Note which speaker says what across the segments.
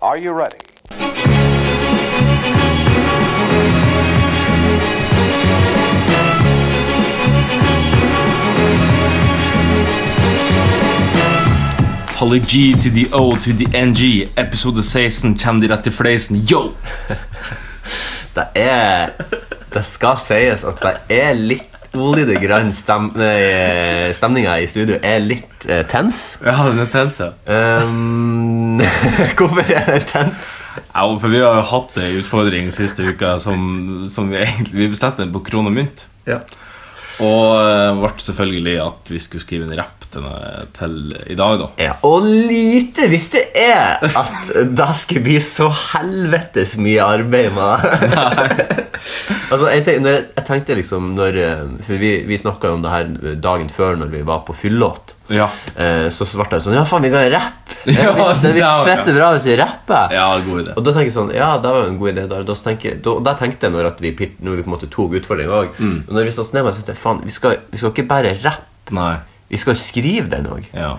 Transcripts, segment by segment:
Speaker 1: Are you ready?
Speaker 2: Holly G to the O to the NG. Episode 16 kommer de rett i fleisen. Yo!
Speaker 3: Det er Det skal sies at det er litt Olite grann stem, nei, stemninga i studio er litt eh, tens.
Speaker 2: Ja, den er tens, ja.
Speaker 3: Ehm, hvorfor er det tens?
Speaker 2: Jo, for vi har jo hatt ei utfordring siste uka som, som vi egentlig vi bestemte på krone og mynt.
Speaker 3: Ja.
Speaker 2: Og eh, ble selvfølgelig at vi skulle skrive en rapp denne til i dag, da.
Speaker 3: Og lite visste jeg at det skulle bli så helvetes mye arbeid med det. altså, jeg, tenkte, når jeg, jeg tenkte liksom når, eh, For vi, vi snakka jo om det her dagen før når vi var på fyllåt.
Speaker 2: Ja.
Speaker 3: Eh, Så ble det sånn Ja, faen, vi kan rappe!
Speaker 2: Ja,
Speaker 3: det blir
Speaker 2: ja, ja.
Speaker 3: fette bra hvis vi rapper!
Speaker 2: ja, god idé.
Speaker 3: Og da tenker jeg sånn, ja, det var jo en god idé der. Da tenker, jeg- da, da tenkte jeg når, at vi, pir- når vi på en måte tok utfordringen òg
Speaker 2: Mm.
Speaker 3: Når vi satte oss ned med det, så tenkte jeg, faen, vi skal, vi skal ikke bare rappe,
Speaker 2: Nei.
Speaker 3: vi skal skrive den òg.
Speaker 2: Ja.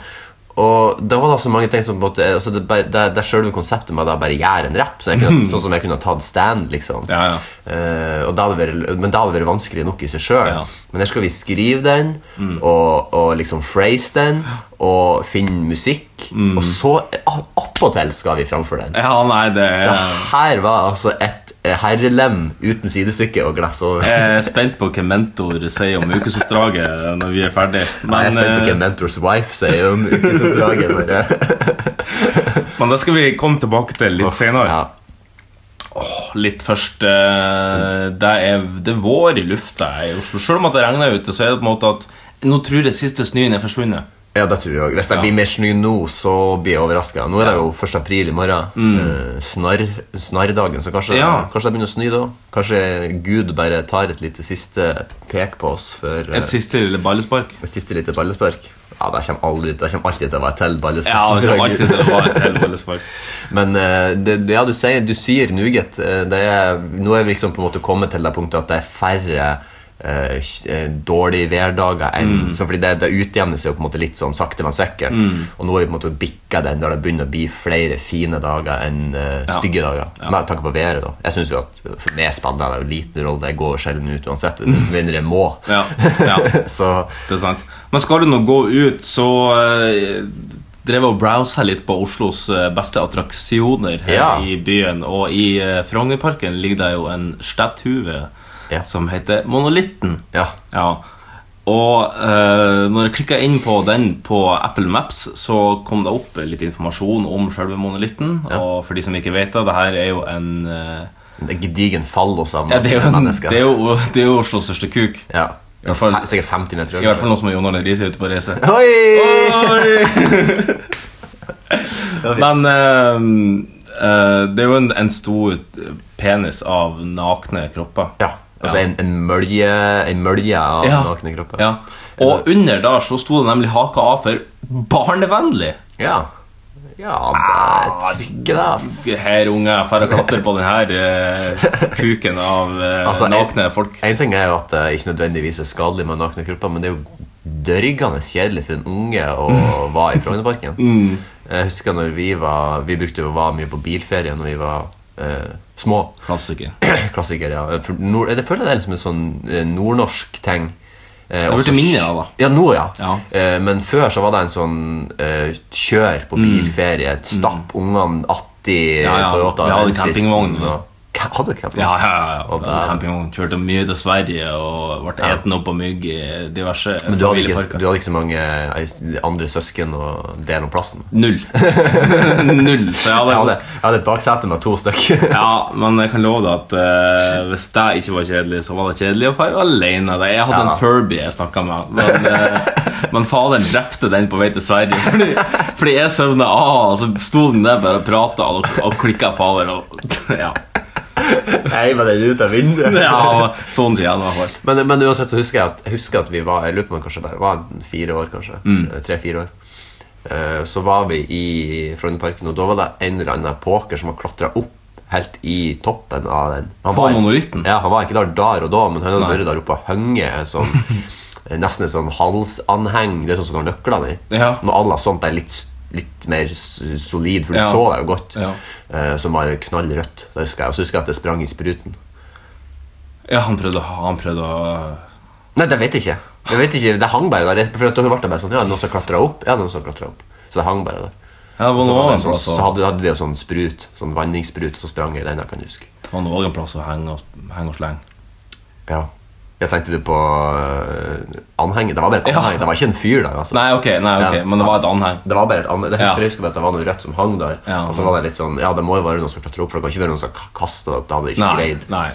Speaker 3: Og da var det så mange ting som på en måte, altså det, bare- det, det selve konseptet med det bare gjør en rapp. Så jeg kunne, Sånn som jeg kunne tatt stand, liksom.
Speaker 2: Ja, ja.
Speaker 3: Eh, og det hadde vært, men det hadde vært vanskelig nok i seg sjøl.
Speaker 2: Ja. Mm.
Speaker 3: Men her skal vi skrive den, og, og liksom phrase den, og finne musikk.
Speaker 2: Mm.
Speaker 3: Og så ah, attpåtil skal vi framføre den.
Speaker 2: ja, nei, det er
Speaker 3: Det her var altså et herrelem uten sidestykke å glefse over.
Speaker 2: Jeg er spent på hva mentor sier om ukesoppdraget når vi er ferdig.
Speaker 3: Nei, jeg er spent på
Speaker 2: eh,
Speaker 3: hva mentors wife sier om ukesoppdraget. eh, bare.
Speaker 2: Men det skal vi komme tilbake til litt senere.
Speaker 3: Ja.
Speaker 2: Litt først eh, det, er, det er vår i lufta i Oslo. Selv om at det regner ute, så er det på en måte at nå tror jeg siste snøen er forsvunnet.
Speaker 3: ja, det tror jeg òg. Hvis det blir mer snø nå, så blir jeg overraska. Nå er det jo 1. april i morgen. eh, Snarr, snarrdagen, så kanskje,
Speaker 2: Mm. Ja.
Speaker 3: kanskje det begynner å snø da. Kanskje Gud bare tar et lite siste pek på oss før eh,
Speaker 2: Et siste lille ballespark.
Speaker 3: et siste lite ballespark. Ja, Det kommer, aldri, det kommer alltid til å være til ballespark.
Speaker 2: Ja, det
Speaker 3: fra
Speaker 2: kommer
Speaker 3: Gud.
Speaker 2: alltid til å være et helt ballespark.
Speaker 3: Men eh, det, det- ja, du sier, du sier nuget. eh, det er, nå er vi liksom på en måte kommet til det punktet at det er færre eh, kj- eh, dårlige værdager.
Speaker 2: Mm.
Speaker 3: enn- så fordi det, det utjevner seg jo på en måte litt sånn sakte, men sikkert. Og nå er vi på en måte bikka den der det begynner å bli flere fine dager enn eh,
Speaker 2: Ja.
Speaker 3: stygge dager. Med tanke på været, da. Jeg synes jo at For meg spiller det jo liten rolle. Jeg går sjelden ut uansett, med mindre jeg må.
Speaker 2: Mm. Ja, ja,
Speaker 3: Så
Speaker 2: det er sant. Men skal du nå gå ut, så eh, drev jeg og browsa litt på Oslos eh, beste attraksjoner her
Speaker 3: Ja.
Speaker 2: i byen. Og i eh, Frognerparken ligger det jo en statue
Speaker 3: Ja.
Speaker 2: som heter Monolitten.
Speaker 3: ja.
Speaker 2: Ja. Og eh, når jeg klikka inn på den på Apple Maps, så kom det opp litt informasjon om selve monolitten. Og for de som ikke vet det, det her er jo en eh,
Speaker 3: En gedigen fallos av
Speaker 2: ja, det, er jo en
Speaker 3: mennesker.
Speaker 2: det, er jo, det er jo Oslos største kuk.
Speaker 3: ja.
Speaker 2: I hvert fall-
Speaker 3: Fe- Sikkert 50 meter.
Speaker 2: I hvert fall nå som Jon Arne Riise er ute på reise.
Speaker 3: Oi!
Speaker 2: Men eh, eh, det er jo en, en stor penis av nakne kropper.
Speaker 3: Ja, altså
Speaker 2: Ja.
Speaker 3: En, en, mølje, en mølje av nakne kropper.
Speaker 2: Ja. Og under der så sto det nemlig haka av for 'barnevennlig'.
Speaker 3: ja. Ja, det er trygge, Ah, det, ass.
Speaker 2: Her unge, jeg får klatre på den her eh, kuken av eh,
Speaker 3: Altså, jeg-
Speaker 2: nakne folk.
Speaker 3: En ting er jo at det ikke nødvendigvis er skadelig med nakne kropper, men det er jo dørgende kjedelig for en unge
Speaker 2: Mm.
Speaker 3: å være i Frognerparken. Jeg husker når vi var Vi brukte jo å være mye på bilferie når vi var eh, små.
Speaker 2: Klassiker.
Speaker 3: Klassiker, ja. For nord, jeg føler det er liksom en sånn eh, nordnorsk ting. Eh,
Speaker 2: har blitt
Speaker 3: også-
Speaker 2: mindre av det.
Speaker 3: Ja, nå, ja.
Speaker 2: Ja.
Speaker 3: Eh, men før så var det en sånn eh, kjør på bilferie. Stapp ungene atti
Speaker 2: Mm. Ja, ja.
Speaker 3: Toyota
Speaker 2: Vi hadde
Speaker 3: Lensisen,
Speaker 2: campingvogn, ja.
Speaker 3: og- Ka- Hadde du campingvogn?
Speaker 2: Ja, ja, ja.
Speaker 3: Og
Speaker 2: ja.
Speaker 3: da-
Speaker 2: Campingvogn. Kjørte mye til Sverige og ble eten opp av mygg i diverse
Speaker 3: Men du hadde, ikke,
Speaker 2: familieparker.
Speaker 3: du hadde ikke så mange eh, andre søsken å dele om plassen?
Speaker 2: Null. Null. Så jeg
Speaker 3: Jeg
Speaker 2: hadde
Speaker 3: hadde, jeg hadde et baksete med to stykker.
Speaker 2: Ja, men jeg kan love deg at eh, hvis det ikke var kjedelig, så var det kjedelig å være alene. Jeg hadde
Speaker 3: Ja.
Speaker 2: en Furby jeg snakka med, men, eh, men faderen drepte den på vei til Sverige. Fordi, fordi jeg søvna av, og så sto den der bare og prata og, og klikka fader. Og, ja.
Speaker 3: Jeg var den ut av vinduet.
Speaker 2: ja, og sånn sier jeg det i hvert fall.
Speaker 3: Men, men uansett så husker jeg at, jeg husker at vi var Jeg lurer på om jeg kanskje bare var en fire år, kanskje.
Speaker 2: Mm.
Speaker 3: Tre-fire år. Eh, så var vi i Frognerparken, og da var det en eller annen poker som hadde klatra opp helt i toppen av den. Han
Speaker 2: På monolitten?
Speaker 3: Ja, han var ikke der der og da, men han hadde
Speaker 2: Nei.
Speaker 3: vært der oppe og hengt en sånn Nesten en sånn halsanheng. Det er sånn som du har nøklene i.
Speaker 2: Ja.
Speaker 3: Noe à la sånt der litt, s- litt mer s- solid, for du
Speaker 2: Ja.
Speaker 3: så deg jo godt.
Speaker 2: Ja.
Speaker 3: Eh, som var knallrødt. Da husker jeg. Og så husker jeg at det sprang i spruten.
Speaker 2: Ja, han prøvde, å- han prøvde å
Speaker 3: Nei, det vet jeg ikke. Jeg vet ikke, Det hang bare der. For at da ble det bare sånn, ja, noen som klatra opp. Ja, noen som klatret opp. Så det hang bare der.
Speaker 2: Ja, det var
Speaker 3: Så,
Speaker 2: noe altså.
Speaker 3: var det
Speaker 2: en
Speaker 3: en sånn,
Speaker 2: plass
Speaker 3: så
Speaker 2: å-
Speaker 3: hadde, hadde de jo sånn sprut, sånn vanningssprut, og så sprang jeg i den. Jeg kan jeg huske.
Speaker 2: det var noe en plass å henge og, henge og slenge.
Speaker 3: Ja. Jeg tenkte du på øh, anhenget. Det var bare et
Speaker 2: Ja.
Speaker 3: anheng. Det var ikke en fyr der. altså.
Speaker 2: Nei, ok, nei, ok,
Speaker 3: Ja.
Speaker 2: men det var et anheng.
Speaker 3: Det var bare et annet, det
Speaker 2: Ja.
Speaker 3: jeg husker bare at det var noe rødt som hang der.
Speaker 2: Ja,
Speaker 3: og så var det litt sånn, ja, det må jo være noen som klatre opp, for det kan ikke være noen som k- kaster det. Det hadde jeg
Speaker 2: Nei,
Speaker 3: ikke greid.
Speaker 2: nei.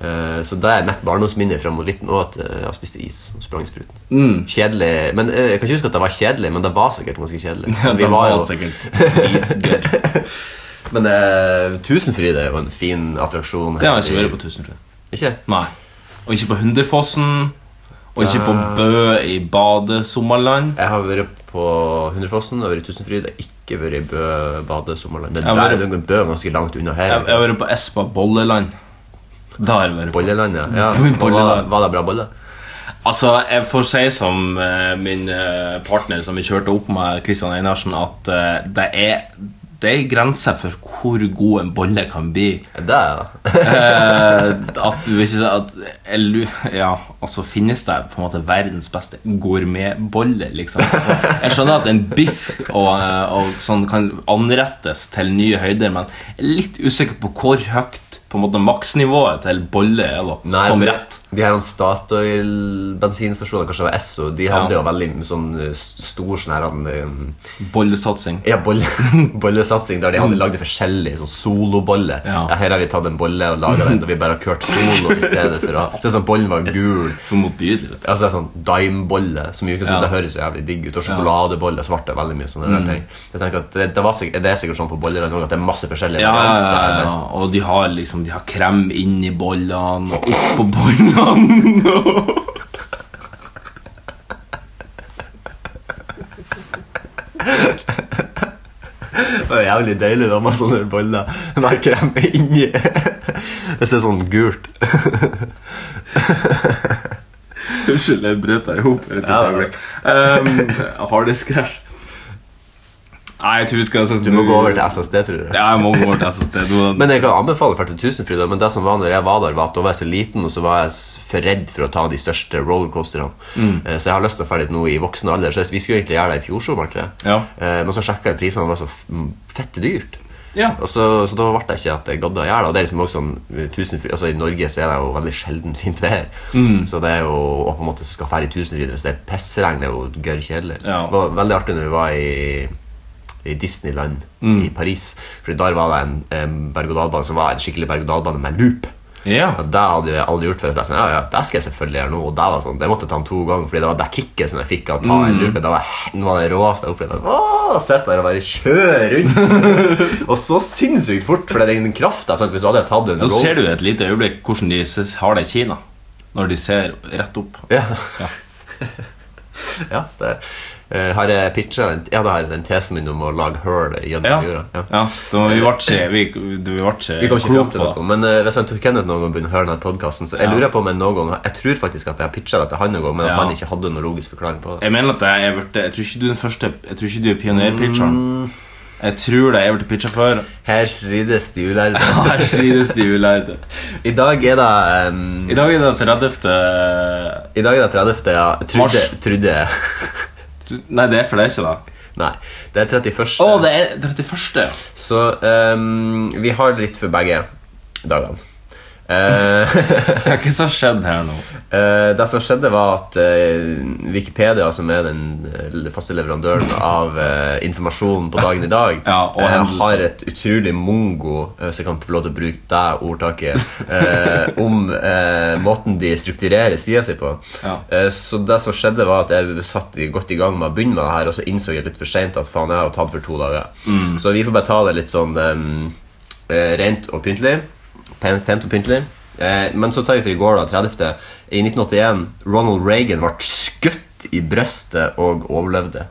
Speaker 3: Eh, så det er mitt barndomsminne fra jeg var liten, og at eh, jeg spiste is og sprang i spruten.
Speaker 2: Mm.
Speaker 3: Kjedelig. Men eh, Jeg kan ikke huske at det var kjedelig, men det var sikkert ganske kjedelig. Men
Speaker 2: det
Speaker 3: Vi var jo,
Speaker 2: sikkert dritgøy.
Speaker 3: men eh, Tusenfryd er jo en fin attraksjon.
Speaker 2: Det har
Speaker 3: her
Speaker 2: jeg ikke vært
Speaker 3: i-
Speaker 2: på Tusenfryd.
Speaker 3: Ikke?
Speaker 2: Nei. Og ikke på Hunderfossen. Og ikke på Bø i badesommerland.
Speaker 3: Jeg har vært på Hundrefossen og vært i Tusenfryd. Jeg har ikke vært i Bø bade sommerland. Men
Speaker 2: Jeg har
Speaker 3: der er det Bø ganske langt unna her.
Speaker 2: Jeg jeg har vært på Espa Bolleland. Det har jeg vært på.
Speaker 3: Bolleland, ja. ja.
Speaker 2: Bolleland.
Speaker 3: Og Var, var det bra bolle?
Speaker 2: Altså, jeg får si som eh, min eh, partner som vi kjørte opp med, Kristian Einarsen, at eh, det er det er grenser for hvor god en bolle kan bli.
Speaker 3: Det er det.
Speaker 2: Eh, at du ikke at jeg lu- Ja, altså finnes det på en måte verdens beste gourmetbolle, liksom. Altså, jeg skjønner at en biff og, eh, og sånn kan anrettes til nye høyder, men jeg er litt usikker på hvor høyt på en måte maksnivået til bolle er, da.
Speaker 3: Nei,
Speaker 2: som
Speaker 3: så de-
Speaker 2: rett.
Speaker 3: De her Statoil-bensinstasjonene, kanskje det var Esso, de hadde
Speaker 2: Ja.
Speaker 3: jo veldig sånn eh, s- stor sånn her um,
Speaker 2: Bollesatsing.
Speaker 3: ja, bolle, bollesatsing der de hadde lagd forskjellige sånn soloboller.
Speaker 2: Mm. Ja.
Speaker 3: Ja. her har vi tatt en bolle og laga den, og vi bare har kjørt solo i stedet for å Se sånn bollen var gul.
Speaker 2: Så motbydelig. vet du.
Speaker 3: Altså det er sånn Dime-bolle, som jo ikke
Speaker 2: Ja. Mm.
Speaker 3: det høres så jævlig digg ut. Og sjokoladebolle, svart er veldig mye sånne der ting. Så jeg tenker at det, det, var sikkert, det er sikkert sånn på bolleland òg at det er masse forskjellige
Speaker 2: Ja, ja,
Speaker 3: varianter,
Speaker 2: ja,
Speaker 3: men-
Speaker 2: ja. Og de har liksom De har krem inni bollene og oppå bollene. og-
Speaker 3: Det er jævlig deilig da med sånne boller med krem inni. Hvis det er sånn gult.
Speaker 2: Unnskyld, jeg brøt deg i hop.
Speaker 3: Ja, det er
Speaker 2: Um, Hardest crash. Nei, jeg tror vi skal
Speaker 3: Du må gå over til SSD, tror jeg.
Speaker 2: Ja, jeg må gå over til SSD. Du,
Speaker 3: Men jeg kan anbefale for til Tusenfryd, da, men det som var når jeg var der, var at da var jeg så liten, og så var jeg s- for redd for å ta de største rollercoasterne.
Speaker 2: Mm.
Speaker 3: Eh, Så jeg har lyst til å ferdig nå i voksen alder. Så jeg- vi skulle egentlig gjøre det i fjor sommer, tror jeg.
Speaker 2: Ja.
Speaker 3: Eh, Men så sjekka jeg prisene, og det var så f- m, fette dyrt.
Speaker 2: ja.
Speaker 3: Og så, så da ble det ikke at jeg gadd å gjøre det. Og det er liksom også sånn, eh, tusenfryd, altså I Norge så er det jo veldig sjelden fint vær.
Speaker 2: Mm.
Speaker 3: Så det er jo og på en måte så skal fære i tusenfryd hvis det er pissregn. Det er jo gørr kjedelig.
Speaker 2: Ja.
Speaker 3: Det var veldig artig når vi var i, i Disneyland
Speaker 2: Mm.
Speaker 3: i Paris. For der var det en, en berg-og-dal-bane som var en skikkelig berg-og-dal-bane med loop.
Speaker 2: ja.
Speaker 3: Ja, det hadde jeg aldri gjort før. Jeg bare sånn, ja, ja, det skal jeg selvfølgelig gjøre nå. Og det var sånn, det måtte jeg ta den to ganger, fordi det var det kicket som jeg fikk av å ta
Speaker 2: Mm.
Speaker 3: en lupe. Det var he- noe av det råeste jeg opplevde. Åh, Sett der og bare kjøre rundt. og så sinnssykt fort, for det er den krafta. sant? Hvis du hadde tatt en
Speaker 2: Nå ser
Speaker 3: roll
Speaker 2: du et lite øyeblikk hvordan de s- har det i Kina. Når de ser rett opp.
Speaker 3: Ja.
Speaker 2: Ja.
Speaker 3: ja, det eh, har jeg pitcha den, ja, det har jeg den tesen min om å lage hull gjennom
Speaker 2: Ja.
Speaker 3: jorda? Ja.
Speaker 2: ja da, vi ble ikke Vi, vi ble ikke
Speaker 3: Vi kom ikke
Speaker 2: klok
Speaker 3: fram til
Speaker 2: på det.
Speaker 3: noe, men eh, hvis han Tor Kenneth noen gang begynner å høre denne podcasten, så jeg
Speaker 2: Ja.
Speaker 3: lurer på om jeg noen gang Jeg tror faktisk at jeg pitcha det til han noen gang, men at
Speaker 2: Ja.
Speaker 3: han ikke hadde noen logisk forklaring på det.
Speaker 2: Jeg mener at jeg er blitt Jeg tror ikke du er den første Jeg tror ikke du er pionerpitcheren.
Speaker 3: Mm.
Speaker 2: Jeg tror det jeg har blitt pitcha før.
Speaker 3: Her strides de ulærde.
Speaker 2: Her strides de ulærde.
Speaker 3: I dag er det um,
Speaker 2: I dag er det 30.
Speaker 3: I dag er det 30. Ja. Trudde,
Speaker 2: Mars.
Speaker 3: trudde
Speaker 2: Nei, det er for deg ikke, da.
Speaker 3: Nei, det er 31.
Speaker 2: Å, det er 31. ja.
Speaker 3: Så um, vi har litt for begge dagene. Eh,
Speaker 2: Hva er det som har skjedd her nå?
Speaker 3: eh, det som skjedde, var at eh, Wikipedia, som er den eh, faste leverandøren av eh, informasjon på dagen i dag,
Speaker 2: Ja, og
Speaker 3: eh,
Speaker 2: hendelser.
Speaker 3: har et utrolig mongo, eh, så jeg kan få lov til å bruke det ordtaket, eh, om eh, måten de strukturerer sida si på.
Speaker 2: Ja.
Speaker 3: Eh, Så det som skjedde var at jeg satt i- godt i gang med å begynne med det her, og så innså jeg litt for sent at faen, jeg har jo tatt for to dager.
Speaker 2: Mm.
Speaker 3: Så vi får bare ta det litt sånn em, eh, rent og pyntelig. Pent, pent og pyntelig. Eh, Men så tar vi for i går, da, 30. I 1981, Ronald Reagan ble skutt i brøstet og overlevde.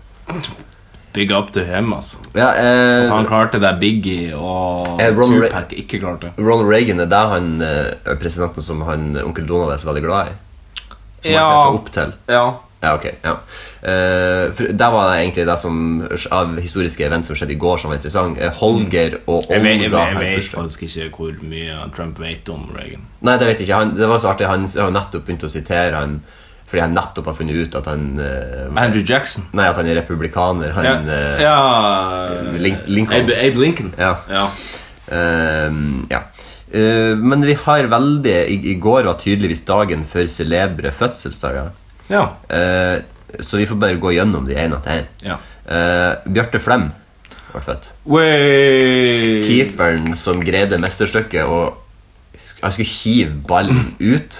Speaker 2: Big up to him, altså.
Speaker 3: Ja, eh,
Speaker 2: Så han klarte det Biggie og
Speaker 3: Eh, Ronald Re-
Speaker 2: Tupac ikke klarte.
Speaker 3: Ronald Reagan er det han, eh, presidenten som han, onkel Donald er så veldig glad i. Som han ser
Speaker 2: Ja.
Speaker 3: seg opp til.
Speaker 2: Ja.
Speaker 3: Ja, ok. Ja. Eh, for der var det egentlig det som av historiske event som skjedde i går, som var interessant. Eh, Holger og
Speaker 2: Mm. Jeg vet, jeg,
Speaker 3: Olga
Speaker 2: vet- jeg vet
Speaker 3: Herpers-
Speaker 2: faktisk ikke hvor mye Trump vet om Reagan.
Speaker 3: Nei, det vet jeg ikke. Han, det var så artig. Han har nettopp begynt å sitere han fordi han nettopp har funnet ut at han eh,
Speaker 2: Andrew Jackson.
Speaker 3: Nei, at han er republikaner. Han
Speaker 2: Ja,
Speaker 3: eh,
Speaker 2: ja
Speaker 3: Link- Lincoln.
Speaker 2: Abe, Abe Lincoln.
Speaker 3: Ja.
Speaker 2: Ja.
Speaker 3: Ehm, ja. Eh, men vi har veldig i, I går var tydeligvis dagen for celebre fødselsdager.
Speaker 2: ja.
Speaker 3: Eh, så vi får bare gå gjennom de ene etter en.
Speaker 2: ja.
Speaker 3: Eh, Bjarte Flem ble født.
Speaker 2: Way.
Speaker 3: Keeperen som greide mesterstykket og sk- Han skulle hive ballen ut,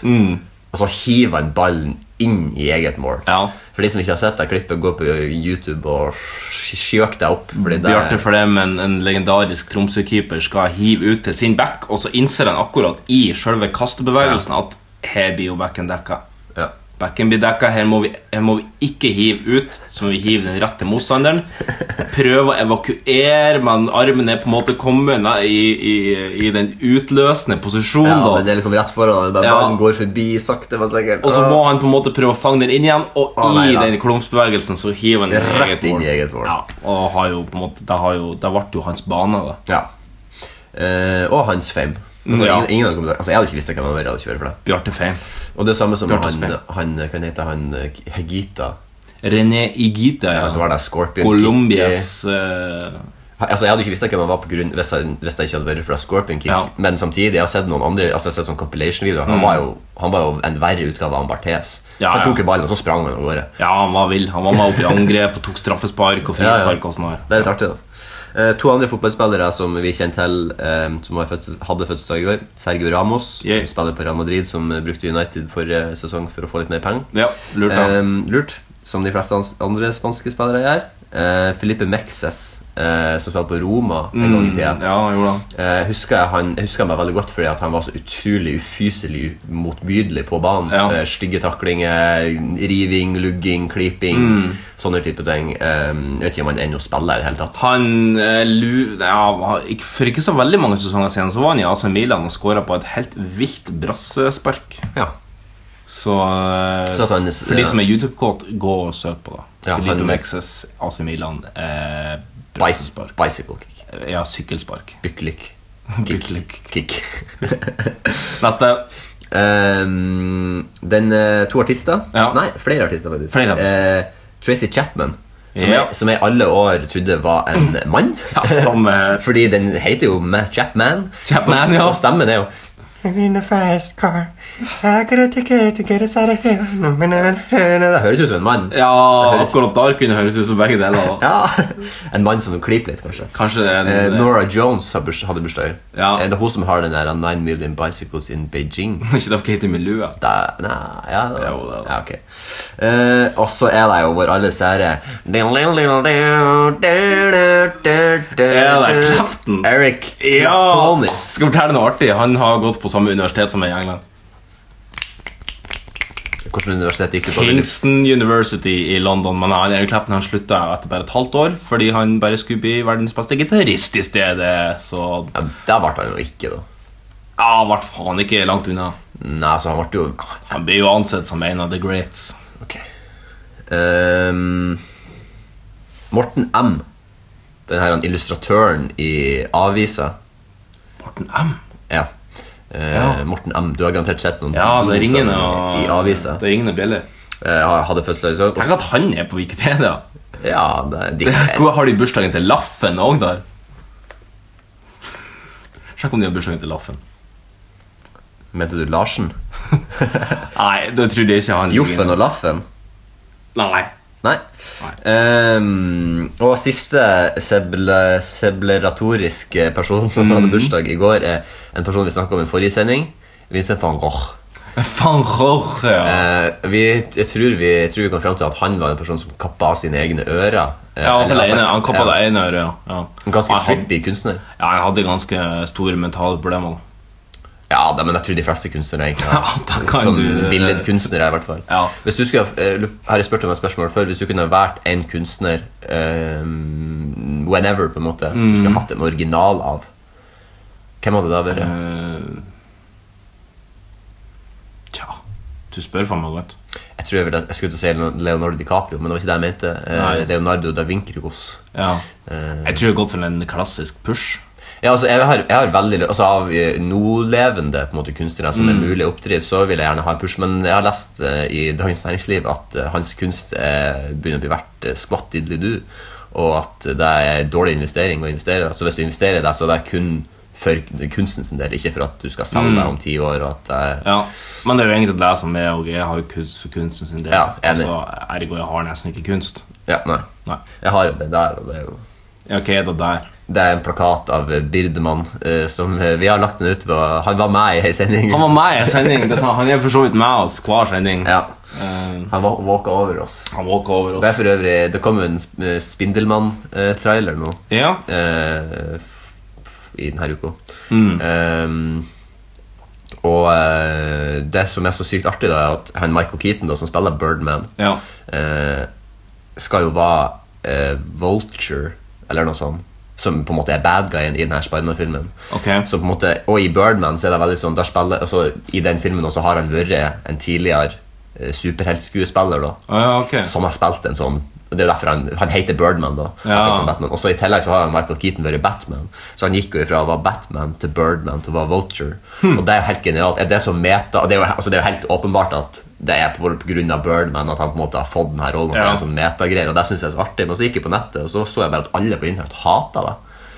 Speaker 3: og så hiver han ballen inn i eget mål.
Speaker 2: Mm. Ja.
Speaker 3: For de som ikke har sett det klippet, gå på YouTube og sj- søk deg opp. Fordi det,
Speaker 2: Bjarte Flem, en, en legendarisk Tromsø-keeper, skal hive ut til sin back, og så innser han akkurat i selve kastebevegelsen at her blir jo backen dekka.
Speaker 3: Ja.
Speaker 2: Backen blir dekka, her må, vi, her må vi ikke hive ut, så må vi hive den rett til motstanderen. Prøve å evakuere, men armen er på en måte kommet nei, i, i, i den utløsende posisjonen.
Speaker 3: Ja,
Speaker 2: da.
Speaker 3: men det er liksom rett foran. Den
Speaker 2: Ja.
Speaker 3: ballen går forbi sakte, men sikkert.
Speaker 2: Og så må han på en måte prøve å fange den inn igjen, og
Speaker 3: Å, nei
Speaker 2: i
Speaker 3: da.
Speaker 2: den klumpsbevegelsen så hiver han i
Speaker 3: Rett
Speaker 2: eget
Speaker 3: inn i
Speaker 2: mål.
Speaker 3: eget mål.
Speaker 2: Ja, og har jo på en måte, det, har jo, det ble jo hans bane, da.
Speaker 3: Ja. Eh, og hans fame. Altså,
Speaker 2: Ja.
Speaker 3: ingen, ingen hadde kommet, altså, jeg hadde ikke visst hvem han var. Jeg hadde ikke vært for det.
Speaker 2: Bjarte Feim.
Speaker 3: Og det er samme som
Speaker 2: Bjartes
Speaker 3: han,
Speaker 2: fame.
Speaker 3: han Hva heter han eh, Hegita?
Speaker 2: René Igita,
Speaker 3: Ja. Så var det Scorpion Kick.
Speaker 2: Colombias eh,
Speaker 3: Altså, jeg hadde ikke visst hvem han var på grunn, hvis, jeg, hvis jeg ikke hadde vært fra Scorpion Kick.
Speaker 2: Ja. Mm.
Speaker 3: Men samtidig, jeg har sett noen andre Altså, jeg har sett sånn compilation-videoer. Han, var jo- han var jo en verre utgave av Barthes.
Speaker 2: Ja,
Speaker 3: han
Speaker 2: ja.
Speaker 3: tok jo ballen, og så sprang han av gårde.
Speaker 2: Ja, han var vill. Han var med opp i angrep og tok straffespark og
Speaker 3: Ja, ja.
Speaker 2: frispark og sånn. her.
Speaker 3: Det er litt artig, da. Eh, to andre fotballspillere som vi kjenner til, eh, som har fødsels- hadde fødselsdag i går. Sergio Ramos,
Speaker 2: Yeah.
Speaker 3: spiller på Real Madrid, som eh, brukte United forrige sesong for å få litt mer penger.
Speaker 2: Ja, lurt av.
Speaker 3: Eh, lurt, som de fleste ans- andre spanske spillere gjør. Eh, Felipe Mexes, eh, som spilte på Roma en gang
Speaker 2: Mm.
Speaker 3: i tida.
Speaker 2: ja, han gjorde det.
Speaker 3: Eh, husker jeg, han, jeg husker meg veldig godt fordi at han var så utrolig ufyselig motbydelig på banen.
Speaker 2: Ja.
Speaker 3: Eh, stygge taklinger, riving, lugging, kliping,
Speaker 2: Mm.
Speaker 3: sånne type ting. Eh, jeg vet ikke om han ennå spiller i det hele tatt.
Speaker 2: Han eh, lu... Ja, var- ikke- for ikke så veldig mange sesonger siden så var han i AC Milan og skåra på et helt vilt brassespark.
Speaker 3: Ja.
Speaker 2: Så, eh,
Speaker 3: Så at han,
Speaker 2: For de som er YouTube-kåt, gå og søk på det.
Speaker 3: Ja,
Speaker 2: Filipe
Speaker 3: han-
Speaker 2: Mexes, AC Milan, eh,
Speaker 3: Bicycle,
Speaker 2: brassespark.
Speaker 3: bicycle kick.
Speaker 2: Ja, sykkelspark.
Speaker 3: Byklik.
Speaker 2: Byklik.
Speaker 3: Kick.
Speaker 2: Neste.
Speaker 3: Ehm, den eh, To artister?
Speaker 2: Ja.
Speaker 3: Nei, flere artister, faktisk.
Speaker 2: Flere artister.
Speaker 3: Eh, Tracy Chapman, som,
Speaker 2: Ja.
Speaker 3: jeg, som jeg alle år trodde var en mann.
Speaker 2: Ja, som eh,
Speaker 3: Fordi den heter jo Ma- Chapman.
Speaker 2: Chapman, ja.
Speaker 3: Og stemmen er jo
Speaker 1: I'm in a fast car. I got a ticket to get us out of here. No, no, no, no, no.
Speaker 3: Det høres ut som en mann.
Speaker 2: Ja,
Speaker 3: høres-
Speaker 2: akkurat der kunne høres ut som begge deler. da.
Speaker 3: Ja. En mann som klyper litt, kanskje.
Speaker 2: Kanskje det er
Speaker 3: Eh,
Speaker 2: en
Speaker 3: Nora Jones har burs- hadde bursdag.
Speaker 2: Ja.
Speaker 3: Eh, Det er hun som har den der 9 Million Bicycles in Beijing.
Speaker 2: Ikke det Katie Melua.
Speaker 3: da, nei, ja, da,
Speaker 2: Jo, da.
Speaker 3: ja, ok Eh, Og så er det jo vår alle sære
Speaker 2: Er det
Speaker 3: Eric
Speaker 2: Clapton?
Speaker 3: Claptonis
Speaker 2: Skal fortelle noe artig. Han har gått på samme universitet som meg i England.
Speaker 3: Hvordan universitet gikk du på? Willy?
Speaker 2: Kingston University i London. Men han, Eric Clapton han slutta etter bare et halvt år fordi han bare skulle bli verdens beste gitarist i stedet. Så ja,
Speaker 3: Ja, der ble han jo ikke da
Speaker 2: han ble faen ikke langt unna.
Speaker 3: Nei, så han ble jo ah,
Speaker 2: Han blir jo ansett som en av the greats.
Speaker 3: Ok Ehm, Morten M Den her han illustratøren i avisa
Speaker 2: Morten M.
Speaker 3: Ja Eh,
Speaker 2: Ja.
Speaker 3: Morten M, du har garantert sett noen
Speaker 2: Ja, det
Speaker 3: bonusene
Speaker 2: ringer
Speaker 3: i
Speaker 2: noe
Speaker 3: avisa
Speaker 2: Det ringer noe bjeller.
Speaker 3: Eh, Hadde fødselsdag i dag, og
Speaker 2: Tenk at han er på Wikipedia.
Speaker 3: Ja, det, de,
Speaker 2: Hvor har de bursdagen til Laffen òg der? Sjekk om de har bursdagen til Laffen.
Speaker 3: Mente du Larsen?
Speaker 2: Nei, det tror jeg ikke han
Speaker 3: Joffen og Laffen?
Speaker 2: Nei.
Speaker 3: Nei. Ehm, og siste seble, sebleratorisk person som
Speaker 2: Mm.
Speaker 3: hadde bursdag i går, er en person vi snakka om i forrige sending. Vincent van Gogh.
Speaker 2: Van Gogh, ja.
Speaker 3: Eh, vi, jeg, tror vi, jeg tror vi kom fram til at han var en person som kappa av sine egne ører. Eh,
Speaker 2: Ja, i hvert fall
Speaker 3: eller i hvert
Speaker 2: ene.
Speaker 3: fall-
Speaker 2: Han kappa
Speaker 3: ja,
Speaker 2: det ene øret. ja. Ja.
Speaker 3: En ganske
Speaker 2: Han had-
Speaker 3: trippy kunstner.
Speaker 2: Ja, han hadde ganske store mentale problemer. da.
Speaker 3: Ja, da, men jeg tror de fleste kunstnere egentlig har
Speaker 2: Ja, da kan
Speaker 3: Som
Speaker 2: du-
Speaker 3: billedkunstnere, i hvert fall.
Speaker 2: Ja.
Speaker 3: Hvis du skulle, eh, lu- har jeg spurt om et spørsmål før Hvis du kunne ha vært en kunstner eh, whenever, på en måte du skulle ha hatt en original av, hvem hadde det da vært?
Speaker 2: Eh, Tja Du spør faen meg godt.
Speaker 3: Jeg tror jeg, ville, jeg skulle til å si Leon- Leonardo DiCaprio, men det var ikke det jeg mente. Eh,
Speaker 2: Nei.
Speaker 3: Leonardo da Vincrios.
Speaker 2: Ja.
Speaker 3: Eh,
Speaker 2: Jeg tror jeg har gått for en klassisk push.
Speaker 3: ja, altså, jeg, har, jeg har veldig lyst- altså, Av eh, nålevende på en måte, kunstnere som
Speaker 2: Mm.
Speaker 3: er mulig å oppdrive, så vil jeg gjerne ha en push. Men jeg har lest eh, i Dagens Næringsliv at eh, hans kunst eh, begynner å bli verdt eh, skvatt diddelidu, og at det er en dårlig investering å investere. Altså, hvis du investerer i det, så er det kun for kunstens del, ikke for at du skal selge
Speaker 2: Mm.
Speaker 3: deg om ti år. Og at eh, det er
Speaker 2: Ja, Men det er jo egentlig det som er og jeg har jo kunst for kunsten sin del.
Speaker 3: Ja, enig.
Speaker 2: altså, ergo jeg har nesten ikke kunst.
Speaker 3: Ja, nei.
Speaker 2: Nei.
Speaker 3: Jeg har jo det der, og det er jo
Speaker 2: Ja, Hva er det der?
Speaker 3: Det er en plakat av eh, Birdemann eh, som eh, vi har lagt den ut på. Han var med i ei sending.
Speaker 2: Han var med i en sending. Det er sånn, han er for så vidt med oss hver sending.
Speaker 3: Ja,
Speaker 2: Eh,
Speaker 3: han var- walka over oss.
Speaker 2: han walker over
Speaker 3: Det
Speaker 2: oss.
Speaker 3: er for øvrig Det kom jo en sp- eh, Spindelmann-trailer nå
Speaker 2: Ja.
Speaker 3: eh, f- f- i denne uka.
Speaker 2: Mm.
Speaker 3: Ehm, og eh, det som er så sykt artig, da, er at han Michael Keaton, da, som spiller Birdman,
Speaker 2: ja.
Speaker 3: eh, skal jo være eh, Vulture, eller noe sånt, som på en måte er bad guyen i denne Spiderman-filmen.
Speaker 2: Ok.
Speaker 3: Så på en måte, og i Birdman så er det veldig sånn der spiller, altså, I den filmen også har han vært en tidligere eh, superheltskuespiller da,
Speaker 2: Å, ja, ok.
Speaker 3: som har spilt en sånn og Det er jo derfor han, han heter Birdman. da
Speaker 2: Ja.
Speaker 3: etter som Batman. Også I tillegg så har han Michael Keaton vært Batman. Så han gikk jo ifra å være Batman til Birdman til å være Vulture.
Speaker 2: Hmm.
Speaker 3: Og Det er jo helt genialt. Er det så meta, og det er, jo, altså, det er jo helt åpenbart at det er på, på grunn av Birdman at han på en måte har fått denne rollen. At det
Speaker 2: Ja.
Speaker 3: er en sånn metagreier, og Det syns jeg er så artig. Men så gikk jeg på nettet, og så så jeg bare at alle på internett hata det.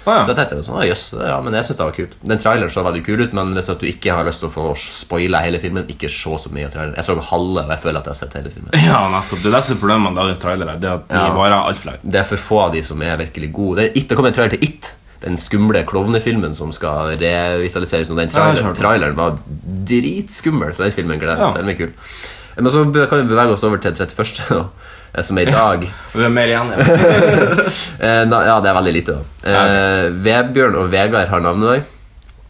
Speaker 2: Å, ja.
Speaker 3: Så jeg tenkte sånn, «Å, jøss, ja, men jeg synes det var kult Den traileren så veldig kul ut, men hvis at du ikke har lyst til å få spoila hele filmen, ikke se så mye av traileren. Jeg så halve, og jeg føler at jeg har sett hele filmen.
Speaker 2: Ja, nettopp. Det er det som er problemet med dagens trailere. Det er at de
Speaker 3: Ja.
Speaker 2: varer altfor lenge.
Speaker 3: Det er for få av de som er virkelig gode. Det, er It, det kommer en trailer til It, den skumle klovnefilmen som skal revitaliseres. nå. Den
Speaker 2: Ja, jeg har
Speaker 3: traileren,
Speaker 2: hørt om.
Speaker 3: traileren var dritskummel, så den filmen gleder jeg
Speaker 2: Ja.
Speaker 3: meg til. Den blir kul. Men så be- kan vi bevege oss over til 31., da, eh, som er i dag.
Speaker 2: Vi er mer igjen. ja.
Speaker 3: Eh, na, ja, det er veldig lite, da.
Speaker 2: Ja,
Speaker 3: Eh, Vebjørn og Vegard har navnedag.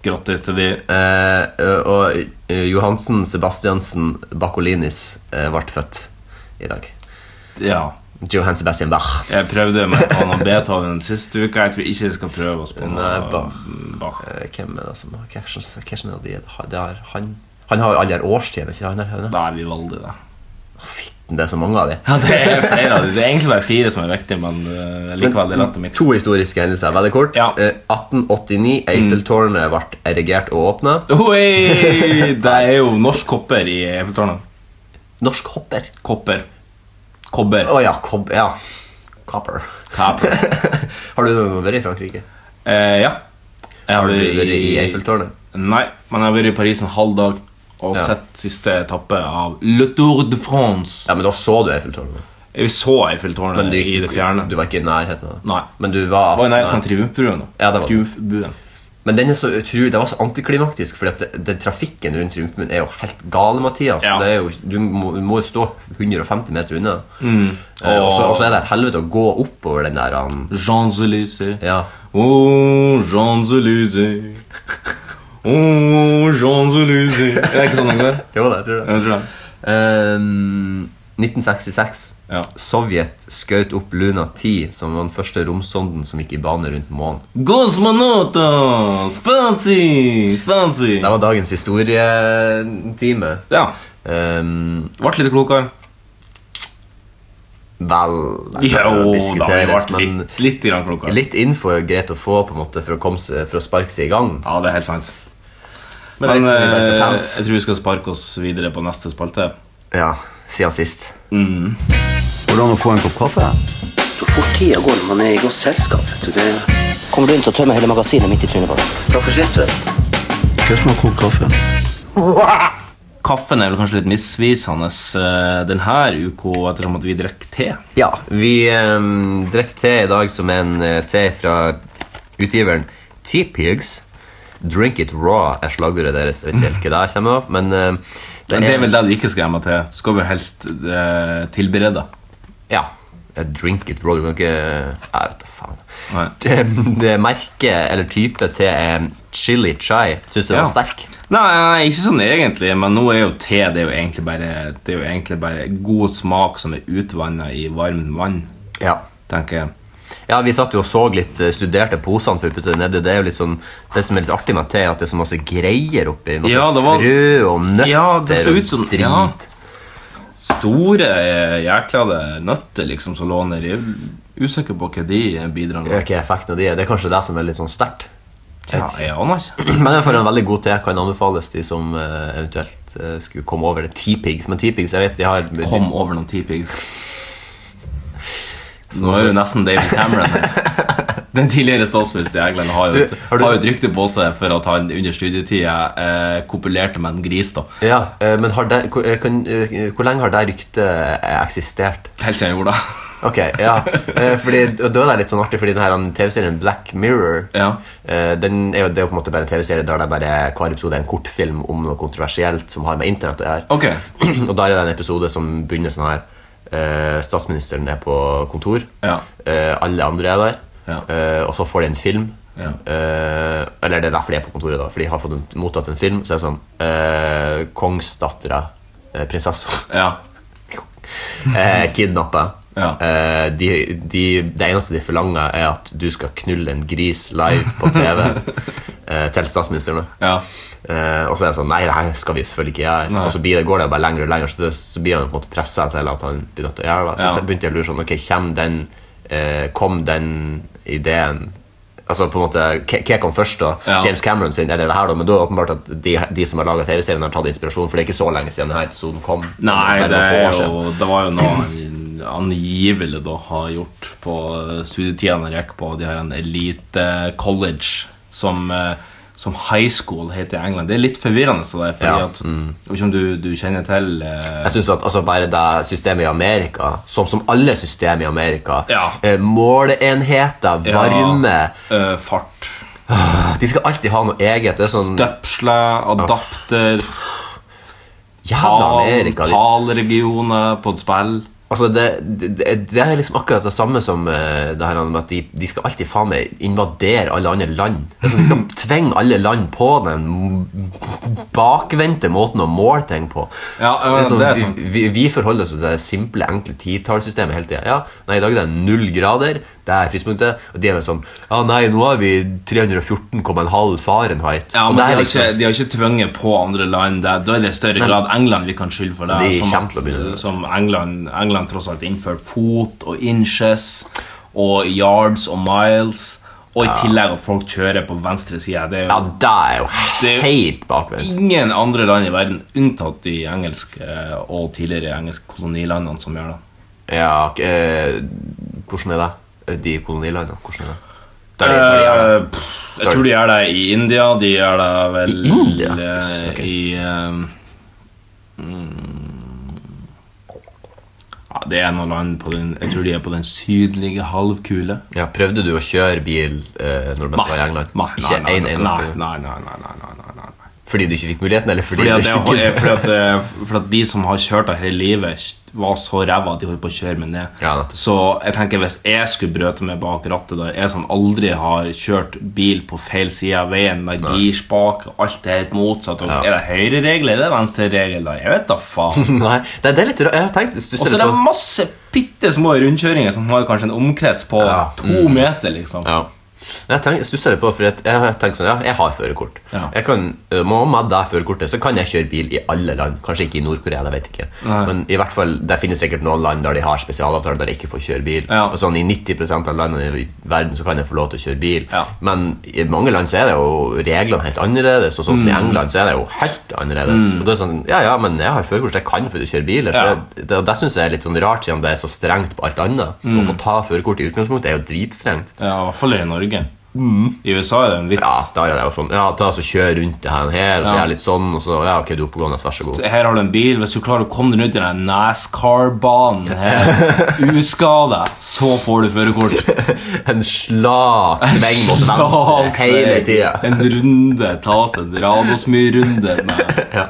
Speaker 2: Grattis til de.
Speaker 3: Eh, og eh, Johansen Sebastiansen Bakkolinis eh, ble født i dag.
Speaker 2: Ja.
Speaker 3: Johan Sebastian Bach.
Speaker 2: Jeg prøvde meg på noe Beethoven sist uke. Jeg tror ikke vi skal prøve oss på noe
Speaker 3: Nei, Bach.
Speaker 2: Bach.
Speaker 3: Eh, hvem er det som har Hvordan er det de- det har han? Han har jo alle her årstidene, ikke sant? Han er-
Speaker 2: Da er vi veldig det.
Speaker 3: Det er så mange av de.
Speaker 2: Ja, det er flere av de. Det er egentlig bare fire som er viktige, men eh, likevel det er lett å mikse.
Speaker 3: To historiske hendelser. Veldig kort.
Speaker 2: Ja.
Speaker 3: Eh, 1889. Eiffeltårnet ble erigert og åpna.
Speaker 2: Oi! Det er jo norsk kopper i Eiffeltårnet.
Speaker 3: Norsk hopper.
Speaker 2: Kopper. Kobber.
Speaker 3: Å ja, kob... Ja. Copper.
Speaker 2: Kapper.
Speaker 3: Har du noen gang vært i Frankrike?
Speaker 2: Eh, ja. Jeg
Speaker 3: Har du vært i Eiffeltårnet?
Speaker 2: Nei, men jeg har vært i Paris en halv dag og
Speaker 3: Ja.
Speaker 2: sett siste etappe av Le Tour de France.
Speaker 3: Ja, men da så du Eiffeltårnet.
Speaker 2: Vi så
Speaker 3: Men
Speaker 2: Eiffeltårnet
Speaker 3: du,
Speaker 2: i det fjerne.
Speaker 3: du var ikke i nærheten av det?
Speaker 2: Nei.
Speaker 3: Men du var,
Speaker 2: Det var i nærheten
Speaker 3: Nei.
Speaker 2: av Triumfbuen. da.
Speaker 3: Ja, det var det.
Speaker 2: Triumfbuen.
Speaker 3: Men den er så utro, det var så antiklimaktisk, Fordi at det- den trafikken rundt Triumfbuen er jo helt gal, Mathias.
Speaker 2: Ja.
Speaker 3: Det er jo, du må du må jo stå 150 meter unna.
Speaker 2: Mm.
Speaker 3: Eh,
Speaker 2: Og-
Speaker 3: Og så og så er det et helvete å gå oppover den der han-
Speaker 2: Champs-Élysées.
Speaker 3: Ja.
Speaker 2: Oh, Champs-Élysées. Oh, Champs-Élysées. Er det ikke sånn den går?
Speaker 3: Jo da, jeg tror det.
Speaker 2: Jeg tror det.
Speaker 3: Ehm, 1966.
Speaker 2: Ja.
Speaker 3: Sovjet skjøt opp Luna 10, som var den første romsonden som gikk i bane rundt månen.
Speaker 2: Cosmonauta! Fancy! Fancy!
Speaker 3: Det var dagens historietime.
Speaker 2: Ja.
Speaker 3: Um,
Speaker 2: Ble litt klokere.
Speaker 3: vel det kan
Speaker 2: Jo, da har
Speaker 3: diskuteres,
Speaker 2: vi
Speaker 3: men-
Speaker 2: vært litt, litt grann klokere.
Speaker 3: Litt info er greit å få på en måte for å, komme seg, for å sparke seg i gang.
Speaker 2: Ja, det er helt sant.
Speaker 3: Men jeg tror vi bare skal
Speaker 2: eh,
Speaker 3: pens.
Speaker 2: jeg tror vi skal sparke oss videre på neste spalte.
Speaker 3: Ja, siden sist.
Speaker 4: Hvordan å få en kopp kaffe?
Speaker 5: Så fort tida går når man er i godt selskap. vet du, Det...
Speaker 4: Kommer du inn, så tømmer jeg hele magasinet midt i trynet på deg.
Speaker 5: Takk for sist, forresten.
Speaker 4: Hva som er kokt kaffe?
Speaker 2: Kaffen er vel kanskje litt misvisende eh, denne uka, ettersom at vi drikker te.
Speaker 3: Ja, vi um, drekk te i dag som en eh, te fra utgiveren T-Pigs. Drink it raw er slagordet deres. Jeg vet ikke helt hva det kommer av, men eh, det
Speaker 2: Det er
Speaker 3: er
Speaker 2: vel det du ikke skal gjemme til. Så skal vi helst eh, tilberede.
Speaker 3: Ja. eh, Drink it raw. Du kan ikke Jeg vet da faen.
Speaker 2: Nei.
Speaker 3: Det, det merket eller type te er chili chai. Syns du den
Speaker 2: Ja.
Speaker 3: var sterk?
Speaker 2: Nei, ikke sånn egentlig, men nå er jo te det er jo egentlig bare, det er jo egentlig bare god smak som er utvanna i varmt vann,
Speaker 3: Ja.
Speaker 2: tenker jeg.
Speaker 3: Ja, Vi satt jo og så litt, eh, studerte posene for å putte det nedi. Det er jo litt sånn, det som er litt artig med te, er at det er så masse greier oppi. Masse
Speaker 2: Ja, det var-
Speaker 3: frø og nøtter
Speaker 2: Ja, det så ut som-
Speaker 3: og drit.
Speaker 2: ja. store, eh, jærkladde nøtter liksom, som låner. Jeg er usikker på hva de bidrar med.
Speaker 3: Øker effekten av de. Det er kanskje det som er litt sånn sterkt.
Speaker 2: Ja, jeg aner ikke.
Speaker 3: Men jeg får en veldig god te. Kan anbefales de som eh, eventuelt eh, skulle komme over det. T-pigs. Men T-pigs, jeg vet de har
Speaker 2: Kom over noen T-pigs. Nå er jo nesten David Cameron her. Den tidligere statsministeren i England har jo, et-
Speaker 3: Du, har du-
Speaker 2: har jo et rykte på seg for at han under studietida eh, kopulerte med en gris. da
Speaker 3: Ja, eh, men har det, hvor, eh, kan, eh, hvor lenge har det ryktet eh, eksistert?
Speaker 2: Helt siden han gjorde det.
Speaker 3: Ok, ja. Eh, Fordi, og da er det litt sånn artig, fordi denne TV-serien Black Mirror
Speaker 2: Ja.
Speaker 3: eh, Den er jo, det er jo på en måte bare en TV-serie der det bare hver episode er en kortfilm om noe kontroversielt som har med internett å gjøre.
Speaker 2: Ok,
Speaker 3: Og der er det en episode som begynner sånn her. Eh, statsministeren er på kontor.
Speaker 2: Ja.
Speaker 3: Eh, alle andre er der.
Speaker 2: Ja.
Speaker 3: Eh, og så får de en film.
Speaker 2: Ja.
Speaker 3: Eh, eller det er derfor de er på kontoret, da for de har fått en, mottatt en film. Så er det sånn eh, Kongsdattera, eh, prinsessa
Speaker 2: ja
Speaker 3: eh, kidnappa.
Speaker 2: Ja.
Speaker 3: Eh, de, de, det eneste de forlanger, er at du skal knulle en gris live på TV eh, til statsministeren. da.
Speaker 2: Ja.
Speaker 3: Eh, og så er det sånn Nei, det her skal vi selvfølgelig ikke gjøre.
Speaker 2: Nei.
Speaker 3: Og så blir det, går det bare lenger og lenger, så, det, så blir han på en måte pressa til at han blir nødt til å gjøre det. Så
Speaker 2: Ja.
Speaker 3: da begynte jeg å lure sånn Ok, kom den, eh, kom den ideen Altså på en måte, Hva hva kom først, da?
Speaker 2: Ja.
Speaker 3: James Cameron sin? Eller det her, da? Men da er det åpenbart at de, de som har laga TV-serien, har tatt inspirasjon, for det er ikke så lenge siden denne episoden kom.
Speaker 2: Nei,
Speaker 3: Bare
Speaker 2: det,
Speaker 3: noen få år
Speaker 2: er
Speaker 3: siden.
Speaker 2: jo, det var jo noe han angivelig da har gjort på studietida han gikk på de her en elite college som, eh, som high school heter i England. Det er litt forvirrende. Så der, fordi
Speaker 3: Ja, Mm.
Speaker 2: at, jeg vet ikke om du, du kjenner til eh,
Speaker 3: Jeg synes at altså, bare det systemet i Amerika, som, som alle systemer i Amerika
Speaker 2: Ja.
Speaker 3: eh, Måleenheter, varme
Speaker 2: Ja, eh, fart.
Speaker 3: De skal alltid ha noe eget. Det er sånn
Speaker 2: Støpsle, adapter,
Speaker 3: Jævla
Speaker 2: pal,
Speaker 3: Amerika. De,
Speaker 2: palregioner på et spill.
Speaker 3: altså, det, det, det- det er liksom akkurat det samme som eh, det her med at de, de skal alltid faen meg invadere alle andre land. Det er sånn, de skal tvinge alle land på den m- bakvendte måten å måle ting på.
Speaker 2: Ja, ja,
Speaker 3: Det er sånn,
Speaker 2: det er sant.
Speaker 3: vi, vi forholder oss til det simple, enkle titallssystemet hele tida. Ja, nei, i dag er det null grader. Det er frispunktet. Og de er vel sånn Ja, nei, nå er vi 314,5 Fahrenheit.
Speaker 2: Ja,
Speaker 3: og
Speaker 2: men de
Speaker 3: det er
Speaker 2: har,
Speaker 3: liksom,
Speaker 2: ikke, de har ikke tvunget på andre land. Det, da er det i større grad England vi kan skylde for det.
Speaker 3: De
Speaker 2: som,
Speaker 3: kommer til å begynne med.
Speaker 2: som England, England tross alt innførte fot og inches og yards og miles. Og i tillegg at folk kjører på venstre side. Det er
Speaker 3: Ja,
Speaker 2: jo
Speaker 3: det er jo
Speaker 2: Det-
Speaker 3: helt bakvendt.
Speaker 2: ingen andre land i verden unntatt de engelske eh, og tidligere engelske kolonilandene som gjør det.
Speaker 3: Ja, ok, eh, hvordan er det? Eh, De kolonilandene, hvordan er det? Der de, der de er det.
Speaker 2: Eh, pff, jeg tror de gjør det i India. De gjør det vel
Speaker 3: I India?
Speaker 2: eh,
Speaker 3: Ok.
Speaker 2: I eh, mm, ja, Det er noen land på den Jeg tror de er på den sydlige halvkule.
Speaker 3: Ja, prøvde du å kjøre bil eh, når du var i England?
Speaker 2: Nei,
Speaker 3: ikke
Speaker 2: nei,
Speaker 3: en
Speaker 2: nei,
Speaker 3: eneste gang.
Speaker 2: nei, nei, nei, nei, nei, nei, nei, nei.
Speaker 3: Fordi du ikke fikk muligheten, eller fordi,
Speaker 2: Fordi at,
Speaker 3: du
Speaker 2: det,
Speaker 3: ikke
Speaker 2: er- fordi, at, det- fordi at de som har kjørt det hele livet, var så ræva at de holdt på å kjøre meg ned.
Speaker 3: Ja, nettopp.
Speaker 2: så jeg tenker hvis jeg skulle brøte meg bak rattet der, jeg som aldri har kjørt bil på feil side av veien med girspak og alt det helt motsatt og
Speaker 3: Ja.
Speaker 2: Er det høyreregel eller er det venstreregel? da? Jeg vet da faen.
Speaker 3: Nei, det, det er litt rart. Jeg har tenkt stusser
Speaker 2: Og så er
Speaker 3: litt
Speaker 2: det
Speaker 3: på-
Speaker 2: masse bitte små rundkjøringer som har kanskje en omkrets på
Speaker 3: Ja. Mm.
Speaker 2: to meter, liksom.
Speaker 3: Ja. Men jeg tenk- stusser litt på, for at jeg har tenkt sånn, ja, jeg har førerkort.
Speaker 2: Ja.
Speaker 3: Jeg kan, eh, Må med det førerkortet, så kan jeg kjøre bil i alle land. Kanskje ikke i Nord-Korea, det vet jeg ikke.
Speaker 2: Nei.
Speaker 3: Men i hvert fall, det finnes sikkert noen land der de har spesialavtaler der jeg ikke får kjøre bil.
Speaker 2: Ja.
Speaker 3: Og sånn I 90 av landene i verden så kan jeg få lov til å kjøre bil.
Speaker 2: Ja.
Speaker 3: Men i mange land så er det jo reglene helt annerledes. Og sånn som i
Speaker 2: Mm.
Speaker 3: England så er det jo helt annerledes. Og det er sånn, ja, ja, men jeg har førerkort, så jeg kan få kjøre bil. Så
Speaker 2: Ja.
Speaker 3: det, det, det syns jeg er litt sånn rart, siden det er så strengt på alt annet.
Speaker 2: Mm.
Speaker 3: Å få ta førerkort i utgangspunktet er jo dritstrengt.
Speaker 2: Ja, I hvert fall i Norge. I USA er det en vits.
Speaker 3: Mm. Ja, da er det jo sånn Ja, ta så kjør rundt det her, og her og så
Speaker 2: Ja.
Speaker 3: gjør jeg litt sånn, og så Ja, ok, du er oppegående, vær så god.
Speaker 2: Her har du en bil. Hvis du klarer å komme deg ut i den NASCAR-banen her uskada, så får du førerkort.
Speaker 3: En slak sving mot venstre
Speaker 2: Slag,
Speaker 3: hele
Speaker 2: seg.
Speaker 3: tida.
Speaker 2: altså, En runde tas, en Radosmy-runde. med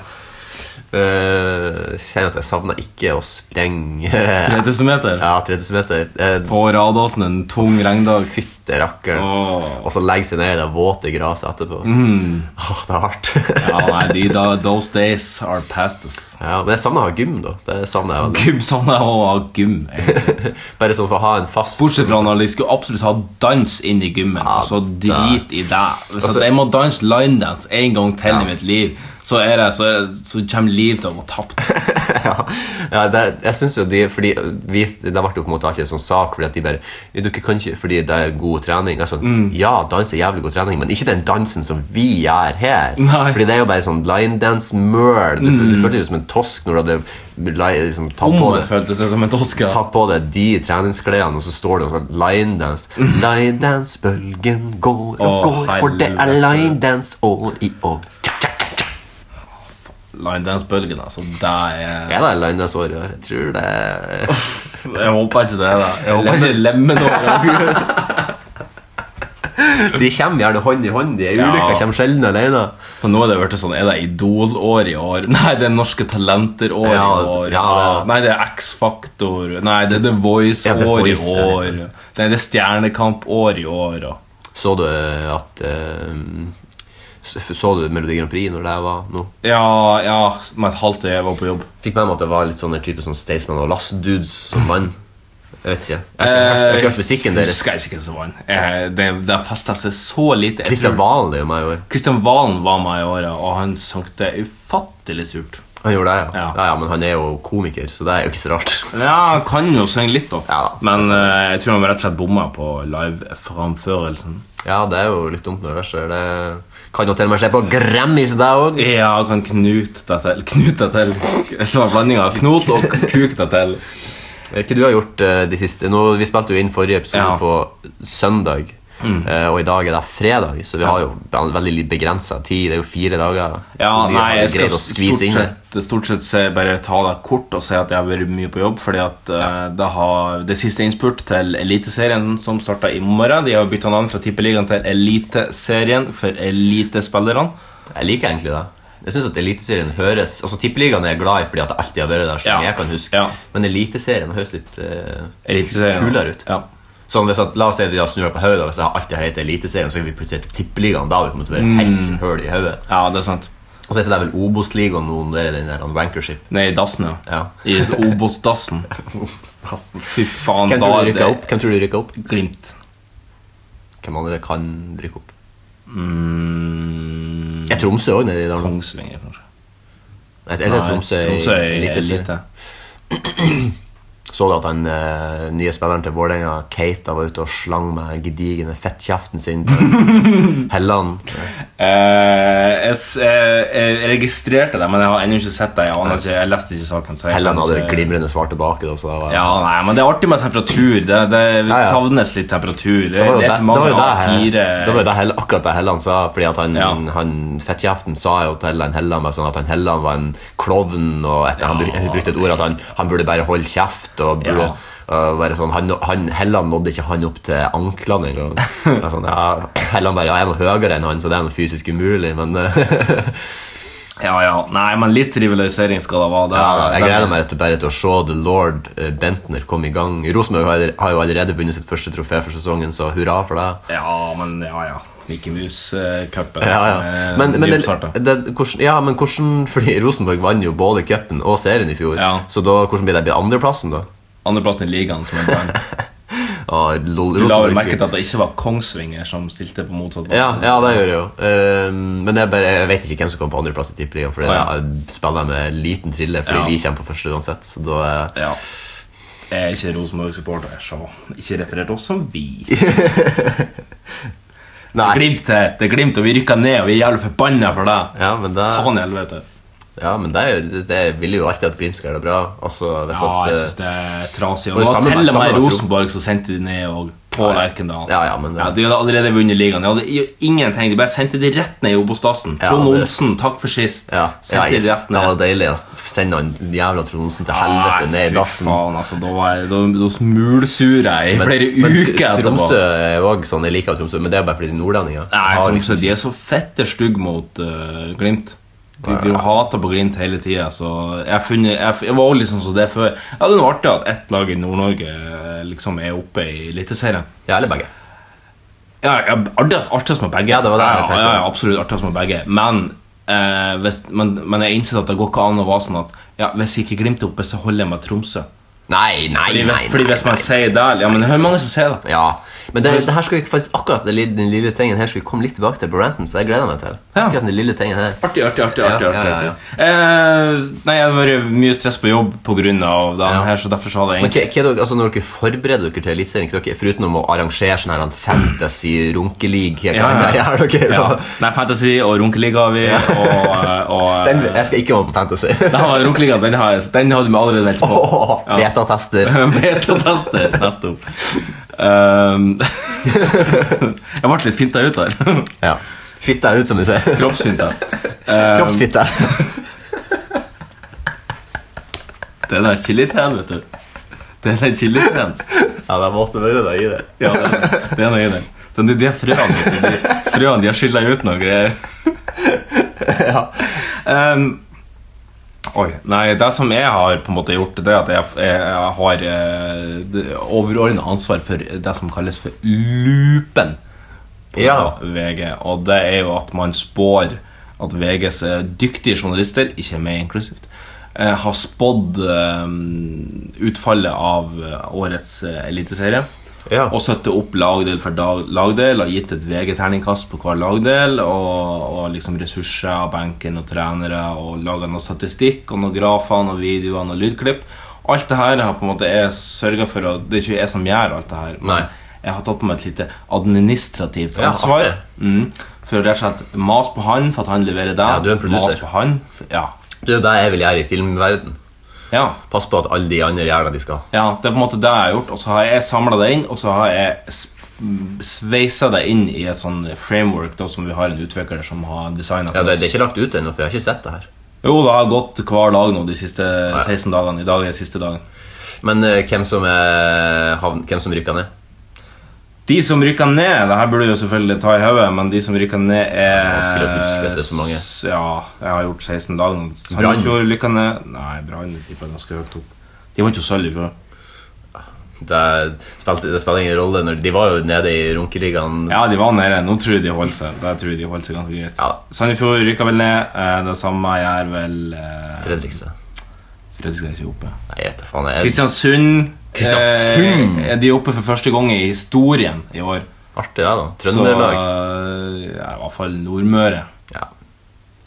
Speaker 3: Uh, kjenner at jeg savner ikke å sprenge
Speaker 2: 3000 meter.
Speaker 3: Ja, 3000 meter. Uh,
Speaker 2: På Radåsen en tung regndag.
Speaker 3: Fytte rakkeren.
Speaker 2: Åh.
Speaker 3: Og så legge seg ned i det våte gresset etterpå. Åh, det er hardt.
Speaker 2: Ja, nei, de da, those days are past us.
Speaker 3: ja, men jeg savner å ha gym, da. Det savner jeg veldig.
Speaker 2: Gym sånn jeg også har gym. egentlig.
Speaker 3: Bare sånn for å ha en fast
Speaker 2: Bortsett fra når de skulle absolutt ha dans inn i gymmen. altså drit i det. Hvis
Speaker 3: Altså-
Speaker 2: at jeg må danse linedance en gang til i mitt liv, så, er det, så, er det, så kommer livet til å gå tapt.
Speaker 3: ja, ja det, jeg synes jo de fordi vi, Det ble jo på en måte alltid en sånn sak fordi at de bare «Ja, dere kan ikke, Fordi det er god trening. Altså,
Speaker 2: Mm.
Speaker 3: Ja, dans er jævlig god trening, men ikke den dansen som vi gjør her.
Speaker 2: Nei. Mm.
Speaker 3: Fordi det er jo bare sånn line dance-møl. Du, du følte deg som en tosk når du hadde li- liksom, tatt på
Speaker 2: Omar
Speaker 3: det
Speaker 2: følte seg som en toska.
Speaker 3: tatt på deg de treningsklærne, og så står det sånn line dance. Line dance, bølgen går og
Speaker 2: Mm. Å,
Speaker 3: går, for det er
Speaker 2: helvete.
Speaker 3: line dance år i år.
Speaker 2: Line dance-bølgen, altså. Det er
Speaker 3: Er det line dance år i år? Jeg tror det er
Speaker 2: Jeg håper ikke det. da Jeg håper ikke lemmen over.
Speaker 3: De kommer gjerne hånd i hånd. De
Speaker 2: Ja.
Speaker 3: ulykka kommer sjelden alene.
Speaker 2: For nå er det vært sånn Er det Idol-år i år? Nei, det er Norske Talenter-år
Speaker 3: Ja,
Speaker 2: i år.
Speaker 3: ja, det-
Speaker 2: Nei, det er X-Faktor. Nei, det er The Voice-år
Speaker 3: Ja, The Voice,
Speaker 2: i
Speaker 3: jeg
Speaker 2: år.
Speaker 3: vet
Speaker 2: Nei, det er Stjernekamp-år i år. Og.
Speaker 3: Så du at eh, Så så du Melodi Grand Prix når det var nå?
Speaker 2: Ja, ja Med et halvt øye jeg var på jobb.
Speaker 3: Fikk med meg at det var litt sånne type sånn Staysman og Lass Dudes som vant. Jeg vet ikke. Jeg har ikke hørt- jeg har ikke hørt musikken deres.
Speaker 2: Eh, Husker jeg ikke hvem som vant. Eh, Det, det festa seg så lite. Jeg
Speaker 3: Kristian
Speaker 2: tror-
Speaker 3: Valen er jo med i år.
Speaker 2: Kristian Valen var med i året, og han sang det ufattelig surt.
Speaker 3: Han gjorde det, ja.
Speaker 2: Ja.
Speaker 3: ja. ja. Men han er jo komiker, så det er jo ikke så rart.
Speaker 2: Ja, han kan jo synge litt, da.
Speaker 3: Ja.
Speaker 2: Men eh, jeg tror han rett og slett bomma på live-framførelsen.
Speaker 3: Ja, det er jo litt dumt når det skjer. Det kan jo til og med skje på Grammys, det òg.
Speaker 2: Ja, kan Knut deg til. Knut deg til. Som er blandinga av knot og kuk deg til.
Speaker 3: Hva du har gjort eh, de siste Nå, Vi spilte jo inn forrige episode
Speaker 2: Ja. Mm.
Speaker 3: på søndag, eh, og i dag er det fredag, så vi har jo ve- veldig begrensa tid. Det er jo fire dager.
Speaker 2: Ja,
Speaker 3: Vi
Speaker 2: nei,
Speaker 3: har
Speaker 2: jeg skal
Speaker 3: greid å
Speaker 2: stort
Speaker 3: skvise inn det.
Speaker 2: sett, stort sett se, bare ta det kort og si at jeg har vært mye på jobb. Fordi at eh, det, har, det siste innspurt til Eliteserien som starta i morgen. De har bytta navn fra Tippeligaen til Eliteserien for elitespillerne.
Speaker 3: Jeg liker egentlig det. Jeg synes at Eliteserien høres Altså Tippeligaen er jeg glad i fordi at det alltid har vært der. Så
Speaker 2: Ja.
Speaker 3: lenge jeg kan huske
Speaker 2: Ja.
Speaker 3: Men Eliteserien høres litt eh,
Speaker 2: Eliteserien.
Speaker 3: kulere ut.
Speaker 2: Ja.
Speaker 3: Sånn, hvis at, la oss si at vi har snurret på hodet, og hvis jeg alltid har hett Eliteserien, så kan vi plutselig hete Tippeligaen. Da har vi på en måte vært
Speaker 2: Mm.
Speaker 3: helt høl i hodet.
Speaker 2: ja, det er sant.
Speaker 3: Og så heter det vel Obos-ligaen nå, når det er den der wankership.
Speaker 2: Nei, i dassen, ja.
Speaker 3: Ja.
Speaker 2: I Obos-dassen.
Speaker 3: Stassen.
Speaker 2: Fy faen,
Speaker 3: Hvem tror
Speaker 2: da
Speaker 3: du
Speaker 2: er
Speaker 3: rykker
Speaker 2: det
Speaker 3: opp? Hvem tror du rykker opp?
Speaker 2: Glimt.
Speaker 3: Hvem andre kan rykke opp?
Speaker 2: Mm,
Speaker 3: Er Tromsø òg nedi der? nå?
Speaker 2: Kongsvinger, kanskje.
Speaker 3: Eller er
Speaker 2: Nei,
Speaker 3: Tromsø i
Speaker 2: er
Speaker 3: Eliteserien?
Speaker 2: elite.
Speaker 3: Så du at han eh, nye spilleren til Vålerenga, Keita, var ute og slang med gedigne fettkjeften sin til Helland?
Speaker 2: Eh, jeg, s- eh, jeg registrerte det, men jeg har ennå ikke sett det. Jeg, aner ikke, jeg leste ikke saken. Så jeg
Speaker 3: Helland
Speaker 2: kan
Speaker 3: hadde
Speaker 2: ikke-
Speaker 3: glimrende svar tilbake. Da, så det var,
Speaker 2: Ja, nei, men det er artig med temperatur. Det, det
Speaker 3: ja.
Speaker 2: savnes litt temperatur. Det,
Speaker 3: Det var jo
Speaker 2: det er
Speaker 3: det,
Speaker 2: for
Speaker 3: det, var
Speaker 2: mange
Speaker 3: jo det,
Speaker 2: A4
Speaker 3: det, var jo det Hell- akkurat det Helland sa. Fordi at han,
Speaker 2: Ja.
Speaker 3: han fettkjeften sa jo til han Helland var sånn at han Helland var en klovn. Og etter, han, bruk, han brukte et ord at han, han burde bare holde kjeft. Og burde,
Speaker 2: Ja.
Speaker 3: øh, være sånn, han, han, Helland nådde ikke han opp til anklene engang. Det er Sånn, ja, Helland bare ja, jeg er noe høyere enn han, så det er noe fysisk umulig. Men øh,
Speaker 2: Ja, ja. Nei, men litt rivalisering skal det være. Det,
Speaker 3: ja, jeg
Speaker 2: det-
Speaker 3: gleder meg rett og bare til å se The Lord øh, Bentner komme i gang. Rosenborg har, har jo allerede vunnet sitt første trofé for sesongen, så hurra for det.
Speaker 2: Ja, men ja, ja. Mickey Mouse-cupen.
Speaker 3: Ja, ja. Men, men, det, det, hvordan, ja, men hvordan Fordi Rosenborg vant jo både cupen og serien i fjor.
Speaker 2: Ja.
Speaker 3: Så da, hvordan blir det blir andreplassen, da?
Speaker 2: Andreplassen i ligaen som er blank.
Speaker 3: Ja, lol,
Speaker 2: Du la vel merke
Speaker 3: Rosenborg
Speaker 2: til
Speaker 3: skulle-
Speaker 2: at det ikke var Kongsvinger som stilte på motsatt
Speaker 3: ja, ja, det gjør jeg jo. Eh, men jeg, bare, jeg vet ikke hvem som kommer på andreplass i Tippeligaen. For
Speaker 2: Å, ja.
Speaker 3: jeg spiller med liten trille, fordi
Speaker 2: Ja.
Speaker 3: vi kommer på første uansett. Så da eh,
Speaker 2: Ja. Jeg er ikke Rosenborg-supporter, så ikke referert oss som vi.
Speaker 3: Nei.
Speaker 2: Glimt her, det er Glimt, og vi rykka ned, og vi er jævlig forbanna for det.
Speaker 3: Ja, men det,
Speaker 2: Faen i helvete.
Speaker 3: ja, men det, er jo- det, det vil jo alltid at Glimt skal gjøre det bra. Altså, hvis
Speaker 2: Ja,
Speaker 3: at,
Speaker 2: jeg
Speaker 3: eh,
Speaker 2: syns det er trasig.
Speaker 3: og
Speaker 2: Og
Speaker 3: det samme-
Speaker 2: til og
Speaker 3: samme
Speaker 2: med
Speaker 3: med
Speaker 2: Rosenborg så sendte de ned og på
Speaker 3: Ja, ja.
Speaker 2: Lerkendal.
Speaker 3: Ja, ja, men-
Speaker 2: de hadde allerede vunnet ligaen. De hadde jo ingenting. De bare sendte de rett ned i Obos-dassen.
Speaker 3: Ja,
Speaker 2: Trond
Speaker 3: det-
Speaker 2: Olsen, takk for sist.
Speaker 3: ja, ja,
Speaker 2: Sendte de
Speaker 3: yes,
Speaker 2: rett
Speaker 3: det
Speaker 2: ned.
Speaker 3: var deilig å sende han jævla Trond Olsen til helvete
Speaker 2: Nei,
Speaker 3: ned i
Speaker 2: Ah, fy
Speaker 3: dassen.
Speaker 2: Faen, altså, da, var jeg, da, da smulsura jeg i flere uker
Speaker 3: Tr-
Speaker 2: etterpå.
Speaker 3: Tromsø er jo også sånn, jeg liker Tromsø, men det er bare fordi de er nordlendinger.
Speaker 2: Nei,
Speaker 3: Har
Speaker 2: Tromsø
Speaker 3: liksom-
Speaker 2: de er så fette stygge mot eh, Glimt. De, de hater på Glimt hele tida. Jeg, har funnet- jeg, jeg var også liksom så det før. Ja, Det er noe artig at ett lag i Nord-Norge eh, liksom er oppe i Eliteserien.
Speaker 3: Ja, eller begge.
Speaker 2: Ja, ja, artig, artigst med begge.
Speaker 3: Ja, det var det jeg tenkte.
Speaker 2: ja, ja, absolutt artigst med begge. Men, eh, hvis, men, men jeg innså at det går ikke an å være sånn at ja, hvis ikke Glimt er oppe, så holder jeg med Tromsø.
Speaker 3: Nei, nei,
Speaker 2: Fordi,
Speaker 3: nei.
Speaker 2: fordi
Speaker 3: nei,
Speaker 2: hvis man
Speaker 3: nei.
Speaker 2: sier Dal Ja, men det er mange som sier det.
Speaker 3: Ja. Men det, det her skal vi faktisk akkurat den lille- den lille tingen her skal vi komme litt tilbake til på ranten, så jeg gleder meg til.
Speaker 2: Ja.
Speaker 3: Akkurat den lille tingen her
Speaker 2: Artig, artig, artig.
Speaker 3: Ja,
Speaker 2: artig,
Speaker 3: ja,
Speaker 2: artig,
Speaker 3: ja, ja.
Speaker 2: Eh, nei, jeg har vært mye stress på jobb pga. det
Speaker 3: Ja.
Speaker 2: her, så derfor så hadde jeg
Speaker 3: Men
Speaker 2: egentlig
Speaker 3: hva, hva er dere, altså Når dere forbereder dere til Eliteserien, hva er dere- foruten om å arrangere sånn her en fantasy-runkeleague Hva
Speaker 2: Ja, ja.
Speaker 3: annet gjør dere?
Speaker 2: ja.
Speaker 3: da?
Speaker 2: Nei, Fantasy og Runkeliga har vi, og, eh, og
Speaker 3: Den, jeg skal ikke være på fantasy.
Speaker 2: Den har- Runkeligaen, den har jeg- den hadde vi allerede meldt på.
Speaker 3: Åh,
Speaker 2: Ja.
Speaker 3: Beta-tester.
Speaker 2: Beta-tester, nettopp. Ehm, jeg ble litt finta ut der.
Speaker 3: Ja. Fitta ut, som de sier.
Speaker 2: Kroppsfinta. Ehm,
Speaker 3: Kroppsfitte.
Speaker 2: det er den chiliteen, vet du. Det er den chiliteen.
Speaker 3: Ja, det måtte være det i det.
Speaker 2: Ja, det er- det er noe i det. Den, de, de frøene, vet du, de, frøene de har skylda ut noe greier. Ehm, oi, nei, Det som jeg har på en måte gjort, Det er at jeg, jeg har eh, overordna ansvar for det som kalles for loopen. på
Speaker 3: Ja.
Speaker 2: VG, og det er jo at man spår at VGs eh, dyktige journalister, ikke meg inklusivt, eh, har spådd eh, utfallet av eh, årets eh, eliteserie.
Speaker 3: Ja.
Speaker 2: Og satte opp lagdel for dag, lagdel og gitt et VG-terningkast på hver lagdel. Og, og liksom ressurser, benken og trenere, og laga noe statistikk og noen grafer og videoer og lydklipp. Alt det her har på en måte jeg sørga for, og det er ikke jeg som gjør alt det her. men
Speaker 3: Nei.
Speaker 2: jeg har tatt på meg et lite administrativt
Speaker 3: Ja,
Speaker 2: ansvar.
Speaker 3: artig.
Speaker 2: mm, for å rett og slett mas på han for at han leverer det.
Speaker 3: Ja, du er en producer.
Speaker 2: Mas på han. for- Ja.
Speaker 3: Det er jo det jeg vil gjøre i filmverden.
Speaker 2: ja.
Speaker 3: Pass på at alle de andre gjør det de skal.
Speaker 2: Ja, det er på en måte det jeg har gjort, og så har jeg samla det inn, og så har jeg s- m- sveisa det inn i et sånn framework da, som vi har en utvikler som har designa
Speaker 3: Ja, det, det er ikke lagt ut ennå, for jeg har ikke sett det her.
Speaker 2: Jo, det har gått hver dag nå de siste 16 dagene. I dag er siste dagen.
Speaker 3: Men eh, hvem som, er, havn, hvem som rykker ned?
Speaker 2: De som rykker ned, det her burde jo selvfølgelig ta i hodet, men de som rykker ned, er
Speaker 3: Det er vanskelig å huske at det er så mange.
Speaker 2: s- Ja, jeg har gjort 16 dager nå.
Speaker 3: Brann.
Speaker 2: Sandefjord rykker ned. Nei, Brann tipper jeg ganske høyt opp. De vant jo sølv i fjor.
Speaker 3: Det, spilte, det spiller ingen rolle. Når, de var jo nede i runkeligaen.
Speaker 2: Ja, de var nede. Nå tror jeg de holder seg. Der tror jeg de holder seg ganske greit.
Speaker 3: Ja.
Speaker 2: Sandefjord rykker vel ned. Eh, Det samme gjør vel eh,
Speaker 3: Fredrikstad.
Speaker 2: Fredrikstad er ikke oppe.
Speaker 3: Nei, jeg vet da faen. Jeg,
Speaker 2: Kristiansund.
Speaker 3: Kristiansund?
Speaker 2: Eh, de er oppe for første gang i historien i år.
Speaker 3: artig, det, da. Trøndelag.
Speaker 2: Så, eh, ja, I hvert fall Nordmøre.
Speaker 3: Ja.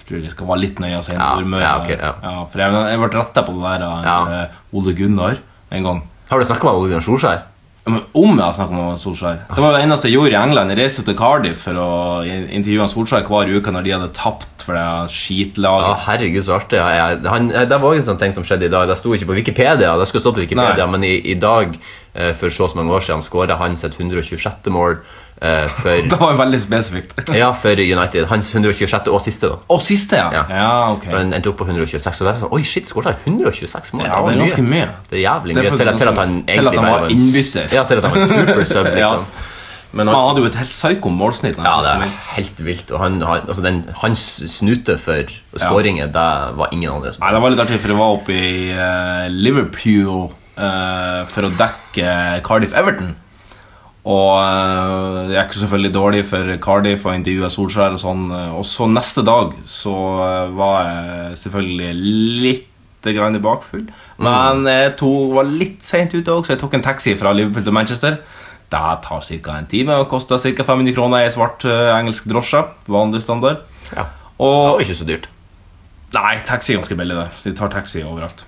Speaker 2: Tror jeg skal være litt nøye og si
Speaker 3: Ja,
Speaker 2: Nordmøre.
Speaker 3: ja, ok, ja.
Speaker 2: for jeg, jeg ble retta på det der av
Speaker 3: Ja.
Speaker 2: eh, Ole Gunnar en gang.
Speaker 3: Har du snakka med Ole Gunnar Solskjær?
Speaker 2: Ja, men Om jeg har snakket med Solskjær Det var det eneste jeg gjorde i England. Jeg reiste jo til Cardiff for å intervjue han Solskjær hver uke når de hadde tapt for det
Speaker 3: Ja,
Speaker 2: skitlaget.
Speaker 3: herregud, så artig. Ja, jeg, han, eh, det var en sånn ting som skjedde i dag. Det sto ikke på Wikipedia, det skulle stått på Wikipedia,
Speaker 2: Nei.
Speaker 3: men i, i dag, eh, for så og så mange år siden, skåra han sitt 126. mål eh, for,
Speaker 2: Det var jo veldig spesifikt.
Speaker 3: ja, for United. Hans 126. og siste, da.
Speaker 2: Og siste, ja.
Speaker 3: Ja.
Speaker 2: Ja, ok.
Speaker 3: For Han endte opp på 126. Og det er sånn, Oi, shit, skåra 126 mål?
Speaker 2: Ja,
Speaker 3: var
Speaker 2: det er ganske mye.
Speaker 3: Det er jævlig
Speaker 2: Det er
Speaker 3: mye. Til,
Speaker 2: faktisk
Speaker 3: til at
Speaker 2: ganske-
Speaker 3: han
Speaker 2: til at
Speaker 3: egentlig
Speaker 2: han
Speaker 3: bare
Speaker 2: var
Speaker 3: en s-
Speaker 2: innbytter.
Speaker 3: Ja, til at han var en super sub,
Speaker 2: Ja.
Speaker 3: liksom. Men
Speaker 2: Han
Speaker 3: han,
Speaker 2: hadde jo et helt psyko målsnitt.
Speaker 3: ja, det er helt vilt. Og han, han, altså den, hans snute for skåringer, det var ingen andre som
Speaker 2: Nei, det var litt artig, for jeg var oppe i eh, Liverpool eh, for å dekke Cardiff Everton. Og eh, jeg gikk jo selvfølgelig dårlig for Cardiff og intervjuet Solskjær og sånn. eh, Og så neste dag så eh, var jeg selvfølgelig litt grann bakfull. Men jeg tok, var litt seint ute òg, så jeg tok en taxi fra Liverpool til Manchester. Det tar ca. en time og koster ca. 500 kroner i svart eh, engelsk drosje. Vanlig standard.
Speaker 3: Ja. Det
Speaker 2: Og
Speaker 3: var ikke så dyrt.
Speaker 2: Nei, taxi er ganske billig der. Så de tar taxi overalt.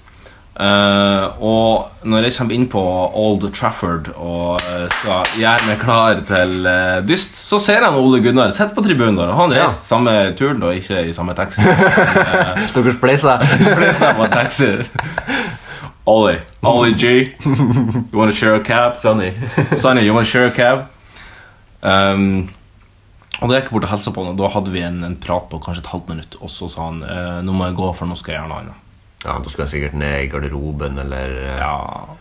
Speaker 2: Eh, og når jeg kommer inn på Old Trafford og eh, skal gjøre meg klar til eh, dyst, så ser jeg Ole Gunnar sitte på tribunen der. Og han
Speaker 3: Ja.
Speaker 2: reiste samme turen, da, ikke i samme taxi.
Speaker 3: Dere spleisa.
Speaker 2: Fordi jeg var taxi Ollie, Ollie G, you wanna share a cab?
Speaker 3: Sunny.
Speaker 2: Sonny, you wanna share a cab? Um, og da gikk jeg bort og hilsa på han, og da hadde vi en, en prat på kanskje et halvt minutt, og så sa han eh, nå må jeg gå, for nå skal jeg gjøre noe annet.
Speaker 3: Ja, Da skulle han sikkert ned i garderoben, eller eh,
Speaker 2: Ja,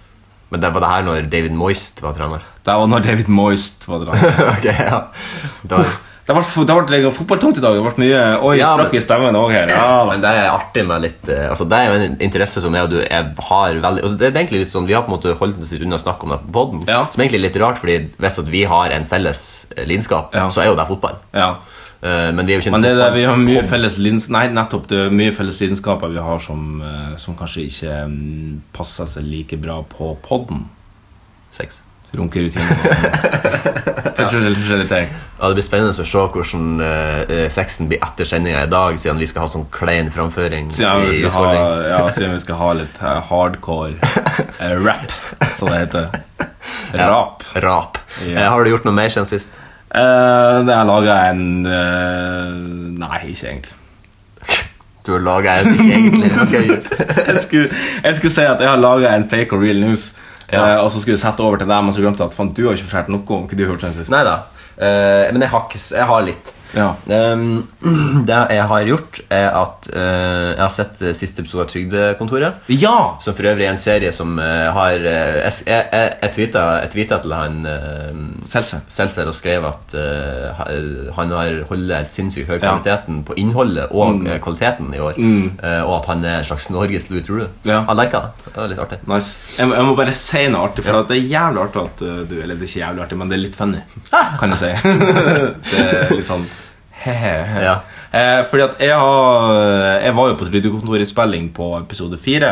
Speaker 3: Men det var det her når David Moist var trener.
Speaker 2: Det var når David Moist var dratt.
Speaker 3: ok, ja. Da,
Speaker 2: Det ble, det ble fotballtungt i dag. Det ble mye Oi,
Speaker 3: Ja,
Speaker 2: sprakk i
Speaker 3: men-
Speaker 2: stemmen òg her. Ja, da.
Speaker 3: men det er artig med litt eh, Altså Det er jo en interesse som jeg og du er, har veldig altså, Det er egentlig litt sånn Vi har på en måte holdt oss litt unna å snakke om det på podden
Speaker 2: Ja.
Speaker 3: som egentlig er litt rart, fordi hvis at vi har en felles eh, lidenskap,
Speaker 2: Ja.
Speaker 3: så er jo det fotball.
Speaker 2: ja.
Speaker 3: Eh, men de er jo ikke en
Speaker 2: Men det, er det, vi har mye
Speaker 3: fotball-
Speaker 2: felles lidenskaper Nei, nettopp, det er mye felles lidenskaper vi har som, eh, som kanskje ikke mm, passer seg like bra på podden.
Speaker 3: Sex.
Speaker 2: Runkerutiner og sånn. Forskjellige forskjellige ting.
Speaker 3: Ja, Det blir spennende å se hvordan eh, eh, sexen blir etter sendinga i dag, siden vi skal ha sånn klein framføring.
Speaker 2: Siden vi
Speaker 3: i
Speaker 2: skal ha,
Speaker 3: utfordring.
Speaker 2: ja, siden vi skal ha litt eh, hardcore eh, rap, som det heter. Rap.
Speaker 3: Rap.
Speaker 2: Ja.
Speaker 3: Eh, har du gjort noe mer siden sist?
Speaker 2: Uh, det har laga en eh, Nei, ikke egentlig.
Speaker 3: Du har laga en ikke egentlig noe gøy.
Speaker 2: jeg, skulle, jeg skulle si at jeg har laga en fake og real news.
Speaker 3: Ja.
Speaker 2: eh, og så skulle jeg sette over til deg, men så glemte jeg at faen, du har ikke fortalt noe om hva du har gjort siden sist.
Speaker 3: Nei da. Eh, men jeg har, ikke, s- jeg har litt.
Speaker 2: Ja.
Speaker 3: Um, det jeg har gjort, er at eh, jeg har sett eh, siste episode av Trygdekontoret.
Speaker 2: ja!
Speaker 3: Som for øvrig er en serie som eh, har eh, Jeg, jeg, jeg- jeg tweeta jeg tweeta til han eh,
Speaker 2: Selsen.
Speaker 3: Seltzer og skrev at eh, ha- han har holder helt sinnssykt høy
Speaker 2: Ja.
Speaker 3: kvaliteten på innholdet og eh, kvaliteten i år.
Speaker 2: Mm.
Speaker 3: Eh, og at han er en slags Norges Louis True.
Speaker 2: Ja.
Speaker 3: Jeg liker det. Det var litt artig.
Speaker 2: Nice. Jeg, må- jeg må bare si noe artig, for at det er jævlig artig at eh, du Eller det er ikke jævlig artig, men det er litt funny, kan du si. det er litt sånn he-he-he.
Speaker 3: Ja.
Speaker 2: Eh, fordi at jeg, har, eh, jeg var jo på trygdekontorinnspilling på episode fire.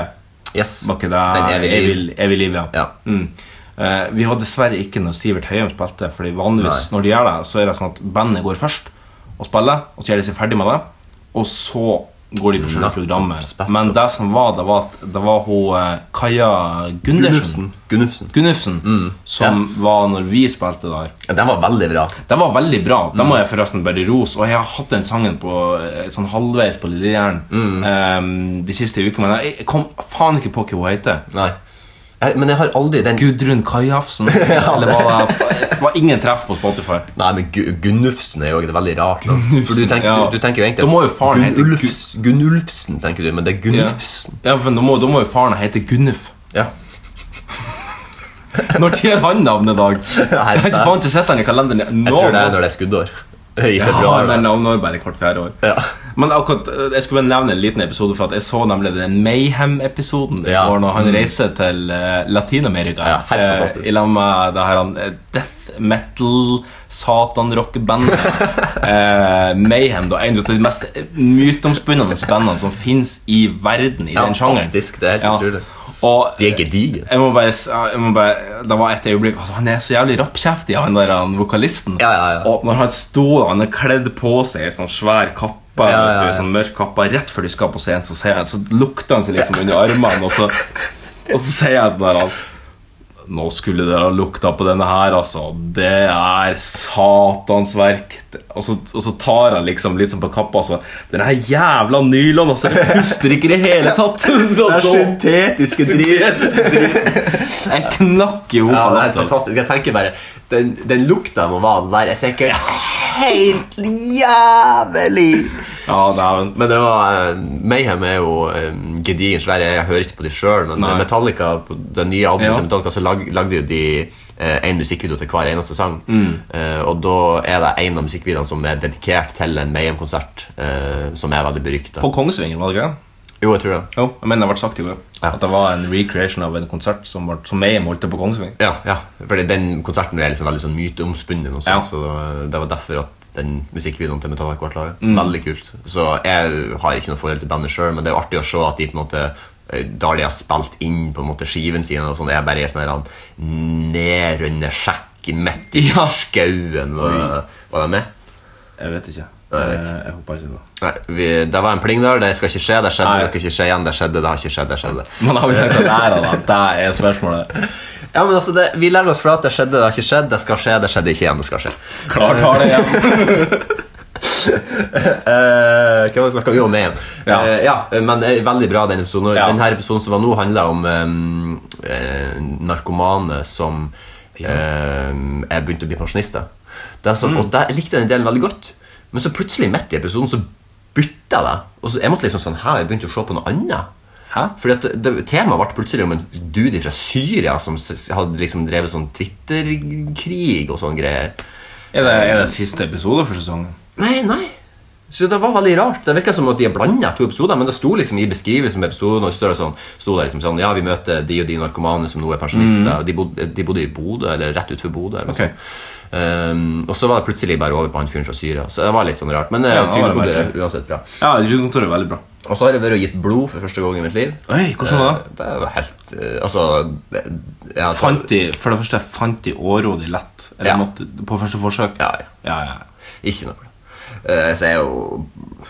Speaker 3: Yes.
Speaker 2: Var ikke det
Speaker 3: Den evige liv.
Speaker 2: Evig- Evig liv, ja.
Speaker 3: Ja.
Speaker 2: Mm. Eh, vi var dessverre ikke når Sivert Høyem spilte, Fordi vanligvis når de gjør det, så er det sånn at bandet går først og spiller, og så gjør de seg ferdig med det, og så går de på selve
Speaker 3: Nettopp,
Speaker 2: programmet.
Speaker 3: spett
Speaker 2: Men
Speaker 3: opp.
Speaker 2: det som var, det var at det var hun eh, Kaja Gundersen.
Speaker 3: Gunnufsen. Gunnufsen.
Speaker 2: Gunnufsen,
Speaker 3: Mm.
Speaker 2: som var når vi spilte der.
Speaker 3: Ja, den var veldig bra.
Speaker 2: Den var veldig bra. Den
Speaker 3: Mm.
Speaker 2: må jeg forresten bare rose. Og jeg har hatt den sangen på eh, sånn halvveis på Lillejæren
Speaker 3: Mm.
Speaker 2: eh, de siste ukene. Men jeg kom faen ikke på hva hun heter.
Speaker 3: Nei. Jeg, men jeg har aldri den
Speaker 2: Gudrun Kajafsen. Eller var det var ingen treff på Spotify?
Speaker 3: Nei, men Gu- Gunnufsen er jo et veldig rart navn. For du tenker,
Speaker 2: ja.
Speaker 3: du, du tenker jo egentlig
Speaker 2: Da må jo faren hete Gu-
Speaker 3: Gunnulfs- Gunnulfsen, tenker du, men det er
Speaker 2: Ja,
Speaker 3: Gunnufsen.
Speaker 2: ja for da må, da må jo faren hete Gunnuf.
Speaker 3: Ja.
Speaker 2: Når tjener han navnet, Dag? Jeg har ikke faen ikke sett han i kalenderen.
Speaker 3: Jeg tror det er når det er skuddår. I februar.
Speaker 2: Ja, den navnet bare hvert fjerde år.
Speaker 3: Ja.
Speaker 2: Men akkurat, eh, jeg skulle bare nevne en liten episode, for at jeg så nemlig den Mayhem-episoden i
Speaker 3: Ja. Mm.
Speaker 2: går når han reiser til eh, Latin-Amerika
Speaker 3: Ja, helt
Speaker 2: eh,
Speaker 3: fantastisk.
Speaker 2: i lag med det her han, eh, death metal satan-rock-bandet eh, Mayhem. Da, en av de mest myteomspunnende bandene som fins i verden i
Speaker 3: Ja,
Speaker 2: den sjangeren.
Speaker 3: faktisk, det er helt utrolig.
Speaker 2: Og, eh,
Speaker 3: De er gedigne.
Speaker 2: jeg må bare, s- jeg må bare Det var et øyeblikk altså, Han er så jævlig rappkjeftig, han der han, vokalisten.
Speaker 3: Ja, ja, ja.
Speaker 2: Og når han sto Han er kledd på seg i sånn svær kappe,
Speaker 3: Ja, ja,
Speaker 2: vet du,
Speaker 3: ja.
Speaker 2: sånn mørk kappe rett før de skal på scenen, så, ser jeg, så lukter han seg liksom under armene, og så, og så sier jeg sånn der han, Nå skulle dere ha lukta på denne her, altså. Det er satans verk. Og så, og så tar han liksom litt sånn på kappa og så Den her jævla nylon, altså. Det puster ikke i det hele tatt. Det
Speaker 3: syntetiske
Speaker 2: jeg knakk i hodet.
Speaker 3: Ja, det er helt fantastisk. Jeg tenker bare Den, den lukta må være den der er sikkert helt jævlig.
Speaker 2: ja, dæven.
Speaker 3: Men det var eh, Mayhem er jo eh, gedigen svære. Jeg hører ikke på de sjøl, men
Speaker 2: Nei.
Speaker 3: Metallica på den nye albumet
Speaker 2: Ja.
Speaker 3: til Metallica så lag, lagde jo de én musikkvideo til hver eneste sang.
Speaker 2: Mm.
Speaker 3: Eh, og da er det en av musikkvideoene som er dedikert til en Mayhem-konsert, eh, som er veldig berykta.
Speaker 2: På Kongsvinger, var det ikke det?
Speaker 3: Jo, jeg tror det.
Speaker 2: Jo, jeg mener det ble sagt i går.
Speaker 3: Ja.
Speaker 2: At det var en recreation av en konsert som, ble, som jeg holdt på Kongsvinger.
Speaker 3: Ja, ja. Fordi den konserten er liksom veldig sånn myteomspunnet. Også,
Speaker 2: Ja.
Speaker 3: Så det var derfor at den musikkvideoen til Metallica ble laget. Veldig kult. Så jeg har ikke noe forhold til bandet sjøl, men det er jo artig å se at de på en måte eh, da de har spilt inn på en måte skiven sin, og sånn, er bare i sånn her han nedrønne sjekk midt i
Speaker 2: Ja.
Speaker 3: skauen. Var, var det med?
Speaker 2: Jeg vet ikke.
Speaker 3: Nei, jeg vet.
Speaker 2: Eh, jeg håper ikke det.
Speaker 3: Nei, vi, det var en pling der. Det skal ikke skje. Det skjedde.
Speaker 2: Nei.
Speaker 3: Det skal ikke skje igjen. Det skjedde. Det har ikke skjedd. Det skjedde.
Speaker 2: Men har vi tenkt at det er det, da? Det er spørsmålet.
Speaker 3: Ja, men altså, det, Vi legger oss flat. Det skjedde. Det har ikke skjedd. Det skal skje. Det skjedde ikke igjen. Det skal skje.
Speaker 2: Klar tale igjen.
Speaker 3: Eh, hva var det snakket vi om igjen?
Speaker 2: Ja.
Speaker 3: Eh, ja, men eh, veldig bra den episoden.
Speaker 2: Ja.
Speaker 3: Denne episoden som var nå, handler om eh, eh, narkomane som eh, er begynt å bli pensjonister. Det er sånn,
Speaker 2: Mm.
Speaker 3: Og der likte jeg den delen veldig godt, men så plutselig midt i episoden så bytta det. Og så, jeg måtte liksom sånn, hæ, jeg begynte å se på noe annet.
Speaker 2: Hæ?
Speaker 3: Fordi at det, Temaet ble plutselig om en dude fra Syria som s- hadde liksom drevet sånn Twitter-krig og sånne greier.
Speaker 2: Er det, er det siste episode for sesongen?
Speaker 3: Nei, nei. Så det var veldig rart. Det virka som at de har blanda to episoder, men det sto liksom i beskrivelsen av episoden og så står det sånn, sto det liksom sånn Ja, vi møter de og de narkomane som nå er pensjonister. De, bodde, de bodde i Bodø, eller rett utenfor Bodø. eller
Speaker 2: Mm.
Speaker 3: noe
Speaker 2: Ok.
Speaker 3: sånt. Ehm, og så var det plutselig bare over på han fyren fra Syria. Så det var litt sånn rart. Men eh,
Speaker 2: Ja, det var
Speaker 3: trygdekoder
Speaker 2: merkelig.
Speaker 3: er uansett bra.
Speaker 2: Ja, Rudkontoret er veldig bra.
Speaker 3: Og så har jeg vært og gitt blod for første gang i mitt liv.
Speaker 2: Oi, hvordan var det?
Speaker 3: Eh, Det er jo helt eh, Altså det, ja, det-
Speaker 2: Fant de, for det første, fant de årådig lett? Eller
Speaker 3: Ja.
Speaker 2: måtte, på første forsøk?
Speaker 3: Ja, ja.
Speaker 2: ja, ja.
Speaker 3: Ikke noe. Eh, så jeg er jo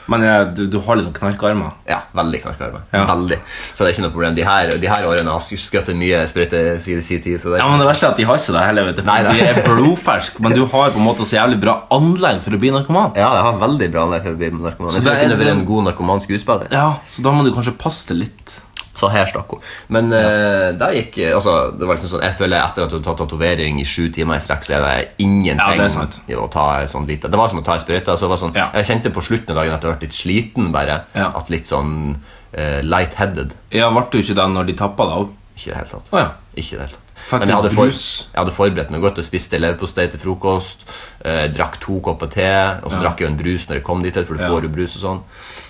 Speaker 2: Men eh, du, du har litt sånn knarkarmer.
Speaker 3: ja, veldig knarkarme.
Speaker 2: Ja.
Speaker 3: Veldig. Så det er ikke noe problem. De her, de her årene har jeg skutt mye sprøyte siden sin tid. Så det er
Speaker 2: Ja,
Speaker 3: ikke-
Speaker 2: men Det verste er at de har ikke det heller. vet du
Speaker 3: Nei,
Speaker 2: For
Speaker 3: nei.
Speaker 2: De er blodfersk, men du har på en måte så jævlig bra anlegg for å bli narkoman.
Speaker 3: Ja, jeg har veldig bra anlegg for å bli narkoman.
Speaker 2: Så
Speaker 3: Jeg tror
Speaker 2: det
Speaker 3: jeg
Speaker 2: er-
Speaker 3: kunne vært en god narkoman skuespiller.
Speaker 2: Ja, Så da må du kanskje passe det litt.
Speaker 3: Så her stakk hun. Men eh, da gikk eh, altså, det var liksom sånn, Jeg føler etter at du har tatt tatovering i sju timer i strekk, så er det ingenting
Speaker 2: Ja, det er sant.
Speaker 3: i å ta en sånn lite. Det var som å ta en sprøyte. Altså, det var sånn,
Speaker 2: Ja.
Speaker 3: Jeg kjente på slutten av dagen at jeg ble litt sliten, bare.
Speaker 2: Ja.
Speaker 3: At litt sånn eh, light-headed.
Speaker 2: Ja, Ble du ikke det når de tappa deg òg?
Speaker 3: Ikke i det hele tatt.
Speaker 2: Å, ja.
Speaker 3: Ikke i det hele tatt.
Speaker 2: Fikk
Speaker 3: Men jeg
Speaker 2: du
Speaker 3: hadde, for,
Speaker 2: brus?
Speaker 3: jeg hadde forberedt meg godt og spiste leverpostei til frokost. Eh, drakk to kopper te, og så
Speaker 2: Ja.
Speaker 3: drakk jeg jo en brus når jeg kom dit. For du
Speaker 2: Ja.
Speaker 3: får jo brus og sånn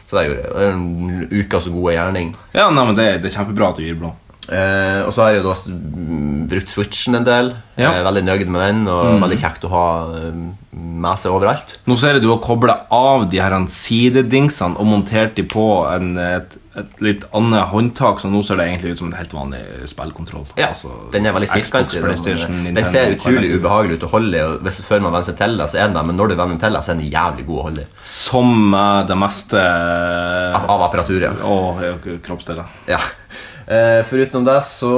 Speaker 3: Så det gjorde jeg. Det er en Ukas gode gjerning.
Speaker 2: Ja, nei, men det, det er kjempebra at du gir blå.
Speaker 3: Eh, og så har jeg jo da s- mm, brukt switchen en del.
Speaker 2: Ja. Mm.
Speaker 3: Jeg er veldig nøyd med den, og veldig kjekt å ha eh, med seg overalt.
Speaker 2: Nå ser jeg du har kobla av de her sidedingsene og montert de på en, et, et litt annet håndtak, så nå ser det egentlig ut som en helt vanlig eh, spillkontroll. Altså,
Speaker 3: den er veldig
Speaker 2: Xbox,
Speaker 3: firkantet.
Speaker 2: PlayStation,
Speaker 3: Den, den
Speaker 2: Nintendo,
Speaker 3: ser utrolig
Speaker 2: Connect.
Speaker 3: ubehagelig ut å holde i. og Hvis før man venner seg til det, så er den det, men når du venner til det, så er den jævlig god å holde i.
Speaker 2: Som eh, det meste eh,
Speaker 3: Av, av apparaturet.
Speaker 2: Og eh, kroppsdeler.
Speaker 3: Ja. Eh, foruten det så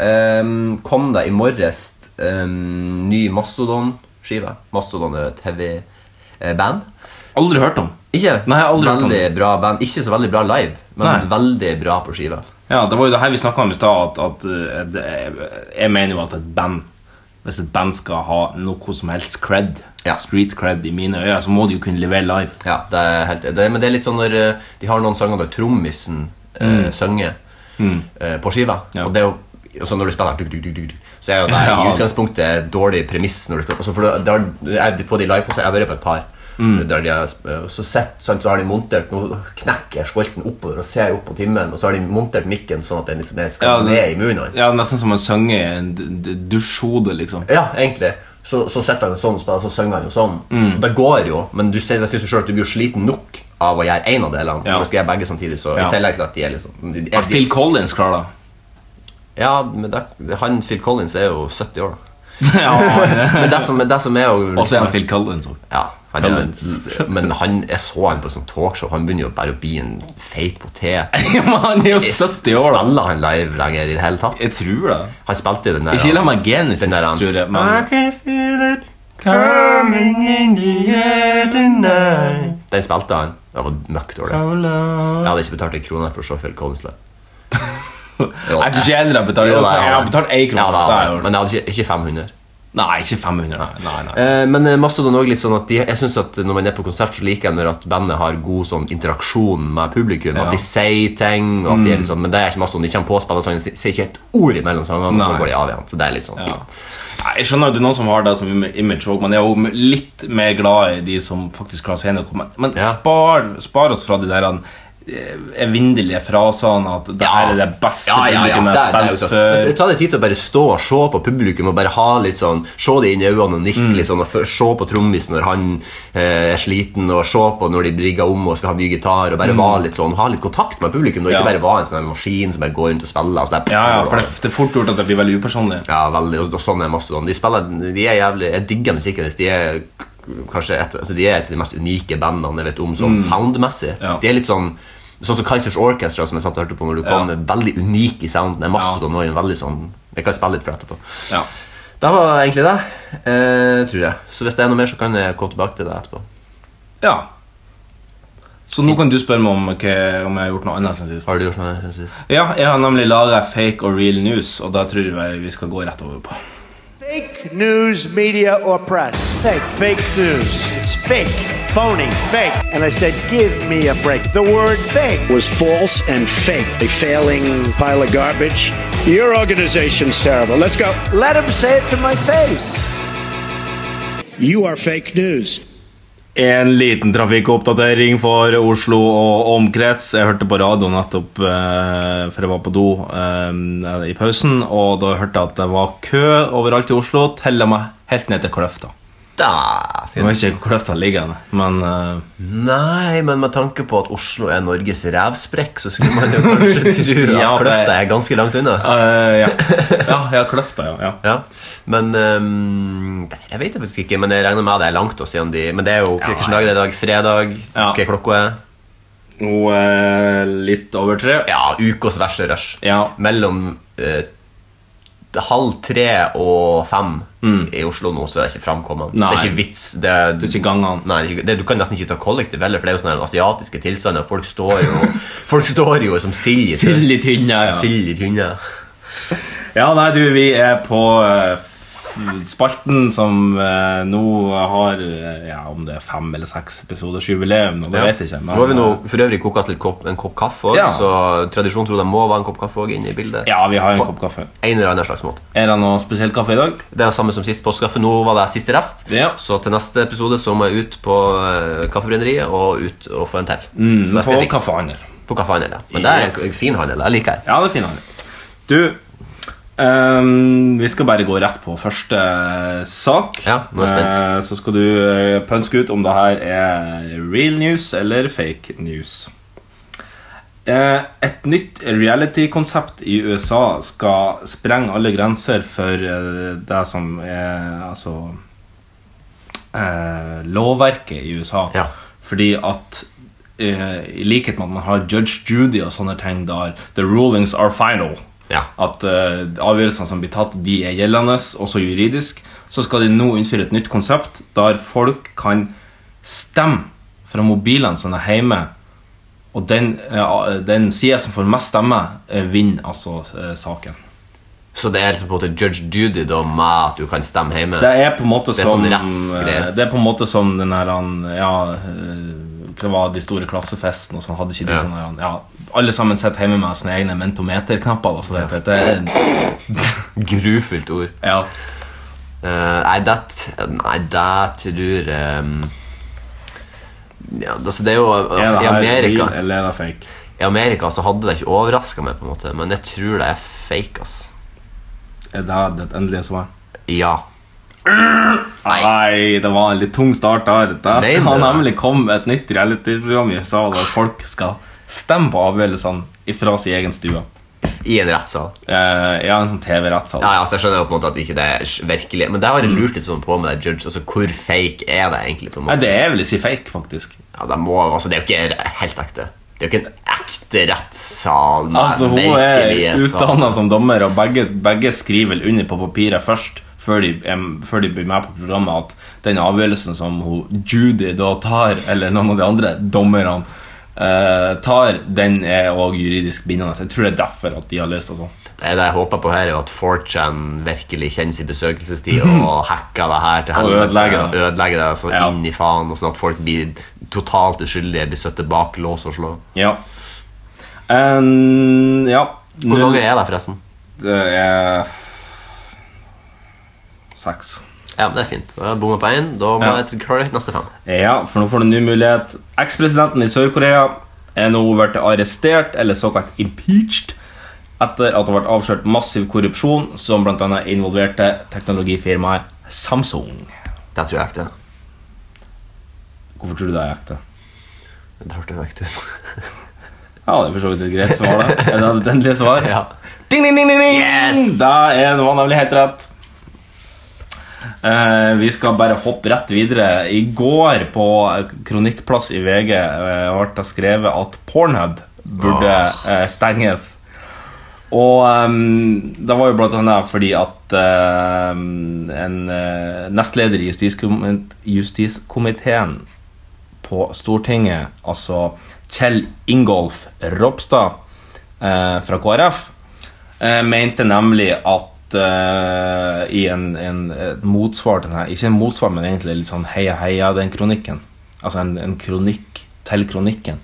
Speaker 3: ehm, kom det i morges ehm, ny Mastodon-skive. Mastodon er et heavy eh, band.
Speaker 2: Aldri hørt om.
Speaker 3: Ikke
Speaker 2: Nei, jeg har aldri hørt om
Speaker 3: veldig bra band Ikke så veldig bra live, men
Speaker 2: Nei.
Speaker 3: veldig bra på skive.
Speaker 2: Ja, Det var jo det her vi snakka om i stad. At, at eh, det, er- jeg mener jo at et band Hvis et band skal ha noe som helst cred,
Speaker 3: Ja.
Speaker 2: street cred i mine øyne, så må de jo kunne levere live.
Speaker 3: Ja, det er helt, det, Men det er litt sånn når eh, de har noen sanger der trommisen eh, synger eh, på skiva.
Speaker 2: Mm. Ja.
Speaker 3: Og det er jo og så når du spiller duk, duk, duk, duk, duk, Så er jo det i
Speaker 2: Ja.
Speaker 3: utgangspunktet et dårlig premiss. Når du står, altså for da, da, er de på de livekonsertene Jeg har vært på et par.
Speaker 2: Mm.
Speaker 3: Der de har, sp- eh, så, sett, sant, så har de montert Nå knekker jeg skolten oppover og ser opp på timen. Og så har de montert mikken sånn at den liksom er- skal
Speaker 2: Ja, det-
Speaker 3: ned i munnen. hans.
Speaker 2: Ja, Nesten som man synger i en d- d- dusjhode, liksom.
Speaker 3: Ja, egentlig. Så, så setter han en sånn og spiller, så synger han jo sånn.
Speaker 2: Mm.
Speaker 3: Det går jo, men du sier, det sier seg selv at du blir jo sliten nok av å gjøre én av delene.
Speaker 2: Ja.
Speaker 3: Ja. Skal gjøre begge samtidig, så
Speaker 2: Ja.
Speaker 3: i tillegg til at de er liksom de, de,
Speaker 2: Er Phil Collins klar, da?
Speaker 3: Ja, men det, han Phil Collins er jo 70 år, da.
Speaker 2: ja,
Speaker 3: Men det som, det som er jo
Speaker 2: Og så er han Phil Collins òg.
Speaker 3: ja, han er,
Speaker 2: Collins.
Speaker 3: men han, jeg så han på et sånt talkshow. Han begynner jo bare å bli en feit potet.
Speaker 2: Men han er jo 70 år, da.
Speaker 3: Spiller han live lenger i det hele tatt?
Speaker 2: Jeg tror det.
Speaker 3: Han spilte jo den der
Speaker 2: Ikke la meg Genesis,
Speaker 3: Den der, han-
Speaker 2: tror jeg.
Speaker 1: I
Speaker 2: Men
Speaker 1: can feel it coming in the air tonight.
Speaker 3: Den spilte han. Det var møkk dårlig.
Speaker 1: Oh,
Speaker 3: Jeg
Speaker 1: Lord.
Speaker 3: hadde ikke betalt en krone for å se Phil Collins live. Jo,
Speaker 2: jeg tror ikke heller jeg betaler
Speaker 3: Jo, det er
Speaker 2: Jeg har
Speaker 3: han.
Speaker 2: betalt én
Speaker 3: Ja,
Speaker 2: krone.
Speaker 3: det
Speaker 2: Det er
Speaker 3: er han,
Speaker 2: jo-
Speaker 3: men jeg hadde ikke, ikke 500.
Speaker 2: Nei, ikke 500. Nei, nei, nei.
Speaker 3: Eh, men eh, Mastodon også litt sånn at de, jeg synes at når man er på konsert, så liker jeg når at bandet har god sånn interaksjon med publikum.
Speaker 2: Ja. Mm.
Speaker 3: At de sier ting, og at de er litt sånn, men det er ikke Mastodon. De kommer på å spille sangen, sier ikke et ord imellom sangene, og
Speaker 2: Nei.
Speaker 3: så går de av igjen. Så det er litt sånn
Speaker 2: Ja. Nei, Jeg skjønner at det er noen som har det som im- image også, men jeg er jo litt mer glad i de som faktisk klarer seg gjennom. Men- Men
Speaker 3: Ja.
Speaker 2: spar, spar oss fra de der eh, evinnelige frasene at det her er det beste
Speaker 3: Ja, ja, ja,
Speaker 2: publikum jeg
Speaker 3: det er- det er
Speaker 2: har
Speaker 3: jo
Speaker 2: spilt
Speaker 3: sånn.
Speaker 2: før.
Speaker 3: Men Ta deg tid til å bare stå og se på publikum og bare ha litt sånn Se det inn i øynene og nikke
Speaker 2: Mm.
Speaker 3: litt sånn, og f- se på trommisen når han eh, er sliten, og se på når de brigger om og skal ha ny gitar, og bare være litt sånn ha litt kontakt med publikum,
Speaker 2: Mm.
Speaker 3: og
Speaker 2: Ja.
Speaker 3: ikke bare være en sånn her maskin som bare går rundt og spiller. Altså, det er,
Speaker 2: Ja, ja, for det, det er fort gjort at det blir veldig upersonlig.
Speaker 3: Ja, veldig, og, og sånn er Mastodon. De spiller, de er jævlig Jeg digger musikken deres. De er k- kanskje et, altså de er et av de mest unike bandene jeg vet om sånn soundmessig.
Speaker 2: Mm. Ja.
Speaker 3: De er litt sånn Sånn som Kaizers Orchestra, som jeg satt og hørte på når du kom,
Speaker 2: Ja.
Speaker 3: er veldig unik i sounden. Det er Mastodon også en veldig sånn Jeg kan spille litt for etterpå.
Speaker 2: Ja.
Speaker 3: Det var egentlig det, eh, tror jeg. Så hvis det er noe mer, så kan jeg komme tilbake til det etterpå.
Speaker 2: ja. Så nå kan du spørre meg om, hva- om jeg har gjort noe annet siden sist.
Speaker 3: Har du gjort noe siden sist?
Speaker 2: Ja, jeg har nemlig laga fake og real news, og da tror jeg bare vi skal gå rett over på.
Speaker 6: Fake news, media, or press. Fake. Fake news. It's fake. Phony. Fake. And I said, give me a break. The word fake was false and fake. A failing pile of garbage. Your organization's terrible. Let's go. Let him say it to my face. You are fake news.
Speaker 2: En liten trafikkoppdatering for Oslo og omkrets. Jeg hørte på radio nettopp, eh, for jeg var på do eh, i pausen, og da hørte jeg at det var kø overalt i Oslo, til og med helt ned til Kløfta.
Speaker 3: Da,
Speaker 2: Jeg
Speaker 3: sier
Speaker 2: vet ikke hvor kløfta ligger, henne, men eh,
Speaker 3: Nei, men med tanke på at Oslo er Norges revsprekk, så skulle man jo kanskje tro at
Speaker 2: Ja, det-
Speaker 3: Kløfta er ganske langt unna.
Speaker 2: eh, ja. ja. Ja, kløfta, ja. ja.
Speaker 3: Ja, men ehm, det- Jeg vet det faktisk ikke, men jeg regner med det er langt. Også, siden de, men det er jo
Speaker 2: Ja,
Speaker 3: hvilken dag det er i dag? Fredag?
Speaker 2: Ja.
Speaker 3: Hva klokka er?
Speaker 2: Nå eh, litt over tre.
Speaker 3: Ja, ukas verste rush.
Speaker 2: Ja.
Speaker 3: Mellom eh, halv tre og fem i Oslo nå, så det er ikke framkommet. Det
Speaker 2: Mm. Nei.
Speaker 3: er ikke vits. Det er,
Speaker 2: Det er ikke gangene.
Speaker 3: Nei, det er ikke- det, du kan nesten ikke ta kollektiv heller, for det er jo sånne her asiatiske tilstander. Folk står jo, folk står jo som sild i tynn-
Speaker 2: Sild i tynna, ja.
Speaker 3: sild i tynne.
Speaker 2: Ja, nei, du, vi er på eh, spalten som eh, nå har eh, Ja, om det er fem eller seks episoders jubileum, nå, det vet jeg ikke. men- eh,
Speaker 3: Nå har vi nå for øvrig koket litt kopp, en kopp kaffe også,
Speaker 2: Ja.
Speaker 3: så tradisjonen tror jeg det må være en kopp kaffe også inne i bildet.
Speaker 2: Ja, vi har en
Speaker 3: På
Speaker 2: kopp kaffe.
Speaker 3: En eller annen slags måte.
Speaker 2: Er det noe spesiell kaffe i dag?
Speaker 3: Det er det samme som sist påskekaffe. Nå var det siste rest.
Speaker 2: Ja.
Speaker 3: Så til neste episode så må jeg ut på eh, kaffebrenneriet og ut og få en til. Så det skal
Speaker 2: Mm, På
Speaker 3: jeg fikse.
Speaker 2: kaffehandel.
Speaker 3: På kaffehandel, ja. Men det er en fin handel. Jeg liker det.
Speaker 2: Ja, det finner jeg. Du, ehm, vi skal bare gå rett på første eh, sak.
Speaker 3: Ja, nå er jeg spent.
Speaker 2: Eh, så skal du eh, pønske ut om det her er real news eller fake news. Eh, et nytt reality-konsept i USA skal sprenge alle grenser for eh, det som er altså eh, lovverket i USA.
Speaker 3: Ja.
Speaker 2: Fordi at eh, i likhet med at man har Judge Judy og sånne ting der The rulings are final.
Speaker 3: Ja.
Speaker 2: At eh, avgjørelsene som blir tatt, de er gjeldende, også juridisk. Så skal de nå innføre et nytt konsept der folk kan stemme fra mobilene sine hjemme. Og den, eh, den sida som får mest stemmer, eh, vinner altså eh, saken.
Speaker 3: Så det er liksom på en måte judge duty da med at du kan stemme hjemme.
Speaker 2: Det er på en måte
Speaker 3: Det er
Speaker 2: som
Speaker 3: sånn rettsgreier.
Speaker 2: eh, Det er på en måte som den her han, Ja, eh, det var de store klassefesten og sånn. Hadde ikke de
Speaker 3: Ja.
Speaker 2: sånne her, han, ja, Alle sammen sitter hjemme med sine egne mentometerknapper. Altså, det, det, det,
Speaker 3: Grufullt ord.
Speaker 2: ja.
Speaker 3: Eh, nei, det Nei, det tror jeg um, ja, altså det er jo
Speaker 2: Er
Speaker 3: I
Speaker 2: det her
Speaker 3: Amerika
Speaker 2: real eller er det fake?
Speaker 3: I Amerika så hadde det ikke overraska meg, på en måte men jeg tror det er fake. ass
Speaker 2: Er det her det endelige svaret?
Speaker 3: Ja.
Speaker 2: Nei. det var en litt tung start der. Der skal
Speaker 3: Mener du det?
Speaker 2: nemlig komme et nytt reality-program i USA der folk skal stemme på avgjørelsene fra sin egen stue.
Speaker 3: I en rettssal.
Speaker 2: Eh, ja, en sånn TV-rettssal.
Speaker 3: Ja, ja, altså jeg skjønner jo på en måte at ikke det er s- virkelig Men det har jeg lurt litt sånn på med det judge. Altså Hvor fake er det egentlig? på en
Speaker 2: Mm. Nei,
Speaker 3: måte
Speaker 2: det er vel ikke fake, faktisk.
Speaker 3: Ja, det, må, altså, det er jo ikke helt ekte. Det er jo ikke en ekte rettssal. med
Speaker 2: Altså, Hun
Speaker 3: virkelige
Speaker 2: er
Speaker 3: saker.
Speaker 2: utdanna som dommer, og begge, begge skriver vel under på papiret først. Før de, em, før de blir med på programmet at den avgjørelsen som hun, Judy da tar, eller noen av de andre dommerne eh, tar, den er òg juridisk bindende. Jeg tror det er derfor at de har løst det sånn.
Speaker 3: Det det jeg håper på her, er jo at 4chan virkelig kjenner sin besøkelsestid og hacker det her til
Speaker 2: Mm-hmm. Og
Speaker 3: helvete.
Speaker 2: ødelegger det.
Speaker 3: og ødelegger det så
Speaker 2: Ja.
Speaker 3: inn i faen, og sånn at folk blir totalt uskyldige, blir satt bak lås og slå.
Speaker 2: Ja. Em, ja. Nå-
Speaker 3: Hvor mange er det, forresten?
Speaker 2: Det er Seks.
Speaker 3: Ja, men Det er fint. Da har jeg bomma på én. Da må
Speaker 2: Ja.
Speaker 3: jeg klare neste fem.
Speaker 2: Ja, for nå får du en ny mulighet. Ekspresidenten i Sør-Korea er nå blitt arrestert, eller såkalt impeached, etter at det ble avslørt massiv korrupsjon som bl.a. involverte teknologifirmaet Samsung.
Speaker 3: Det tror jeg er ekte.
Speaker 2: Hvorfor tror du det er ekte?
Speaker 3: Det hørtes ekte ut.
Speaker 2: Ja, det er for så vidt et greit svar, da. Er det et endelig svar?
Speaker 3: ja.
Speaker 2: Ding, ding, ding, ding, ding!
Speaker 3: Yes!
Speaker 2: Da er det var nemlig helt rett. Eh, vi skal bare hoppe rett videre. I går, på kronikkplass i VG, eh, ble det skrevet at Pornhub burde eh, stenges. Og ehm, det var jo blant annet fordi at ehm, en eh, nestleder i justiskomit- justiskomiteen på Stortinget, altså Kjell Ingolf Ropstad eh, fra KrF, eh, mente nemlig at eh, i en, en et motsvar til denne, ikke en motsvar, men egentlig litt sånn heia heia den kronikken, altså en, en kronikk til kronikken,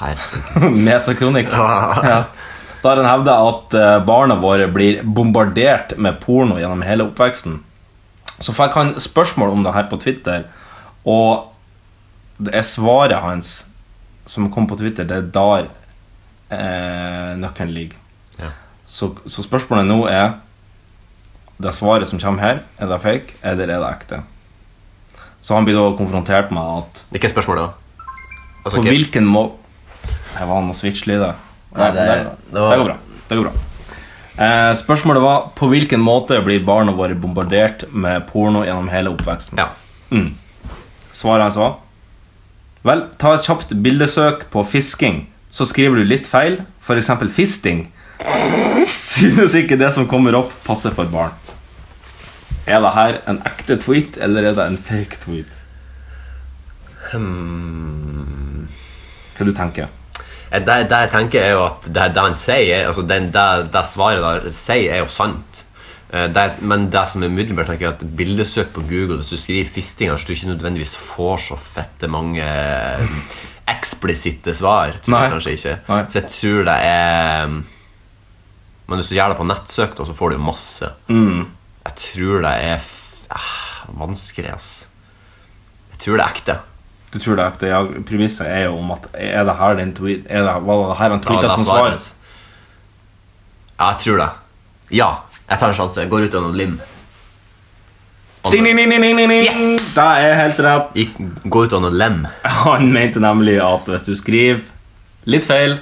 Speaker 3: Herregud.
Speaker 2: metakronikk, ja. da har han hevda at eh, barna våre blir bombardert med porno gjennom hele oppveksten. Så fikk han spørsmål om det her på Twitter, og det er svaret hans som kom på Twitter, det er der eh, nøkkelen ligger.
Speaker 3: Ja.
Speaker 2: Så, så spørsmålet nå er Det svaret som kommer her, er det fake, eller er det ekte? Så han blir da konfrontert med at
Speaker 3: Det er ikke spørsmålet, da.
Speaker 2: på
Speaker 3: Altså, ok,
Speaker 2: hvilken måte Her var han og switche lyder.
Speaker 3: Nei, det- det var-
Speaker 2: det går bra. Det går bra. Eh, spørsmålet var på hvilken måte blir barna våre bombardert med porno gjennom hele oppveksten.
Speaker 3: Ja.
Speaker 2: Svaret hans var Vel, ta et kjapt bildesøk på fisking, så skriver du litt feil, f.eks. fisting. Synes ikke det som kommer opp, passer for barn. Er det her en ekte tweet, eller er det en fake tweet?
Speaker 3: Hmm.
Speaker 2: Hva du tenker
Speaker 3: Eh, Det, det jeg tenker, er jo at det, det han sier, er- altså det, det, det svaret der sier, er jo sant. Eh, Det, men det som er umiddelbart, tenker jeg at bildesøk på Google Hvis du skriver 'fisting', så tror jeg ikke nødvendigvis får så fette mange eh, eksplisitte svar. Tror jeg
Speaker 2: Nei.
Speaker 3: kanskje ikke
Speaker 2: Nei.
Speaker 3: Så jeg tror det er Men hvis du gjør det på nettsøk, da, så får du jo masse.
Speaker 2: Mm.
Speaker 3: Jeg tror det er f- eh, vanskelig, ass. Jeg tror det er ekte.
Speaker 2: Du tror det er ekte? Ja, premisset er jo om at Er det her den tweet Er det, var det her han tweetet
Speaker 3: Ja, det
Speaker 2: som
Speaker 3: er svaret.
Speaker 2: svaret?
Speaker 3: Ja, jeg tror det. Ja, jeg tar en sjanse. Jeg går ut av noen lim.
Speaker 2: Ding, ding, ding, ding, ding, ding.
Speaker 3: Yes!
Speaker 2: Det er helt rett.
Speaker 3: Gikk, gå ut av noen lem.
Speaker 2: Han mente nemlig at hvis du skriver litt feil,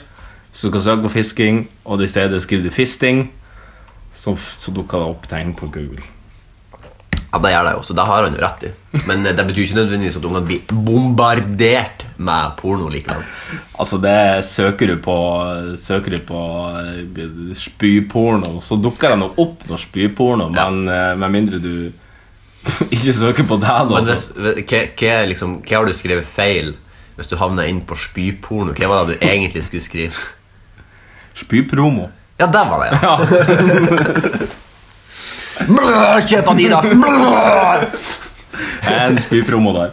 Speaker 2: så skal du søke på fisking, og i stedet skriver du fisting, så, så dukker det opp ting på Google.
Speaker 3: Ja, det gjør det jo, så det har han jo rett i. Men eh, det betyr ikke nødvendigvis at ungene blir bombardert med porno likevel.
Speaker 2: Altså, det søker du på Søker du på eh, spyporno, så dukker det nok opp noe spyporno,
Speaker 3: Ja.
Speaker 2: men eh, med mindre du ikke søker på det, da.
Speaker 3: Men hvis,
Speaker 2: så-
Speaker 3: hva, hva, er liksom, hva har du skrevet feil hvis du havner inn på spyporno? Hva var det du egentlig skulle skrive?
Speaker 2: Spypromo.
Speaker 3: Ja, der var det, ja.
Speaker 2: Ja.
Speaker 3: Blå, kjøp Adidas! Blå!
Speaker 2: En spypromo der.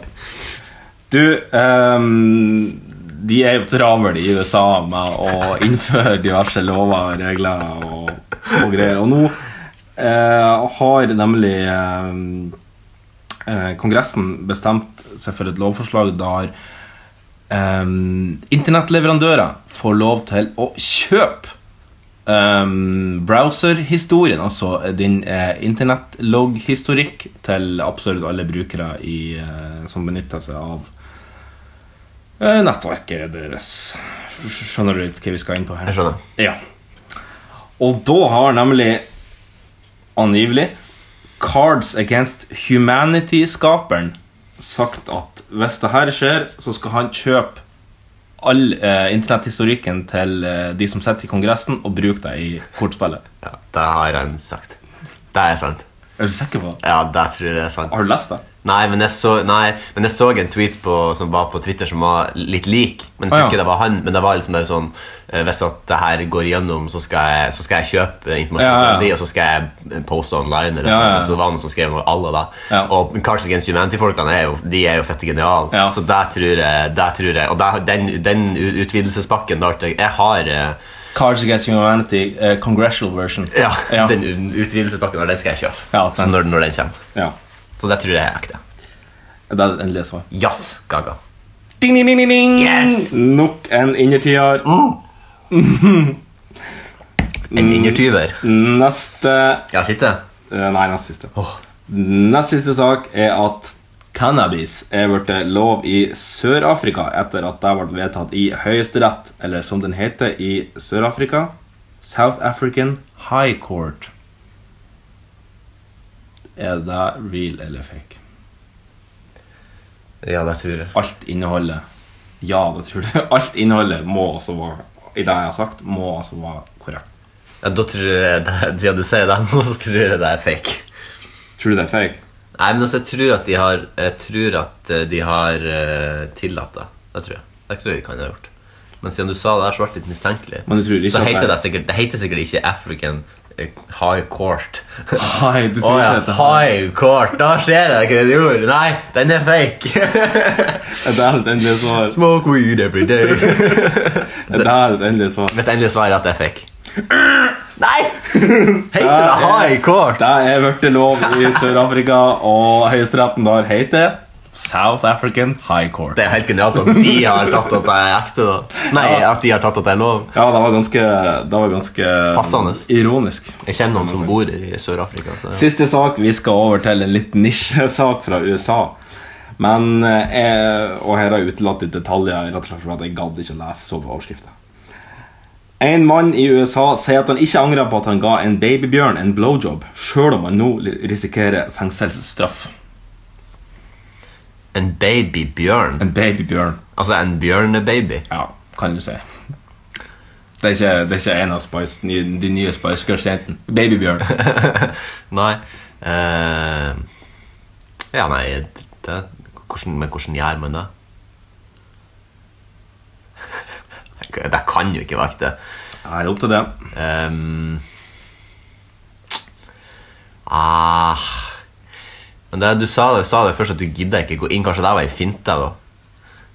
Speaker 2: Du, ehm, de er jo travle i USA med å innføre diverse lover og regler og, og greier. Og nå eh, har nemlig ehm, eh, Kongressen bestemt seg for et lovforslag der ehm, internettleverandører får lov til å kjøpe um, browser-historien, altså din eh, internettlogg-historikk til absolutt alle brukere i, eh, som benytter seg av eh, nettverket deres. Skjønner du litt hva vi skal inn på her?
Speaker 3: Jeg skjønner.
Speaker 2: Ja. Og da har nemlig angivelig Cards Against Humanity-skaperen sagt at hvis det her skjer, så skal han kjøpe all eh, internetthistorikken til eh, de som sitter i Kongressen, og bruke det i kortspillet.
Speaker 3: Ja, det har han sagt. Det er sant.
Speaker 2: Er du sikker på det?
Speaker 3: Ja, det tror jeg er sant.
Speaker 2: Har du lest det?
Speaker 3: Nei, men jeg så, nei, men jeg så en tweet på, som var på Twitter som var litt lik. Men jeg tror
Speaker 2: Ah, ja.
Speaker 3: ikke det var han. Men det var liksom bare sånn eh, Hvis at det her går igjennom, så skal jeg, så skal jeg kjøpe eh, informasjon
Speaker 2: Ja, ja, ja.
Speaker 3: fra de, og så skal jeg eh, poste online. Eller,
Speaker 2: Ja, ja, ja.
Speaker 3: noe sånt. Så det var noen som skrev noe à la det.
Speaker 2: Ja.
Speaker 3: Og Cards Against Humanity-folkene er jo, de er jo fette geniale.
Speaker 2: Ja.
Speaker 3: Så det tror jeg. Det tror jeg. Og det, den, den u- utvidelsespakken der til- Jeg har eh,
Speaker 2: Cards Against Humanity, eh, congressional version.
Speaker 3: ja,
Speaker 2: Ja.
Speaker 3: Den u- utvidelsespakken der, den skal jeg kjøpe.
Speaker 2: Ja,
Speaker 3: så
Speaker 2: den-
Speaker 3: når, når den kommer.
Speaker 2: Ja.
Speaker 3: Så det tror jeg er ekte.
Speaker 2: Det er det endelige svar.
Speaker 3: Jazz, gaga.
Speaker 2: Ding, ding, ding, ding, ding.
Speaker 3: Yes!
Speaker 2: Nok en innertier. Mm.
Speaker 3: En innertyver.
Speaker 2: Neste
Speaker 3: Ja, siste.
Speaker 2: Eh, Nei, nest siste.
Speaker 3: Åh.
Speaker 2: Nest siste sak er at cannabis er blitt lov i Sør-Afrika etter at det ble vedtatt i Høyesterett, eller som den heter i Sør-Afrika, South African High Court. Er det real eller fake?
Speaker 3: Ja, det tror jeg.
Speaker 2: Alt innholdet Ja, det tror du. Alt innholdet må altså være I det jeg har sagt, må altså være korrekt.
Speaker 3: Ja, da tror jeg det, Siden du sier det nå, så tror jeg det er fake.
Speaker 2: Tror du det er fake?
Speaker 3: Nei, men altså, jeg tror at de har Jeg tror at eh, de har eh, tillatt det. Det tror jeg. Det tror jeg de kan ha gjort. Men siden du sa det, her, så ble jeg litt mistenkelig.
Speaker 2: Men du tror ikke
Speaker 3: så
Speaker 2: at det
Speaker 3: heter
Speaker 2: er-
Speaker 3: det sikkert Det heter sikkert ikke African eh, High Court. Å
Speaker 2: Nei, du tror
Speaker 3: ja,
Speaker 2: ikke dette her-
Speaker 3: High Court! Da ser jeg hva du gjorde! Nei, den er fake!
Speaker 2: Er det er det endelige svar.
Speaker 3: Smoke weed every day.
Speaker 2: Er det er det endelige svar.
Speaker 3: Mitt endelige svar er at det er fake. Nei! Heter det High Court?
Speaker 2: Det er blitt lov i Sør-Afrika, og høyesteretten der heter South African High Court.
Speaker 3: Det er helt genialt at de har tatt at det er ekte. da Nei, at de har tatt at det er lov.
Speaker 2: Ja, det var ganske, det var ganske
Speaker 3: Passende.
Speaker 2: ironisk.
Speaker 3: Jeg kjenner noen som bor i Sør-Afrika. Så.
Speaker 2: Siste sak. Vi skal over til en litt nisjesak fra USA. Men eh, jeg, Og her har jeg utelatt litt detaljer, rett og slett fordi jeg gadd ikke å lese så på overskrifta. En mann i USA sier at han ikke angrer på at han ga en babybjørn en blowjob, sjøl om han nå risikerer fengselsstraff.
Speaker 3: En babybjørn?
Speaker 2: En babybjørn.
Speaker 3: Altså en bjørnebaby?
Speaker 2: Ja, kan du si. Det er ikke, det er ikke en av Spice, ny, de nye Spice Girls-jentene. Babybjørn.
Speaker 3: Nei. eh, ja, nei det, hvordan, Men hvordan gjør man det? Det kan jo ikke være det.
Speaker 2: Ja, det er opp til det.
Speaker 3: Ehm, ah, men det, du sa det, sa det først at du gidder ikke gå inn. Kanskje det var en finte? da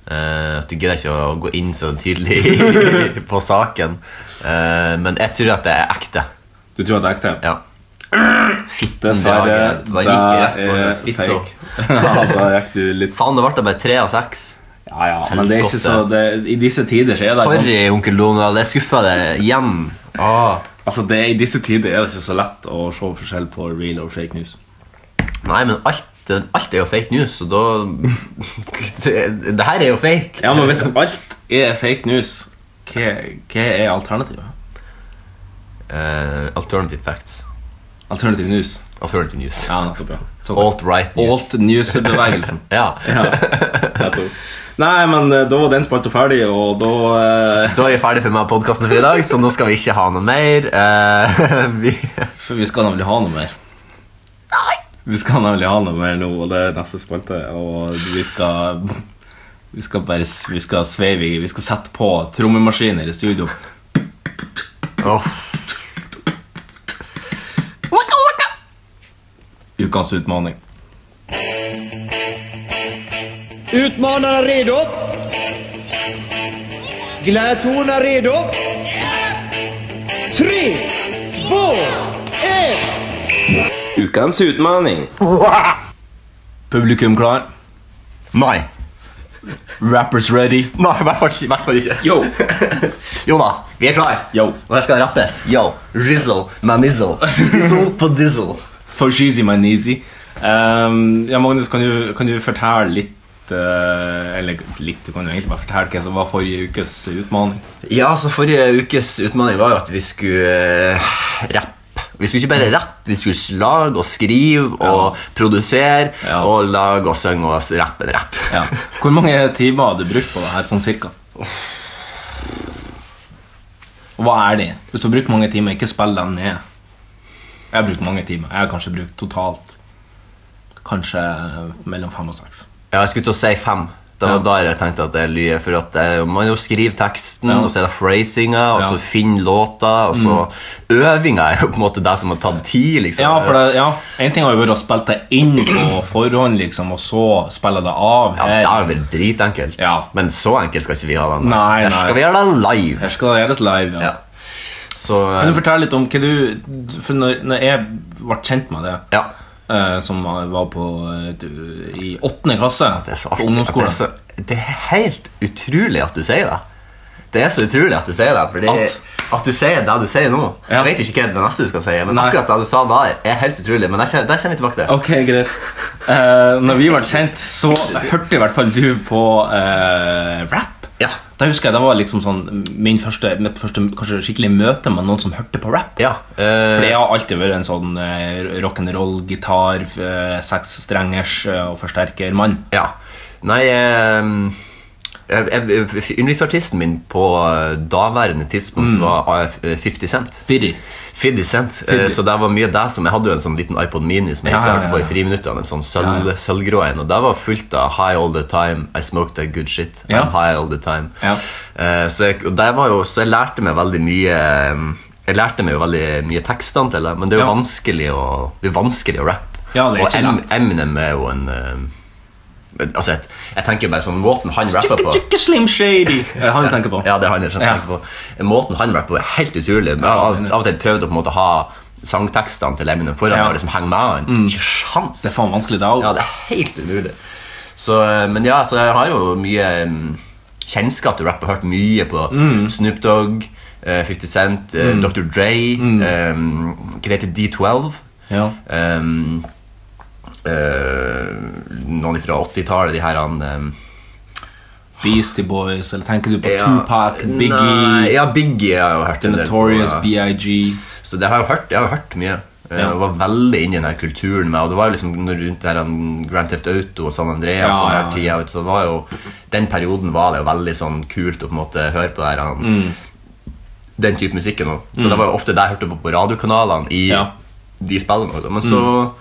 Speaker 3: Eh, At du gidder ikke å gå inn så tidlig på saken. Eh, men jeg tror at det er ekte.
Speaker 2: Du tror at det er ekte?
Speaker 3: Ja. Mm,
Speaker 2: Dessverre.
Speaker 3: Det var greit. Da gikk jeg rett på
Speaker 2: er
Speaker 3: fitt
Speaker 2: fake. ja, da gikk du litt
Speaker 3: Faen, det ble da bare tre av seks.
Speaker 2: Ja, ja, men det er ikke
Speaker 3: Helskotte.
Speaker 2: så det, I disse tider så er sånn. det
Speaker 3: Sorry, onkel Donald. Jeg skuffa deg igjen. Ah.
Speaker 2: Altså, det er, I disse tider er det ikke så lett å se forskjell på real og fake news.
Speaker 3: Nei, men alt, alt er jo fake news, så da det, det her er jo fake.
Speaker 2: Ja, men Hvis alt er fake news, hva, hva er alternativet?
Speaker 3: Eh, alternative facts.
Speaker 2: Alternative news.
Speaker 3: Alternative news.
Speaker 2: Ja, nettopp, ja. Såkalt.
Speaker 3: Alt-right news.
Speaker 2: Alt news-bevegelsen.
Speaker 3: Ja.
Speaker 2: Ja, nettopp. Nei, men eh, da var den spalta ferdig, og da eh,
Speaker 3: Da er jeg ferdig for meg podkasten for i dag, så nå skal vi ikke ha noe mer. Eh, vi,
Speaker 2: For vi skal nemlig ha noe mer. Vi skal nemlig ha noe mer nå, og det er neste spalte. Og vi skal Vi skal bare s- Vi skal sveive i Vi skal sette på trommemaskiner i studio.
Speaker 3: Åh,
Speaker 2: Ukas utfordring.
Speaker 7: Utmanaren redo? Gladiatorerna redo? Tre, två, ett!
Speaker 2: Ukens utfordring. Publikum klar?
Speaker 3: Nei.
Speaker 2: Rappers ready?
Speaker 3: Nei, i hvert fall ikke- i hvert fall ikke.
Speaker 2: Yo!
Speaker 3: Jo da, vi er klar.
Speaker 2: Yo.
Speaker 3: Og her skal det rappes. Yo. Rizzle. Mamizzle. Dizzle på dizzle.
Speaker 2: For cheesy my neasy. Ehm, ja, Magnus, kan du, kan du fortelle litt eh, Eller litt, du kan jo egentlig bare fortelle hva som var forrige ukes utfordring.
Speaker 3: Ja, så forrige ukes utfordring var jo at vi skulle eh, rappe. Vi skulle ikke bare rappe, vi skulle lage og skrive og produsere
Speaker 2: Ja.
Speaker 3: og lage og synge og rappe en rapp.
Speaker 2: Ja. Hvor mange timer har du brukt på det her, sånn cirka? Og Hva er det? Hvis du har brukt mange timer, ikke spill den ned. Jeg har brukt mange timer. Jeg har kanskje brukt totalt Kanskje mellom fem og seks.
Speaker 3: Ja, jeg skulle til å si fem. Det var
Speaker 2: Ja.
Speaker 3: da jeg tenkte at jeg lyver. For at eh, man jo skriver teksten,
Speaker 2: Ja.
Speaker 3: og så er det phrasinga, og
Speaker 2: Ja. Mm.
Speaker 3: så finner låta, og så Øvinga er jo på en måte det som har tatt tid, liksom.
Speaker 2: Ja, for det, ja. En ting har jo vært å spille det inn på forhånd, liksom, og så spille det av
Speaker 3: Ja, det
Speaker 2: her.
Speaker 3: er vel dritenkelt.
Speaker 2: Ja.
Speaker 3: Men så enkelt skal ikke vi ha det.
Speaker 2: Nei,
Speaker 3: Her
Speaker 2: nei.
Speaker 3: skal vi gjøre det live.
Speaker 2: Her skal det gjøres live. Ja.
Speaker 3: Ja. Så eh,
Speaker 2: Kan du fortelle litt om hva du For når, når jeg ble kjent med det
Speaker 3: Ja.
Speaker 2: eh, som var var på eh, du- i åttende klasse
Speaker 3: Det er så
Speaker 2: på
Speaker 3: artig. at Det
Speaker 2: ungdomsskolen. altså.
Speaker 3: er, så, det er helt utrolig at du sier det. Det er så utrolig at du sier det. Fordi
Speaker 2: At?
Speaker 3: at, du sier det du sier nå.
Speaker 2: Ja.
Speaker 3: Jeg vet jo ikke hva det neste du skal si, men
Speaker 2: Nei.
Speaker 3: akkurat det du sa der, er helt utrolig. Men det kommer det kommer vi tilbake til.
Speaker 2: Ok, greit. Eh, når vi ble kjent, så hørte i hvert fall du på eh, rap.
Speaker 3: Ja.
Speaker 2: Da husker jeg det var liksom sånn min første, mitt første kanskje skikkelig møte med noen som hørte på rap.
Speaker 3: Ja, eh,
Speaker 2: Fordi jeg har alltid vært en sånn eh, rock'n'roll-gitar, eh, seksstrengers eh, og forsterker-mann.
Speaker 3: ja. Nei ehm, jeg- jeg- Yndlingsartisten min på eh, daværende
Speaker 2: Mm.
Speaker 3: tidspunkt var eh, 50 Cent.
Speaker 2: Firri.
Speaker 3: 50 Cent, eh,
Speaker 2: Fiddy.
Speaker 3: så det var mye det som Jeg hadde jo en sånn liten iPod Mini som jeg
Speaker 2: Ja,
Speaker 3: ikke
Speaker 2: ja,
Speaker 3: hørte
Speaker 2: ja,
Speaker 3: på i
Speaker 2: ja.
Speaker 3: friminuttene. En sånn sølv, sølvgrå en. Og det var fullt av High All The Time, I Smoked That Good Shit.
Speaker 2: Ja.
Speaker 3: I'm high all the time
Speaker 2: Ja.
Speaker 3: Eh, så, jeg, og det var jo, så jeg lærte meg veldig mye eh, Jeg lærte meg jo veldig mye tekstene til det, men det er jo
Speaker 2: Ja.
Speaker 3: vanskelig å Det er jo vanskelig å rappe.
Speaker 2: Ja, det er
Speaker 3: og
Speaker 2: ikke
Speaker 3: Em-
Speaker 2: lett.
Speaker 3: Eminem er jo en eh, Altså, jeg, jeg tenker bare sånn Måten han rapper på
Speaker 2: Chikke Slim Shady. Eh, Han du tenker på.
Speaker 3: ja, det er han jeg skjønner
Speaker 2: Ja.
Speaker 3: tenker på. Måten han rapper på, er helt utrolig. Men jeg har av, av og til prøvd å på en måte ha sangtekstene til Eminem foran
Speaker 2: Ja. Mm.
Speaker 3: meg og liksom henge med han. Ikke sjans!
Speaker 2: Det er faen vanskelig, det
Speaker 3: Ja,
Speaker 2: òg.
Speaker 3: det er helt umulig. Så, eh, men ja, så jeg har jo mye mm, kjennskap til rapp og hørt mye på
Speaker 2: Mm.
Speaker 3: Snoop Dogg, eh, 50 Cent, eh, Dr.
Speaker 2: Mm.
Speaker 3: Dre, mm. hva det heter D12.
Speaker 2: Ja.
Speaker 3: Um, eh, noen fra 80-tallet, de her han eh,
Speaker 2: Beastie Boys, eller tenker du på
Speaker 3: ja,
Speaker 2: Tupac, Biggie,
Speaker 3: Nei, ja, Biggie har jeg jo hørt en del på,
Speaker 2: Notorious
Speaker 3: ja.
Speaker 2: BIG?
Speaker 3: Så det har jeg jo hørt, jeg har jo hørt mye. Eh,
Speaker 2: Ja.
Speaker 3: Jeg var veldig inne i den her kulturen med Og det var jo liksom når rundt der han Grand Theft Auto og San Andreas
Speaker 2: Ja,
Speaker 3: og den her
Speaker 2: ja,
Speaker 3: tida, vet du, så var jo Den perioden var det jo veldig sånn kult å på en måte høre på der han
Speaker 2: Mm.
Speaker 3: Den type musikken òg. Så det var jo ofte det jeg hørte på på radiokanalene i
Speaker 2: Ja. Mm.
Speaker 3: de spillene. også. Men så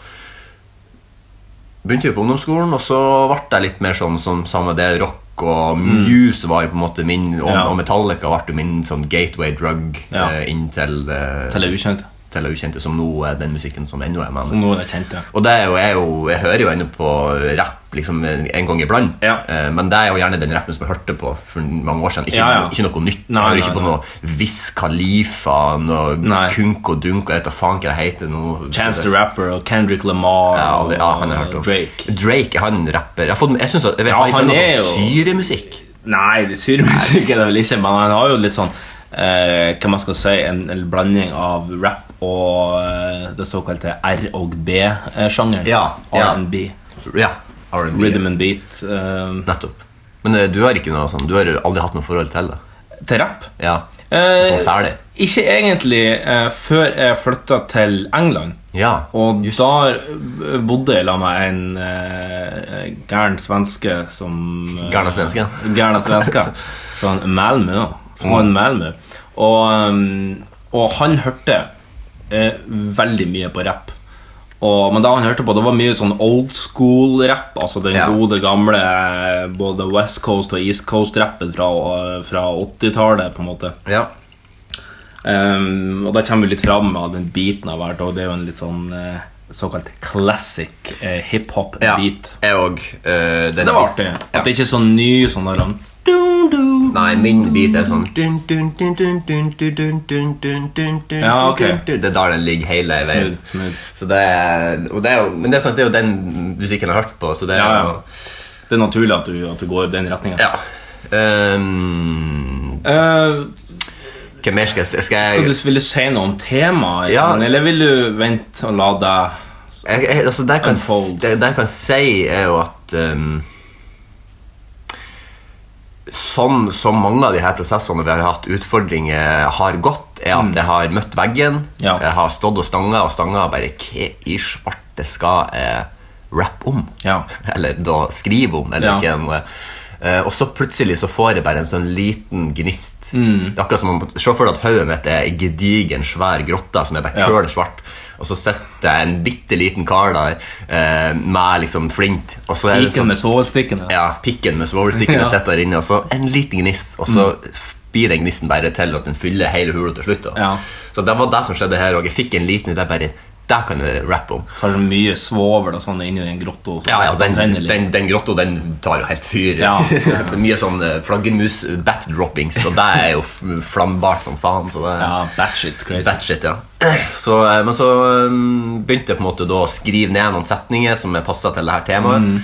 Speaker 3: begynte jeg på ungdomsskolen, og så ble jeg litt mer sånn som samme det rock og Muse var jo på en måte min, og,
Speaker 2: Mm. Ja.
Speaker 3: og Metallica ble jo min sånn gateway drug
Speaker 2: Ja.
Speaker 3: eh, inn til eh,
Speaker 2: Til det ukjente.
Speaker 3: til det ukjente, som nå er den musikken som ennå er med.
Speaker 2: Som noen jeg kjente.
Speaker 3: Og det er jo, jeg, er jo, jeg hører jo ennå på rapp liksom, en en gang iblant,
Speaker 2: Ja.
Speaker 3: Eh, men det er jo gjerne den rappen som jeg hørte på for mange år siden. Ikke,
Speaker 2: Ja, ja.
Speaker 3: ikke noe nytt.
Speaker 2: Nei,
Speaker 3: jeg hører
Speaker 2: nei,
Speaker 3: ikke på
Speaker 2: nei.
Speaker 3: noe Viss Khalifa, noe
Speaker 2: Nei.
Speaker 3: Kunk og Dunk, jeg vet da faen hva det heter nå.
Speaker 2: Chance the Rapper og Kendrick Lamar
Speaker 3: ja, aldri- ja, han har jeg
Speaker 2: og
Speaker 3: hørt om.
Speaker 2: Drake.
Speaker 3: Drake, han rapper. Jeg, har fått- jeg synes at, jeg vet,
Speaker 2: Ja,
Speaker 3: han,
Speaker 2: han
Speaker 3: er
Speaker 2: er
Speaker 3: sånn
Speaker 2: jo-
Speaker 3: syremusikk.
Speaker 2: Nei, det syremusikk er det vel ikke, men han har jo litt sånn eh, Hva man skal si, en, en blanding av rap og eh, det såkalte R- og B-sjangeren.
Speaker 3: Ja, ja.
Speaker 2: R&B.
Speaker 3: Ja, R&B.
Speaker 2: Rhythm and beat. eh,
Speaker 3: Nettopp. Men eh, du har ikke noe sånn, du har aldri hatt noe forhold til det.
Speaker 2: til rap.
Speaker 3: Ja,
Speaker 2: Eh,
Speaker 3: sånn særlig.
Speaker 2: Ikke egentlig eh, før jeg flytta til England.
Speaker 3: Ja,
Speaker 2: Og
Speaker 3: just.
Speaker 2: da eh, bodde jeg la meg en eh, gæren svenske som eh,
Speaker 3: Gærne svenske.
Speaker 2: Gærne svenske fra Malmö. da. Fra
Speaker 3: Mm.
Speaker 2: en Malmö. Og, ehm, og han hørte eh, veldig mye på rapp. Og, men da han hørte på, det var mye sånn old school-rapp. Altså den
Speaker 3: Ja.
Speaker 2: gode, gamle eh, både West Coast og East Coast-rappen fra, eh, fra 80-tallet. på en måte
Speaker 3: Ja.
Speaker 2: Ehm, og da kommer vi litt fram med den beaten av hvert, og det er jo en litt sånn eh, såkalt classic eh,
Speaker 3: Ja,
Speaker 2: hiphop-beat.
Speaker 3: jeg eh, òg.
Speaker 2: Det var artig. At det ikke er sånn ny sånn der um, dun, dun.
Speaker 3: Nei, min beat er sånn dun, dun, dun, dun, dun, dun, dun, dun, dun, dun, dun,
Speaker 2: Ja, ok.
Speaker 3: dun, dun. Det er der den ligger hele veien.
Speaker 2: Smooth, smooth.
Speaker 3: Så det er, og det er jo, men det er, sånn, at det er jo den musikken jeg har hørt på, så det er
Speaker 2: Ja,
Speaker 3: jo
Speaker 2: ja. Det er naturlig at du, at du går i den retninga.
Speaker 3: Ja. Ehm, hva mer skal jeg si? Skal
Speaker 2: Eh, skal
Speaker 3: jeg,
Speaker 2: du, vil du si noe om temaet, i
Speaker 3: Ja.
Speaker 2: sangen, eller vil du vente og la deg
Speaker 3: jeg, jeg altså, det jeg kan,
Speaker 2: Unfold.
Speaker 3: det, det jeg kan si, er jo at ehm, Sånn som mange av de her prosessene vi har hatt utfordringer, har gått, er at jeg har møtt veggen.
Speaker 2: Mm. Ja.
Speaker 3: Jeg har stått og stanga og stanga og bare Hva i svarte skal jeg rappe om?
Speaker 2: Ja.
Speaker 3: Eller da skrive om, eller
Speaker 2: Ja.
Speaker 3: ikke noe. Eh, og så plutselig så får jeg bare en sånn liten gnist.
Speaker 2: Mm.
Speaker 3: Det er akkurat som om, Se for deg at hodet mitt er en gedigen, svær grotte som er bare
Speaker 2: Ja.
Speaker 3: køl svart. Og så sitter jeg en bitte liten kar der eh, med liksom flint. Og så er det
Speaker 2: Ikke
Speaker 3: sånn,
Speaker 2: med svovelstikkene?
Speaker 3: ja, pikken med svovelstikken
Speaker 2: Ja. Mm.
Speaker 3: sitter der inne, og så en liten gnist, og så blir den gnisten bare til at den fyller hele hula til slutt. Da.
Speaker 2: Ja.
Speaker 3: Så det var det som skjedde her òg. Jeg fikk en liten idé. bare, Det kan jeg rappe om.
Speaker 2: Kanskje mye svovel og sånn inni den grotta? som
Speaker 3: Ja, ja, den,
Speaker 2: tenner litt.
Speaker 3: den, den grotto den tar jo helt fyr.
Speaker 2: Ja, ja, ja.
Speaker 3: det er mye sånn eh, flaggermus bat-droppings, og det er jo f- flammbart som faen. Så det er
Speaker 2: Ja, batshit crazy.
Speaker 3: batshit, ja. Så, eh, men så mm, begynte jeg på en måte da å skrive ned noen setninger som er passa til det her temaet.
Speaker 2: Mm.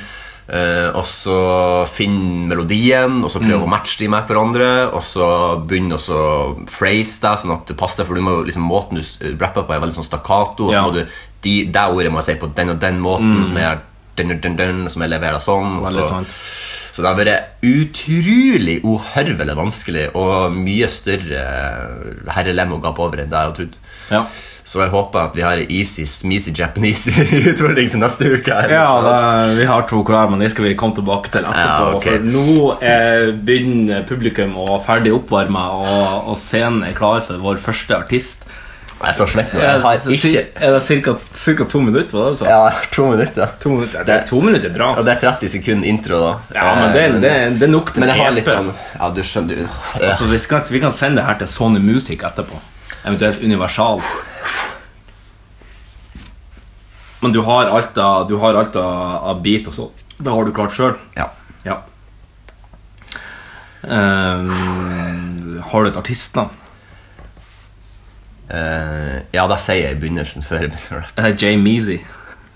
Speaker 3: Eh, og så finne melodien, og så prøve
Speaker 2: Mm.
Speaker 3: å matche de med hverandre. Og så begynne å så phrase deg, sånn at det passer. For du må jo liksom måten du s- rapper på, er veldig sånn stakkato. Og så
Speaker 2: Ja. Mm.
Speaker 3: må du de, Det ordet må jeg si på den og den måten, som er dun, dun, dun, som jeg leverer sånn. Og
Speaker 2: Veldig
Speaker 3: så,
Speaker 2: sant.
Speaker 3: så det har vært utrolig uhørvelig vanskelig og mye større herrelem og gap over enn det jeg hadde trodd.
Speaker 2: Ja.
Speaker 3: Så jeg håper at vi har en easy, smeasy Japanese utfordring til neste uke. her.
Speaker 2: Ja, da, vi har to klare, men det skal vi komme tilbake til etterpå.
Speaker 3: Ja, ok.
Speaker 2: For nå eh, begynner publikum å være ferdig oppvarma, og, og scenen er klar for vår første artist.
Speaker 3: Jeg er så svett nå. Jeg har
Speaker 2: Er det
Speaker 3: ikke
Speaker 2: cir- er det cirka, cirka to minutter? Hva det du sa?
Speaker 3: Ja, jeg har to minutter.
Speaker 2: To minutter, det, to minutter er bra.
Speaker 3: Og det er 30 sekunder intro, da. Eh,
Speaker 2: Ja, men det, det, det er nok til
Speaker 3: Men jeg har
Speaker 2: EP.
Speaker 3: litt sånn Ja, du skjønner du.
Speaker 2: Altså, vi, skal, vi kan sende det her til Sony Music etterpå. Eventuelt Universal. Men du har alt av, du har alt av, av beat og sånn. Det har du klart sjøl.
Speaker 3: Ja.
Speaker 2: Ja. Ehm, har du et artistnavn?
Speaker 3: Eh, ja, det sier jeg i begynnelsen før jeg begynner å rappe.
Speaker 2: Uh, Jay Measy.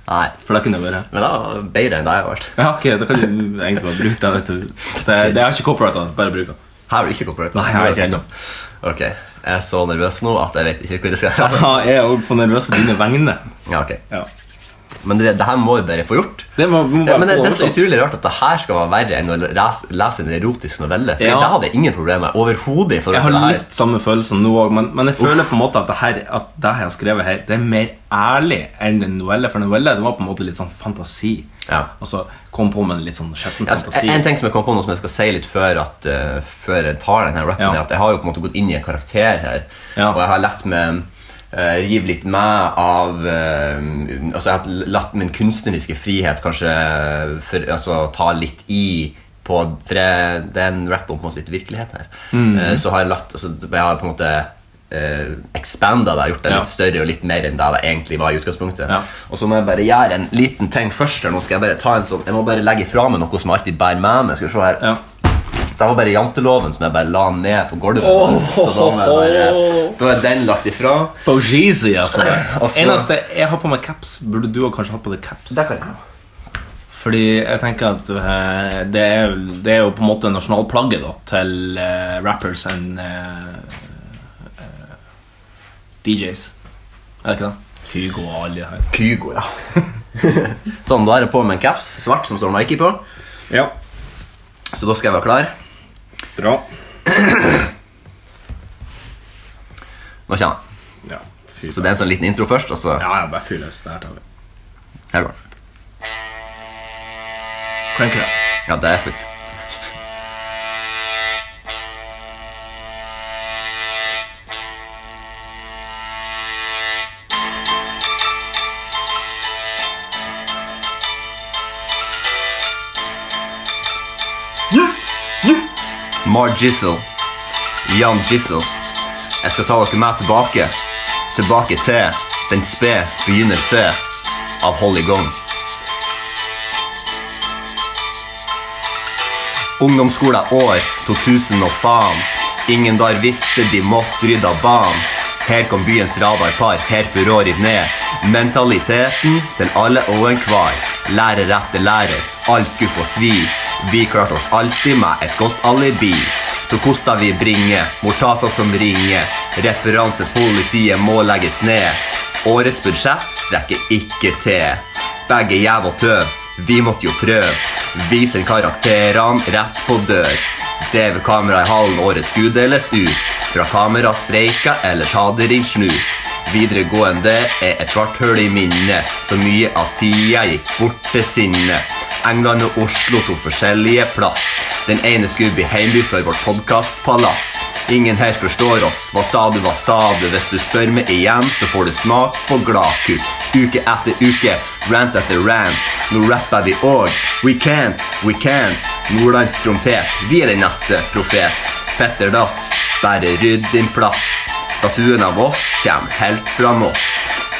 Speaker 3: Nei.
Speaker 2: For det kunne det vært.
Speaker 3: Men det var bedre enn det jeg har vært.
Speaker 2: Ja, ok, da kan du egentlig bare bruke det. Hvis du, det, det er ikke copyright, da. bare bruk det.
Speaker 3: Her har du ikke copyright?
Speaker 2: Nei, jeg har ikke ennå.
Speaker 3: Ok, jeg er så nervøs nå at jeg vet ikke hvor jeg skal
Speaker 2: Jeg er også for nervøs på dine vegne.
Speaker 3: Ja, ok.
Speaker 2: Ja.
Speaker 3: Men det, det her må vi bare få gjort.
Speaker 2: Det må- må
Speaker 3: ja,
Speaker 2: bare
Speaker 3: men det,
Speaker 2: få
Speaker 3: det er så
Speaker 2: overstått.
Speaker 3: utrolig rart at det her skal være verre enn å lese, lese en erotisk novelle. For
Speaker 2: Ja.
Speaker 3: Da hadde jeg ingen problemer overhodet. i forhold
Speaker 2: Jeg har
Speaker 3: til det her.
Speaker 2: litt samme følelsen nå òg, men, men jeg føler på en måte at det her At det jeg har skrevet her, det er mer ærlig enn en novelle. For en novelle det var på en måte litt sånn fantasi.
Speaker 3: Ja.
Speaker 2: Og så kom på med en litt sånn skjetten
Speaker 3: Ja, altså,
Speaker 2: fantasi.
Speaker 3: en ting som jeg kom på nå som jeg skal si litt før, at, eh, før jeg tar denne rappen,
Speaker 2: Ja.
Speaker 3: er at jeg har jo på en måte gått inn i en karakter her.
Speaker 2: Ja.
Speaker 3: Og jeg har latt meg eh, rive litt med av eh, Altså, jeg har latt min kunstneriske frihet kanskje for, altså, ta litt i på For jeg, det er en rap om på en måte litt virkelighet her.
Speaker 2: Mm.
Speaker 3: Eh, så har jeg latt altså, Jeg har på en måte eh, expanda det, gjort det
Speaker 2: Ja.
Speaker 3: litt større og litt mer enn det det egentlig var i utgangspunktet.
Speaker 2: Ja.
Speaker 3: Og så må jeg bare gjøre en liten ting først. her Nå skal Jeg bare ta en sånn Jeg må bare legge fra meg noe som jeg alltid bærer med meg. Skal vi se her
Speaker 2: Ja.
Speaker 3: Det var bare janteloven som jeg bare la ned på gulvet.
Speaker 2: Åh.
Speaker 3: Så da må jeg bare Da er den lagt ifra.
Speaker 2: Faugizi, altså.
Speaker 3: Og så-
Speaker 2: Eneste jeg har på meg caps, burde du òg kanskje hatt på deg caps.
Speaker 3: Der kan jeg
Speaker 2: Fordi jeg tenker at eh, det er, jo- det er jo på en måte nasjonalplagget da, til eh, rappers and eh, eh, DJs. Er det ikke det? Kygo og alle de her.
Speaker 3: Kygo, ja. sånn, da er jeg på med en caps, svart, som står Nike på.
Speaker 2: Ja,
Speaker 3: Så da skal jeg være klar.
Speaker 2: bra.
Speaker 3: Nå kommer han.
Speaker 2: Ja, fy
Speaker 3: Så det er en sånn liten intro først, og så
Speaker 2: Ja, ja, bare fyr løs. Det her tar vi.
Speaker 3: Her går den.
Speaker 2: Crank it up.
Speaker 3: Ja, det er fullt. Mar Jizzle. Jan Jizzle. Jeg skal ta dere med tilbake. Tilbake til den spede begynnelse av Holly Gong. Ungdomsskolen år 2000 og faen. Ingen der visste de måtte rydde av banen. Her kom byens radarpar, her furår riv ned. Mentaliteten til alle og enhver. Lærer etter lærer, alt skulle få svi. Vi klarte oss alltid med et godt alibi. Til kosta vi bringer, Mortasa som ringer. Referanse politiet må legges ned. Årets budsjett strekker ikke til. Begge jæv og tøv, vi måtte jo prøve. Viser karakterene rett på dør. DV-kamera i hallen, årets skulle deles ut. Fra kamera streika, ellers hadde ringt snut. Videregående er et svart hull i minnet, så mye av tida gikk bort til sinnet. England og Oslo to forskjellige plass. Den ene skulle bli heimby for vårt podkastpalass. Ingen her forstår oss, hva sa du, hva sa du? Hvis du spør meg igjen, så får du smak på gladkuk. Uke etter uke, rant etter rant. Nå rapper vi òg. We can't, we can't. Nordlands trompet, vi er den neste profet. Petter Dass, bare rydd din plass. Statuen av oss kjem helt fra Moss.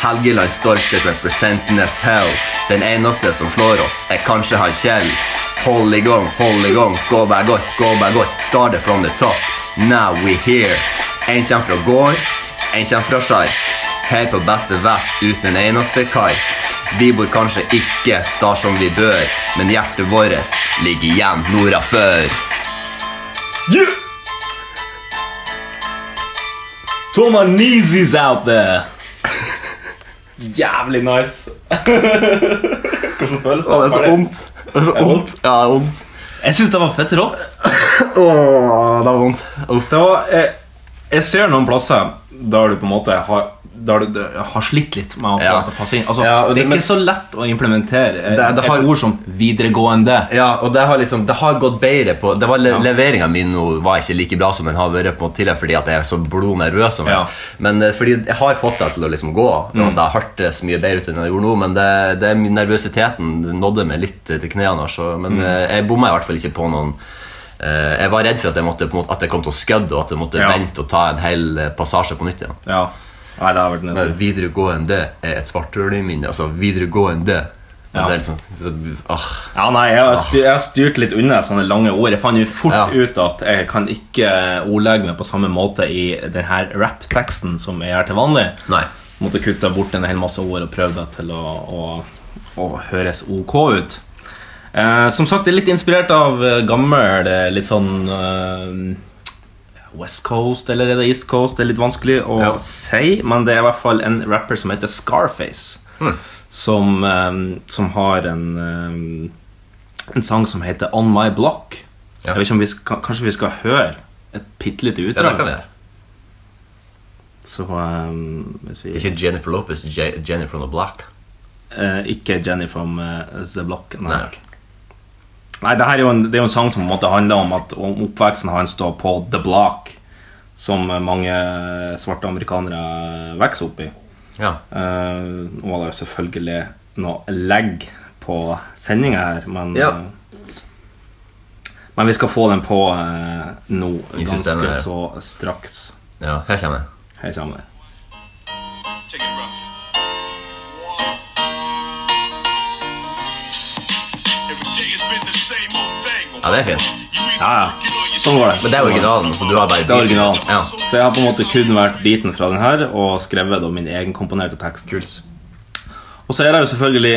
Speaker 3: Helgeland stolthet representenes hell. Den eneste som slår oss, er kanskje han Kjell. Hold i gang, hold i gang, gå bare godt, gå bare godt. Starter from the top, now we here. En kjem fra gård, en kjem fra sjark. Her på beste vest uten en eneste kar. Vi bor kanskje ikke der som vi bør, men hjertet vårt ligger igjen norda før.
Speaker 2: Tomanizis out there! Jævlig nice. Hvordan føles det?
Speaker 3: vondt. Det er så
Speaker 2: vondt.
Speaker 3: Ja, det er vondt.
Speaker 2: Jeg syns det var fett rått.
Speaker 3: Åh, det er vondt. Uff.
Speaker 2: Det var, jeg, eh, jeg ser noen plasser der du på en måte har der du, du har slitt litt med å få
Speaker 3: Ja.
Speaker 2: det til å passe inn. Altså,
Speaker 3: Ja, og
Speaker 2: det
Speaker 3: det-
Speaker 2: er
Speaker 3: men-
Speaker 2: ikke så lett å implementere eh,
Speaker 3: Det- det har-
Speaker 2: et ord som 'videregående'.
Speaker 3: Ja, og det har liksom, det har gått bedre på Det var le Leveringa mi nå var ikke like bra som den har vært på tidligere, fordi at jeg er så blodnervøs. som jeg
Speaker 2: Ja.
Speaker 3: er. Men eh, fordi jeg har fått det til å liksom gå. Mm. Det har hørtes mye bedre ut enn jeg gjorde nå, men det, det er min nervøsiteten nådde meg litt eh, til knærne. Så, men
Speaker 2: Mm.
Speaker 3: eh, jeg bomma i hvert fall ikke på noen eh, Jeg var redd for at jeg måtte på en måte, at jeg kom til å skødde, og at jeg måtte
Speaker 2: Ja.
Speaker 3: vente og ta en hel eh, passasje på nytt igjen.
Speaker 2: Ja. Nei, det har vært
Speaker 3: Men
Speaker 2: nødvendig.
Speaker 3: videregående er et svart hull i minnet. Altså videregående.
Speaker 2: Ja.
Speaker 3: Det er liksom, så, ah.
Speaker 2: Ja, nei, jeg har, styrt, jeg har styrt litt unna sånne lange ord. Jeg fant jo fort
Speaker 3: Ja.
Speaker 2: ut at jeg kan ikke ordlegge meg på samme måte i denne rap-teksten som jeg gjør til vanlig.
Speaker 3: Nei.
Speaker 2: Måtte kutte bort en hel masse ord og prøve det til å, å, å høres ok ut. Eh, som sagt, jeg er litt inspirert av eh, gammel eh, litt sånn eh, West Coast eller er det East Coast? Det er litt vanskelig å
Speaker 3: Ja.
Speaker 2: si, men det er i hvert fall en rapper som heter Scarface.
Speaker 3: Hmm.
Speaker 2: som, eh, som har en, eh, en sang som heter On My Block.
Speaker 3: Ja.
Speaker 2: Jeg vet ikke om vi skal, Kanskje vi skal høre et bitte lite
Speaker 3: Ja, det
Speaker 2: utdrag?
Speaker 3: kan vi gjøre.
Speaker 2: Så eh, hvis vi
Speaker 3: Det er ikke Jennifer Lopez, det er Je- Jennifer on the Block.
Speaker 2: Eh, ikke Jenny from eh, The Block. Nei.
Speaker 3: Nei.
Speaker 2: Nei. det her er jo en, det er jo en sang som på en måte handler om at om oppveksten hans da på The Block, som eh, mange svarte amerikanere vokser opp i.
Speaker 3: Ja.
Speaker 2: Eh, nå var det jo selvfølgelig noe legg på sendinga her, men
Speaker 3: Ja.
Speaker 2: eh, Men vi skal få den på eh, nå,
Speaker 3: I
Speaker 2: ganske
Speaker 3: systemet, ja.
Speaker 2: så straks.
Speaker 3: ja, her kommer jeg.
Speaker 2: Her kommer det.
Speaker 8: Take it rough. Every day it's been the same old thing.
Speaker 3: Ja, det er fint.
Speaker 2: Ja, ja. Sånn går det.
Speaker 3: Men det er originalen, så du har bare
Speaker 2: Det er originalen.
Speaker 3: Ja.
Speaker 2: Så jeg har på en måte kun vært biten fra den her og skrevet da min egen komponerte tekst. Og så er det jo selvfølgelig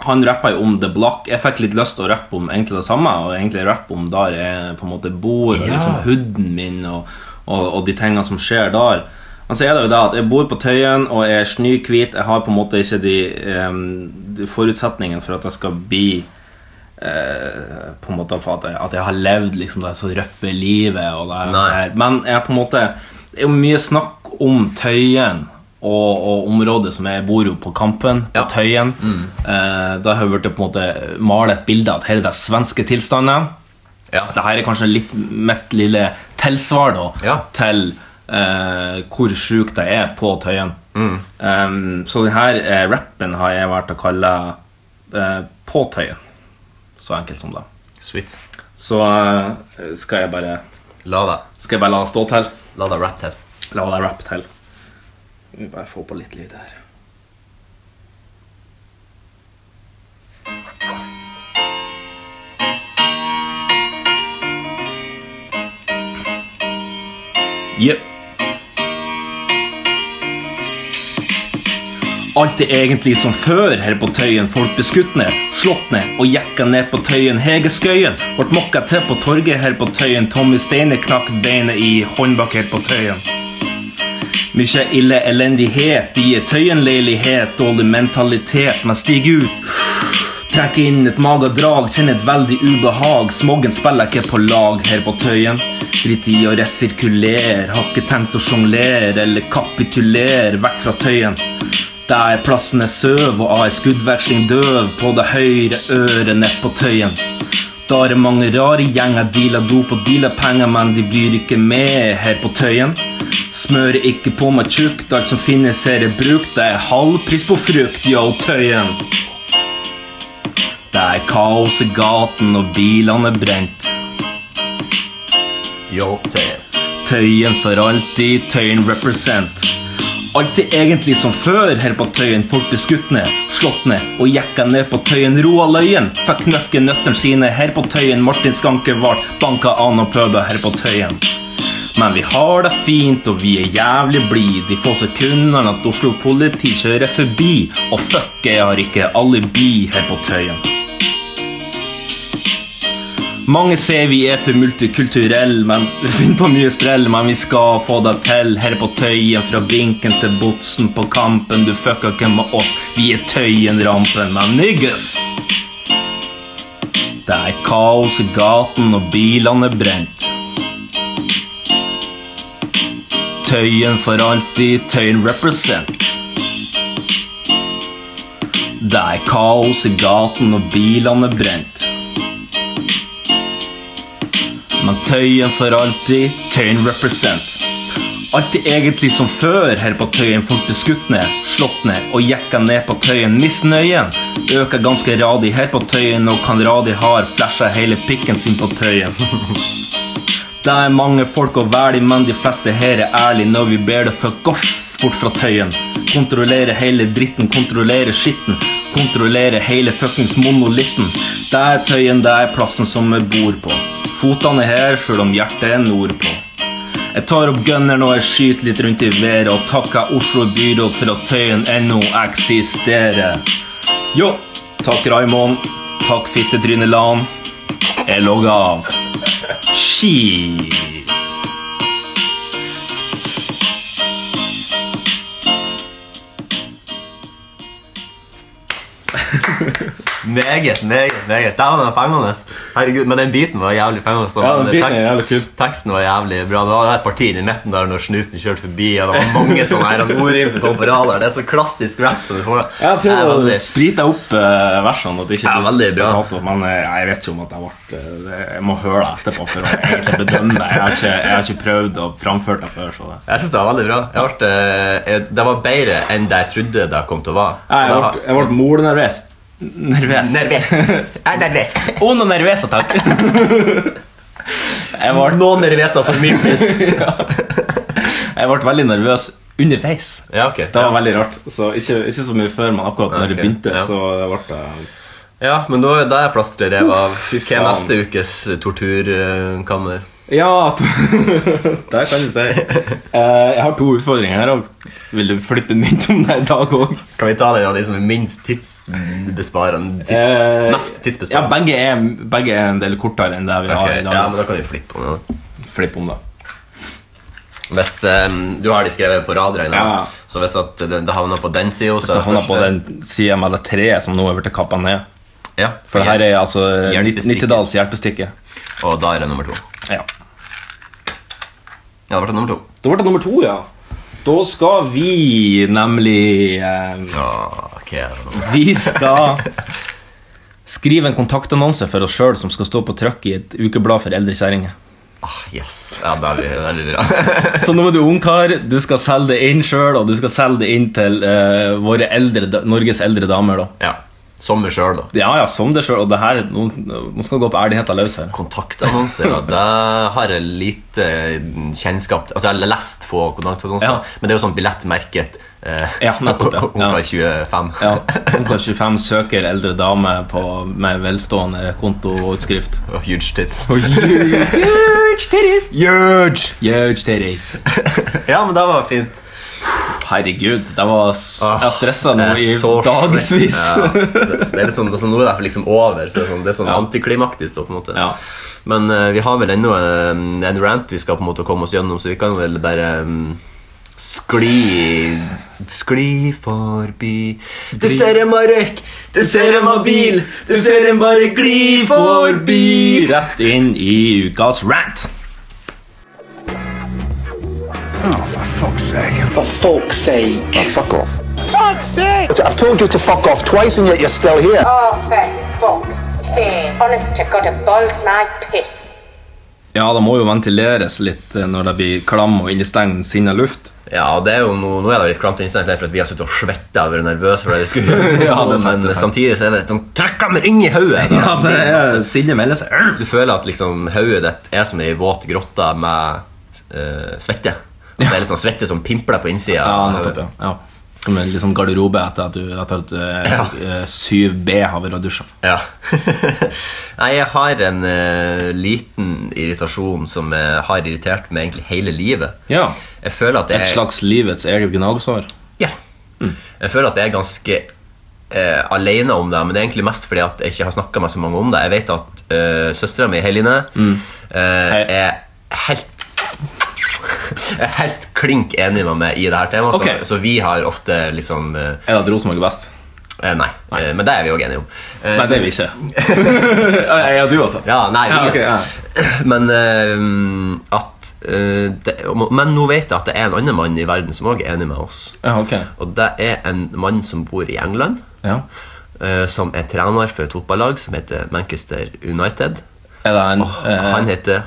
Speaker 2: Han rappa jo om The Block. Jeg fikk litt lyst til å rappe om egentlig det samme. Og egentlig rappe om der jeg på en måte bor, og liksom hooden min, og, og, og de tingene som skjer der. Men så er det jo det at jeg bor på Tøyen, og jeg er snøhvit. Jeg har på en måte ikke de, em, de forutsetningene for at jeg skal bli eh, på en måte for at jeg, at jeg har levd liksom det så røffe livet og det
Speaker 3: Nei.
Speaker 2: her. Men jeg er på en måte Det er jo mye snakk om Tøyen og, og området som jeg bor jo på Kampen, på
Speaker 3: Ja. Mm.
Speaker 2: Tøyen. Eh, da har jeg blitt på en måte male et bilde av at hele den svenske tilstanden
Speaker 3: Ja.
Speaker 2: Dette er kanskje litt mitt lille tilsvar da
Speaker 3: Ja.
Speaker 2: til eh, hvor sjuk det er på Tøyen. Em, så denne eh, rappen har jeg valgt å kalle eh, På Tøyen. Så enkelt som det.
Speaker 3: Sweet.
Speaker 2: Så eh, skal jeg bare
Speaker 3: La det,
Speaker 2: Skal jeg bare la det stå til.
Speaker 3: la det rap til.
Speaker 2: La det rappe til. Vi bare får på litt lyd her. Yep. Alt er egentlig som før her på Tøyen. Folk ble skutt ned, slått ned og jekka ned på Tøyen. Hege Skøyen ble mokka til på torget her på Tøyen. Tommy Steine knakk beinet i håndbak her på Tøyen. Mykje ille elendighet i ei Tøyen-leilighet. Dårlig mentalitet, men stig ut. Trekk inn et magedrag, kjenn et veldig ubehag. Smoggen spiller ikke på lag her på Tøyen. Drit i å resirkulere, har ikke tenkt å sjonglere eller kapitulere vekk fra Tøyen. Der plassen er søv og av ei skuddveksling døv på det høyre øret nett på Tøyen. Da er det mange rare gjenger dealer dop og dealer penger, men de blir ikke med her på Tøyen. Smører ikke på meg tjukt, alt som finnes her er brukt. Det er halvpris på frukt, yo, Tøyen. Det er kaos i gaten, og bilene er brent.
Speaker 3: Yo, Tøyen.
Speaker 2: Tøyen for alltid, Tøyen represent. Alt er egentlig som før her på Tøyen. Folk blir skutt ned, slått ned og jekka ned på Tøyen. Roald Øyen fikk knøkke nøttene sine her på Tøyen. Martin Skanke ble banka av noen pøbler her på Tøyen. Men vi har det fint, og vi er jævlig blid. De få sekundene at Oslo politi kjører forbi. Og fuck, jeg har ikke alibi her på Tøyen. Mange sier vi er for multikulturelle, men vi finner på mye sprell. Men vi skal få det til her på Tøyen, fra Binken til Botsen på Kampen. Du fucka ikke med oss, vi er Tøyen-rampen, men niggas! Det er kaos i gaten, og bilene er brent. Tøyen for alltid, Tøyen represent. Det er kaos i gaten, og bilene er brent. Men Tøyen for alltid, Tøyen represent. Alt er egentlig som før her på Tøyen. Folk blir skutt ned, slått ned og jekka ned på Tøyen. Misnøyen øker ganske radig her på Tøyen, og kan radig har flasha hele pikken sin på Tøyen. Det er mange folk å velge, men de fleste her er ærlige når vi ber det fuck off bort fra tøyen. Kontrollere hele dritten, kontrollere skitten. Kontrollere hele fuckings monolitten. Det er tøyen, det er plassen som jeg bor på. Fotene er her, sjøl om hjertet er nordpå. Jeg tar opp gunneren og jeg skyter litt rundt i været, og takker Oslo byråd for at tøyen ennå eksisterer. Jo, takk Raymond. Takk fittetryneland. Jeg logger av. Shit.
Speaker 3: Meget, meget, meget. Der var den fengende. Herregud, men den biten var jævlig fengende. så-
Speaker 2: Ja, den
Speaker 3: men
Speaker 2: biten er jævlig kul.
Speaker 3: teksten var jævlig bra. Det var et parti i midten der når snuten kjørte forbi, og det var mange sånne her ordrim som kom på radar. Det er så klassisk rap som du får.
Speaker 2: Jeg har
Speaker 3: Jeg er
Speaker 2: prøvd å
Speaker 3: veldig-
Speaker 2: sprite opp eh, versene. At det ikke
Speaker 3: Ja, veldig bra.
Speaker 2: staccato, men eh, jeg vet ikke om at jeg ble eh, det- Jeg må høre det etterpå for å egentlig bedømme det. Jeg har ikke, jeg har ikke prøvd å framføre det før. Så det.
Speaker 3: Jeg synes det var veldig bra. Jeg ble, eh, det var bedre enn det jeg trodde det kom til å være.
Speaker 2: Nei, jeg ble, jeg ble molenervøs. Nervøs.
Speaker 3: Nervøs. Jeg er nervøs.
Speaker 2: Oh, noe nervøs, takk. Jeg ble,
Speaker 3: Noen nervøser for mye. please.
Speaker 2: jeg ble veldig nervøs underveis.
Speaker 3: Ja, ok.
Speaker 2: Det var veldig rart. Så ikke, ikke så mye før, men akkurat da det
Speaker 3: Ok,
Speaker 2: begynte,
Speaker 3: ja.
Speaker 2: så det ble eh, det
Speaker 3: Ja, men nå er det jeg plastrer rev av. Hva er
Speaker 2: faen.
Speaker 3: neste ukes eh, torturkammer?
Speaker 2: Ja, to... det kan du si. Eh, jeg har to utfordringer her òg. Vil du flippe mynt om det i dag òg?
Speaker 3: Kan vi ta den av de som er minst tidsbesparende? Tids,
Speaker 2: Eh,
Speaker 3: mest
Speaker 2: Ja,
Speaker 3: tidsbesparende?
Speaker 2: begge er, begge er en del kortere enn det vi
Speaker 3: Ok,
Speaker 2: har i dag.
Speaker 3: ja, men da kan vi flippe om den.
Speaker 2: Flipp om, da.
Speaker 3: Hvis eh, Du har de skrevet på rad, regner jeg med.
Speaker 2: Ja.
Speaker 3: Så hvis at det, det havner på den sida, så
Speaker 2: Så
Speaker 3: er det
Speaker 2: han er på
Speaker 3: første-
Speaker 2: den sida med det treet som nå er blitt kappa ned.
Speaker 3: Ja,
Speaker 2: For det her er altså
Speaker 3: Hjelpestikke.
Speaker 2: Nittedals hjelpestikke.
Speaker 3: Og da er det nummer to.
Speaker 2: Ja.
Speaker 3: Ja, det ble nummer to.
Speaker 2: Da ble det nummer to, ja. Da skal vi nemlig eh,
Speaker 3: Ja, ok, det er nummer-
Speaker 2: Vi skal skrive en kontaktannonse for oss sjøl som skal stå på trykk i et ukeblad for eldre kjerringer.
Speaker 3: ah, Yes. Ja, det er vi- det er veldig bra.
Speaker 2: Så nå er du ungkar, du skal selge det inn sjøl, og du skal selge det inn til eh, våre eldre, da- Norges eldre damer. da.
Speaker 3: ja. Sommer sjøl, da.
Speaker 2: Ja, ja, som det sjøl. Og det her, nå, nå skal det gå på ærligheten løs her.
Speaker 3: Kontaktannonser, da. Det har jeg lite kjennskap til. Altså, jeg har lest få kontaktannonser,
Speaker 2: Ja.
Speaker 3: men det er jo sånn billettmerket eh,
Speaker 2: Ja, nettopp, ja. Ja.
Speaker 3: Ungkar 25.
Speaker 2: Ja, Ungkar 25 søker eldre dame på, med velstående konto og utskrift.
Speaker 3: Og huge tits.
Speaker 2: Huge titties!
Speaker 3: Huge!
Speaker 2: Huge titties.
Speaker 3: Ja, men det var fint.
Speaker 2: Herregud, det var, s-
Speaker 3: Åh,
Speaker 2: jeg stressa nå
Speaker 3: jeg
Speaker 2: i
Speaker 3: Ah, er så
Speaker 2: dagevis.
Speaker 3: sliten. Ja, det, det er litt sånn, altså, nå er det liksom over. Så det er sånn, det er sånn
Speaker 2: Ja.
Speaker 3: antiklimaktisk. Da, på en måte.
Speaker 2: Ja.
Speaker 3: Men eh, vi har vel ennå eh, en rant vi skal på en måte komme oss gjennom, så vi kan vel bare mm, Skli Skli forbi Du ser en marek, du ser en mobil, du ser en bare gli forbi
Speaker 2: Rett inn i ukas rant.
Speaker 5: For folks sake.
Speaker 9: fuck off. Fuck's sake! I've told you to fuck off twice and yet you're still here.
Speaker 10: Oh, for fuck's sake. Honest to God, it boils my piss.
Speaker 2: Ja, det må jo ventileres litt eh, når det blir klam og innestengt sinna luft.
Speaker 3: Ja, og det er jo noe, nå er det litt klamt innstengt der, for at vi har suttet og svettet og vært nervøse for det vi skulle gjøre.
Speaker 2: Ja, det er sant,
Speaker 3: Men
Speaker 2: det er sant.
Speaker 3: samtidig så er det et sånn trekkammer inn i hodet. da.
Speaker 2: Ja, det er sinne melder seg.
Speaker 3: Du føler at liksom hodet ditt er som ei våt grotte med eh, svette. At Det er litt sånn svette som pimpler på innsida.
Speaker 2: Ja,
Speaker 3: av
Speaker 2: nettopp, ja.
Speaker 3: hodet.
Speaker 2: ja. Som en liksom garderobe etter at du etter at eh, eh, 7B har vært og dusja.
Speaker 3: Ja. Nei, jeg har en eh, liten irritasjon som eh, har irritert meg egentlig hele livet.
Speaker 2: Ja.
Speaker 3: Jeg føler at jeg
Speaker 2: Et slags livets eget gnagsår.
Speaker 3: Ja. Mm. Jeg føler at jeg er ganske eh, alene om det, men det er egentlig mest fordi at jeg ikke har snakka med så mange om det. Jeg vet at eh, søstera mi, Heline, eh,
Speaker 2: Mm. Hei.
Speaker 3: er helt er helt klink enig med meg i det her temaet,
Speaker 2: Ok.
Speaker 3: så, så vi har ofte liksom eh,
Speaker 2: Er det at Rosenborg er best?
Speaker 3: eh, Nei, eh, men det er vi òg enige om. Eh,
Speaker 2: Nei, det er vi ikke. ja, du, altså.
Speaker 3: Ja, nei, vi,
Speaker 2: Ja, ok, ja.
Speaker 3: Men eh, at eh, det, Men nå vet jeg at det er en annen mann i verden som òg er enig med oss.
Speaker 2: Ja, ok.
Speaker 3: Og det er en mann som bor i England.
Speaker 2: Ja.
Speaker 3: eh, som er trener for et fotballag som heter Manchester United.
Speaker 2: Er det en eh,
Speaker 3: Han heter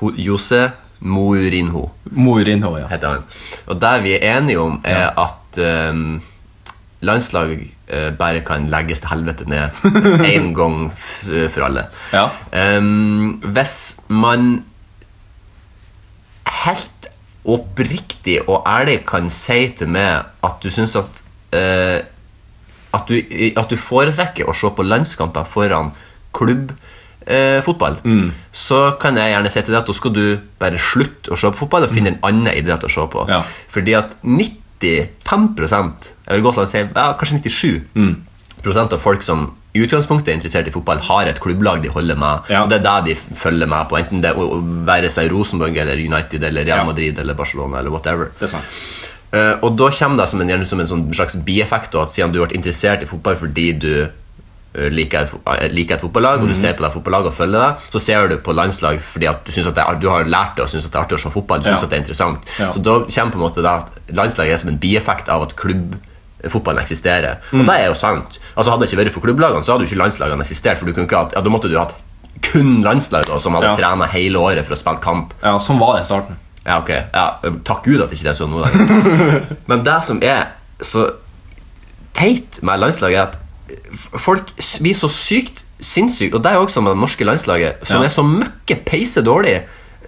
Speaker 3: Ho- Jose Mourinho.
Speaker 2: mor innhå, ja.
Speaker 3: Heter han. Og det vi er enige om, er at eh, landslag eh, bare kan legges til helvete ned én gang f- for alle.
Speaker 2: Ja.
Speaker 3: Eh, hvis man helt oppriktig og ærlig kan si til meg at du syns at eh, at, du, at du foretrekker å se på landskamper foran klubbfotball,
Speaker 2: Mm.
Speaker 3: så kan jeg gjerne si til deg at da skal du bare slutte å se på fotball og finne en annen idrett å se på.
Speaker 2: Ja.
Speaker 3: Fordi at 95 jeg vil gå så langt og si ja, kanskje 97 prosent av folk som i utgangspunktet er interessert i fotball, har et klubblag de holder med.
Speaker 2: Ja.
Speaker 3: Og det er det de følger med på, enten det er å- å være seg Rosenborg eller United eller Real
Speaker 2: Ja.
Speaker 3: Madrid eller Barcelona eller whatever.
Speaker 2: Det er sant.
Speaker 3: Eh, og da kommer det som en, gjerne som en sånn slags bieffekt da, at siden du ble interessert i fotball fordi du eh, eh, liker et, fo- eh, liker et fotballag,
Speaker 2: Mhm.
Speaker 3: og du ser på det fotballaget og følger det, så ser du på landslag fordi at du, synes at det er, du har lært det og syns det er artig å se fotball. du synes
Speaker 2: Ja.
Speaker 3: at det er interessant.
Speaker 2: Ja.
Speaker 3: Så da kommer på en måte det at landslaget er som en bieffekt av at klubbfotballen eksisterer.
Speaker 2: Mm.
Speaker 3: Og det er jo sant. Altså Hadde det ikke vært for klubblagene, så hadde jo ikke landslagene eksistert. For du kunne ikke hatt, ja, Da måtte du hatt kun landslag da, som hadde
Speaker 2: Ja.
Speaker 3: trenet trena hele året for å spille kamp.
Speaker 2: Ja, Sånn var det i starten.
Speaker 3: Ja, ok. Ja, eh, takk Gud at ikke det er sånn nå lenger. Men det som er så teit med landslaget, er at f- folk s- blir så sykt sinnssyke, og det er jo også med det norske landslaget, som
Speaker 2: Ja.
Speaker 3: er så møkke peise dårlig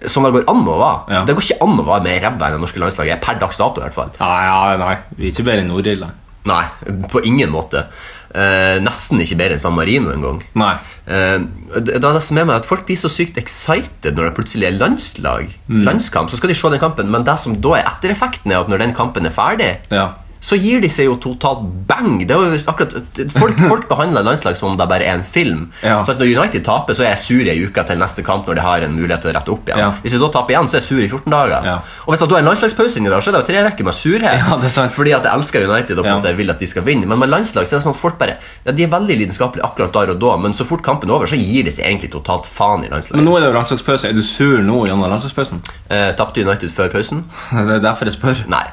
Speaker 3: som det går an å være.
Speaker 2: Ja.
Speaker 3: Det går ikke an å være mer ræva enn det norske landslaget, per dags dato i hvert fall.
Speaker 2: Nei, ja, nei. Vi er ikke bedre enn Nord-Irland.
Speaker 3: Nei, på ingen måte. Eh, nesten ikke bedre enn San Marino engang.
Speaker 2: Nei.
Speaker 3: Eh, det, det er det som er med at Folk blir så sykt excited når det plutselig er landslag. Landskamp, Så skal de se den kampen, men det som da er ettereffekten, er at når den kampen er ferdig,
Speaker 2: Ja.
Speaker 3: så gir de seg jo totalt bang. Det er jo akkurat, folk, folk behandler landslag som om det bare er en film.
Speaker 2: Ja.
Speaker 3: Så at Når United taper, så er jeg sur i ei uke til neste kamp når de har en mulighet til å rette opp igjen.
Speaker 2: Ja.
Speaker 3: Hvis de da taper igjen, så er jeg sur i 14 dager.
Speaker 2: Ja.
Speaker 3: Og hvis det da er en landslagspause inni der, så er det jo tre uker med surhet.
Speaker 2: Ja, det er sant.
Speaker 3: Fordi at jeg elsker United og på en
Speaker 2: Ja.
Speaker 3: måte jeg vil at de skal vinne. Men med landslag så er det sånn at folk bare ja, De er veldig lidenskapelige akkurat der og da, men så fort kampen er over, så gir de seg egentlig totalt faen i landslaget.
Speaker 2: Men nå er det jo landslagspause. Er du sur nå gjennom landslagspausen?
Speaker 3: Eh, Tapte United før pausen?
Speaker 2: Det er derfor jeg spør.
Speaker 3: Nei.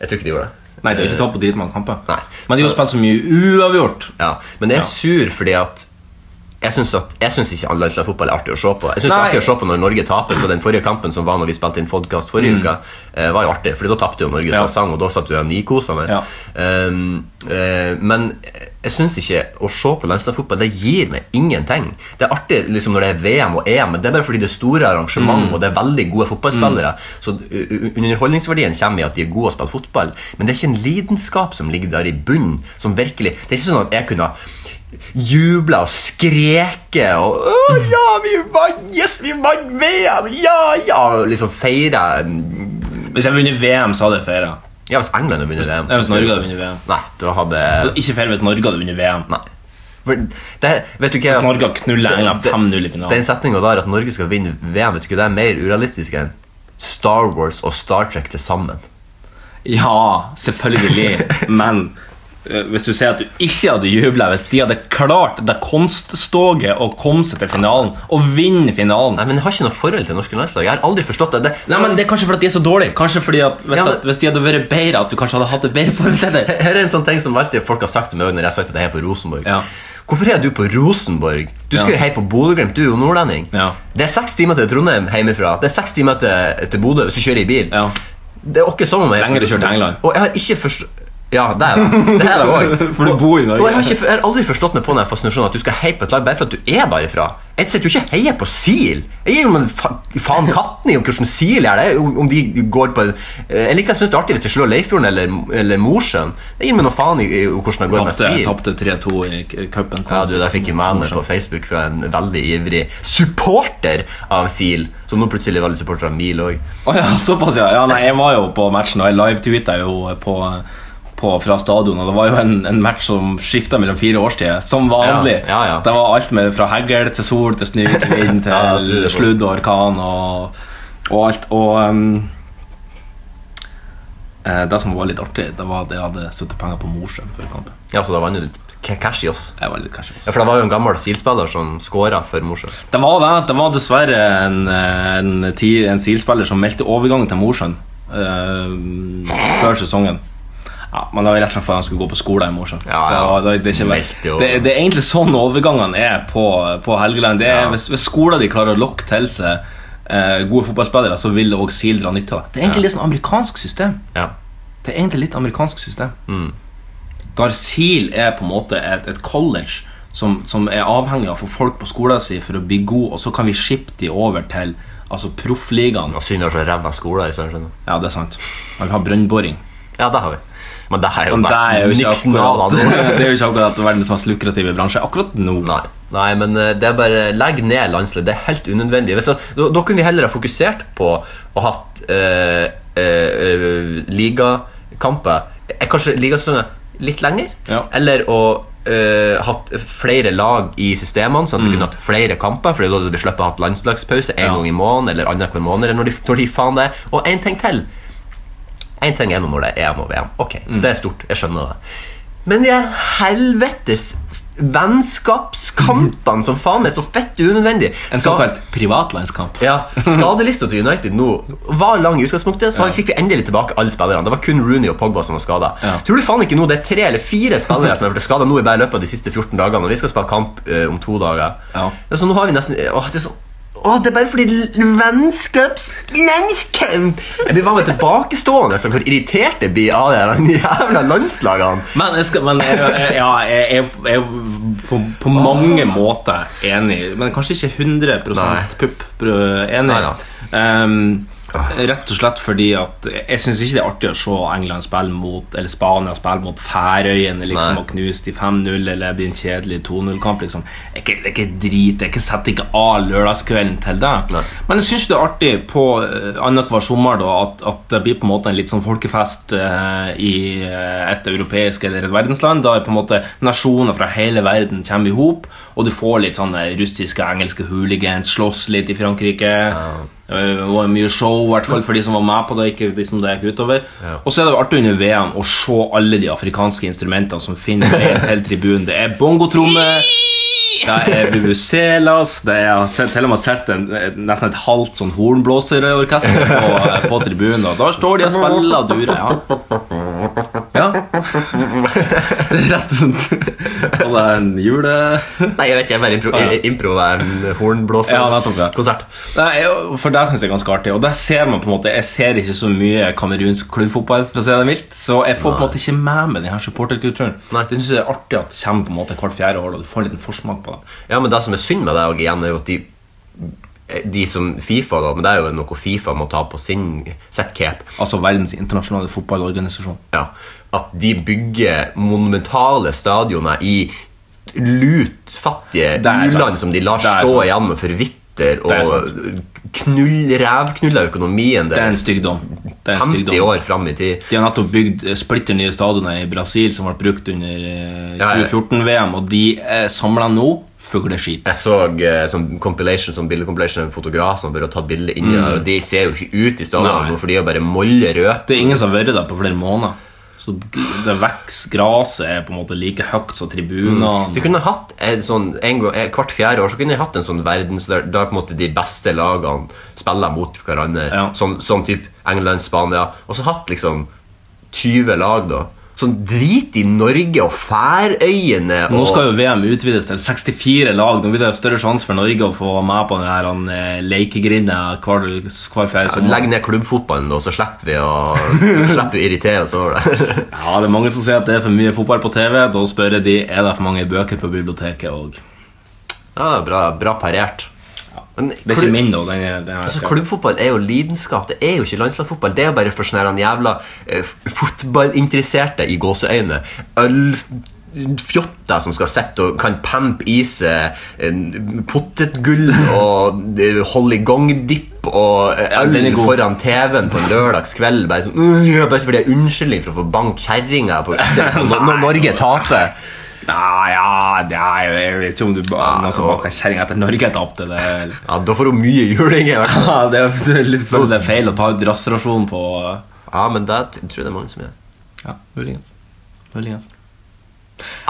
Speaker 3: Jeg tror ikke de gjorde det.
Speaker 2: Nei, det er jo ikke tapt på dritmange kamper.
Speaker 3: Nei.
Speaker 2: Men de har
Speaker 3: Så-
Speaker 2: spilt så mye uavgjort.
Speaker 3: Ja, men jeg er
Speaker 2: Ja.
Speaker 3: sur fordi at jeg syns, at, jeg syns ikke landslagsfotball er artig å se på. Jeg synes det
Speaker 2: Nei.
Speaker 3: er artig å se på når Norge taper, så Den forrige kampen som var når vi spilte inn podcast forrige uke, eh, var jo artig, Fordi da tapte jo Norge
Speaker 2: Mm. Ja.
Speaker 3: sesong, og da satt du og nikosa med.
Speaker 2: Ja.
Speaker 3: Um, eh, men jeg syns ikke å se på landslagsfotball Det gir meg ingenting. Det er artig liksom når det er VM og EM, men det er bare fordi det er store arrangement
Speaker 2: Mm.
Speaker 3: og det er veldig gode fotballspillere. Så u- u- Underholdningsverdien kommer i at de er gode å spille fotball, men det er ikke en lidenskap som ligger der i bunnen. Som virkelig, Det er ikke sånn at jeg kunne jubla og skreke og Å ja, vi vant! Yes, vi vant VM! Ja, ja! og Liksom feire mm,
Speaker 2: Hvis jeg hadde vunnet VM, så hadde jeg feira.
Speaker 3: Ja, hvis England hadde vunnet VM.
Speaker 2: Ja, hvis Norge hadde vunnet VM.
Speaker 3: Nei, da hadde
Speaker 2: Ikke feira hvis Norge hadde vunnet VM.
Speaker 3: Nei. For det, vet du hva,
Speaker 2: Hvis Norge knuller England
Speaker 3: Det- det-
Speaker 2: 5-0 i finalen.
Speaker 3: Den setninga der at Norge skal vinne VM, vet du hva, det er mer urealistisk enn Star Wars og Star Trek til sammen.
Speaker 2: Ja, selvfølgelig. Men eh, hvis du sier at du ikke hadde jubla hvis de hadde klart det konststoget å komme seg til finalen og vinne finalen
Speaker 3: Nei, men Jeg har ikke noe forhold til norske landslag. Jeg har aldri forstått det. det
Speaker 2: Nei, men Det er kanskje fordi at de er så dårlige. Kanskje fordi at Hvis,
Speaker 3: Ja, men-
Speaker 2: at, hvis de hadde vært bedre, at du kanskje hadde hatt et bedre forhold til det.
Speaker 3: her er en sånn ting som alltid folk har sagt til meg også når jeg har sagt at jeg er på Rosenborg.
Speaker 2: Ja.
Speaker 3: Hvorfor er du på Rosenborg? Du
Speaker 2: Ja.
Speaker 3: skal jo heie på Bodø-Glimt. Du er jo nordlending.
Speaker 2: Ja.
Speaker 3: Det er seks timer til Trondheim hjemmefra. Det er seks timer til, til Bodø hvis du kjører i bil.
Speaker 2: Ja.
Speaker 3: Det er ikke sånn om jeg
Speaker 2: Lenger du kjører til England.
Speaker 3: Og jeg har ikke forstått Ja, det er det. det, er det også.
Speaker 2: For du bor i Norge.
Speaker 3: Og jeg har, ikke, jeg har aldri forstått meg på den fascinasjonen at du skal heie på et lag bare for at du er derifra. Jeg sitter jo ikke og heier på SIL. Jeg gir jo en fa faen katten i om hvordan SIL er det. om- Om de går på eh, Jeg liker jeg synes det er artig hvis de slår Leifjorden eller, eller Mosjøen. Jeg gir meg noe faen i, i hvordan det går med
Speaker 2: Tapte
Speaker 3: SIL.
Speaker 2: tapte 3-2 i k- cupen.
Speaker 3: Ja, du, Der fikk jeg med meg på Facebook fra en veldig ivrig supporter av SIL, som nå plutselig er veldig supporter av MIL òg.
Speaker 2: Å ja, såpass, ja. ja nei, jeg var jo på matchen, og jeg live-tweeta jo på, på, fra stadion. Og det var jo en, en match som skifta mellom fire årstider, som vanlig.
Speaker 3: Ja, ja, ja.
Speaker 2: Det var alt med fra hegl til sol til snø til vind til
Speaker 3: Ja, jeg tror det var-
Speaker 2: sludd og orkan og, og alt. Og em, eh, det som var litt artig, det var at jeg hadde suttet penger på Mosjøen før kampen.
Speaker 3: Ja, så da vant du litt k- cash i oss.
Speaker 2: Jeg var litt kanskje
Speaker 3: Ja, for det var jo en gammel SIL-spiller som skåra for Mosjøen.
Speaker 2: Det var det. Det var dessverre en, eh, en, ti- en SIL-spiller som meldte overgang til Mosjøen eh, før sesongen. Ja, Men det var rett og slett fordi han skulle gå på skole i Mosjøen.
Speaker 3: Ja,
Speaker 2: Så
Speaker 3: ja.
Speaker 2: det var- det, det, er ikke
Speaker 3: Meldte
Speaker 2: vel-
Speaker 3: over.
Speaker 2: det, det er egentlig sånn overgangene er på, på Helgeland. Det er,
Speaker 3: Ja.
Speaker 2: hvis, hvis skolen de klarer å lokke til seg eh, gode fotballspillere, så vil òg SIL dra nytte av det. Det er egentlig litt sånn amerikansk system.
Speaker 3: Ja.
Speaker 2: Det er egentlig litt amerikansk system. Der SIL Mm. er på en måte et, et college som, som er avhengig av å få folk på skolen sin for å bli god, og så kan vi shippe de over til altså proffligaen.
Speaker 3: Og Synd vi har så ræva skoler i Sørensjøen.
Speaker 2: Ja, det er sant. Men vi har brønnboring.
Speaker 3: Ja, det har vi. Men det er jo
Speaker 2: Men det er jo ikke
Speaker 3: niksen av
Speaker 2: akkurat,
Speaker 3: det.
Speaker 2: det er jo ikke akkurat verdens mest lukrative bransje akkurat nå.
Speaker 3: Nei. Nei, men eh, det er bare legg ned landslaget. Det er helt unødvendig. Hvis, da, da kunne vi heller ha fokusert på å hatt eh, eh, ligakamper Eh, Kanskje ligasesongen litt lenger?
Speaker 2: Ja.
Speaker 3: Eller å eh, hatt flere lag i systemene, sånn at vi kunne hatt flere kamper. Fordi da hadde vi sluppet å ha landslagspause en
Speaker 2: Mm. Ja.
Speaker 3: gang i måneden eller annenhver måned. Eller når de, når de faen det er. Og en ting til. En ting er
Speaker 2: Mm.
Speaker 3: nå når det er EM og VM. Ok, Det er stort. Jeg skjønner det. Men de her helvetes vennskapskampene som faen meg er så fett unødvendig.
Speaker 2: En
Speaker 3: Skal-
Speaker 2: såkalt privatlandskamp.
Speaker 3: ja, Skadelista til United nå var lang i utgangspunktet, så fikk vi endelig tilbake alle spillerne. Det var kun Rooney og Pogba som var skada.
Speaker 2: Ja.
Speaker 3: Tror du faen ikke nå det er tre eller fire spillere som er blitt skada nå i bare løpet av de siste 14 dagene, og vi skal spille kamp eh, om to dager?
Speaker 2: Ja.
Speaker 3: Det er sånn, nå har vi nesten Åh, det er sånn Åh, det er bare fordi l- vennskaps... Landskamp! Jeg blir bare tilbakestående så hvor irritert jeg blir av de der jævla landslagene.
Speaker 2: Men, jeg, skal, men jeg, jeg- ja, jeg, jeg, jeg er på, på mange måter enig, men kanskje ikke 100 pupp br- enig.
Speaker 3: Nei, nei.
Speaker 2: Ehm, rett og slett fordi at jeg syns ikke det er artig å se England spille mot Eller Spania spille mot Færøyene liksom,
Speaker 3: Nei.
Speaker 2: og knuse de 5-0 eller bli en kjedelig 2-0-kamp. Liksom. Jeg, er ikke- jeg er ikke drit, jeg er ikke setter ikke av lørdagskvelden til det.
Speaker 3: Nei.
Speaker 2: Men jeg syns det er artig på eh, annenhver sommer da, at, at det blir på en måte en litt sånn folkefest eh, i eh, et europeisk eller et verdensland. Da er på en måte nasjoner fra hele verden kommer i hop, og du får litt sånne russiske og engelske hooligans slåss litt i Frankrike. Eh, Det var mye show, i hvert fall for de som var med på det. Ikke de som det gikk utover
Speaker 3: Ja.
Speaker 2: Og så er det jo artig under VM å se alle de afrikanske instrumentene som finner veien til tribunen. Det er bongotrommer. Det er Bubuselas det er, Jeg har sett- til og med sett en, nesten et halvt sånn hornblåserorkester på, eh, på tribunen. Og da står de og spiller og durer. Ja. ja. Det er rett rundt. Og det er en jule...
Speaker 3: Nei, jeg vet ikke, jeg bare impro...
Speaker 2: Ah, ja.
Speaker 3: impro er en hornblåser.
Speaker 2: Ja, nettopp, ja.
Speaker 3: Konsert.
Speaker 2: Nei, jeg- for det syns jeg er ganske artig. Og der ser man på en måte Jeg ser ikke så mye kamerunsk klubbfotball, for å si det mildt. Så jeg får på en måte ikke med meg den her supporterkulturen.
Speaker 3: Nei.
Speaker 2: Det syns jeg er artig at det kommer på en måte hvert fjerde år, og du får en liten forsmak på det.
Speaker 3: Ja, men det som er synd med det og igjen, er jo at de, de som Fifa da, men det er jo noe Fifa må ta på sin sitt cape,
Speaker 2: Altså verdens internasjonale fotballorganisasjon.
Speaker 3: ja, at de bygger monumentale stadioner i lutfattige
Speaker 2: Det er sant.
Speaker 3: u-land som de lar
Speaker 2: Det er
Speaker 3: stå
Speaker 2: sant.
Speaker 3: igjen og forvitter
Speaker 2: Det er
Speaker 3: og knull, rævknuller økonomien
Speaker 2: Det er en
Speaker 3: deres
Speaker 2: styggdom. Det er en
Speaker 3: 50
Speaker 2: styggdom.
Speaker 3: år fram i tid.
Speaker 2: De har nettopp bygd eh, splitter nye stadioner i Brasil som ble brukt under eh,
Speaker 3: Ja, ja.
Speaker 2: 2014-VM, og de er samla nå. Fugleskit.
Speaker 3: Jeg så eh, sånn compilation, sånn bildecompilation av en fotograf som bare har tatt bilde inni der, og de ser jo ikke ut i
Speaker 2: Mm. Nei.
Speaker 3: stadionene, for de er jo bare mollerøde.
Speaker 2: Det er ingen som har vært der på flere måneder. Så g- det vokser, gresset er på en måte like høyt som
Speaker 3: De
Speaker 2: tribunene.
Speaker 3: kunne hatt en sånn, en gang, eh, Hvert fjerde år så kunne de hatt en sånn verden så der, der på en måte de beste lagene spiller mot hverandre.
Speaker 2: Ja.
Speaker 3: Som, som typ England, Spania. Og så hatt liksom 20 lag, da. Sånn drit i Norge og Færøyene
Speaker 2: Nå
Speaker 3: og
Speaker 2: skal jo VM utvides til 64 lag. Nå blir det jo større sjanse for Norge å få med på den her han, eh, lekegrinda hver, hver fjerde sommer.
Speaker 3: Legg ned klubbfotballen, da, så slipper vi å slipper vi å irritere oss over det.
Speaker 2: Ja, det er mange som sier at det er for mye fotball på TV. Da spør jeg de er det for mange bøker på biblioteket òg.
Speaker 3: ja, bra, bra parert. Men
Speaker 2: Det er
Speaker 3: klubb-
Speaker 2: ikke min, da. Den er, den er,
Speaker 3: Altså, klubbfotball er jo lidenskap. Det er jo ikke landslagsfotball. Det er jo bare for sånne her jævla eh, f- fotballinteresserte i gåseøyne. Ølfjotter som skal sitte og kan pampe i seg eh, potetgull og eh, holigongdipp og eh,
Speaker 2: Ja,
Speaker 3: øl
Speaker 2: den er god.
Speaker 3: foran TV-en på en lørdagskveld. Bare, sånn, «Øh, ja», bare fordi det er unnskyldning for å få banke kjerringa på- når når Norge taper.
Speaker 2: Nei, ja, det er, jo- jeg vet ikke om du ba, noen som baka kjerring etter Norge tapte. Det, er-
Speaker 3: Ja, da får hun mye juling. i hvert fall.
Speaker 2: ja, det er jo litt for det er feil å ta ut rastrasjon på
Speaker 3: Ja, men det t- tror jeg det er mange som gjør.
Speaker 2: Ja, muligens. Muligens.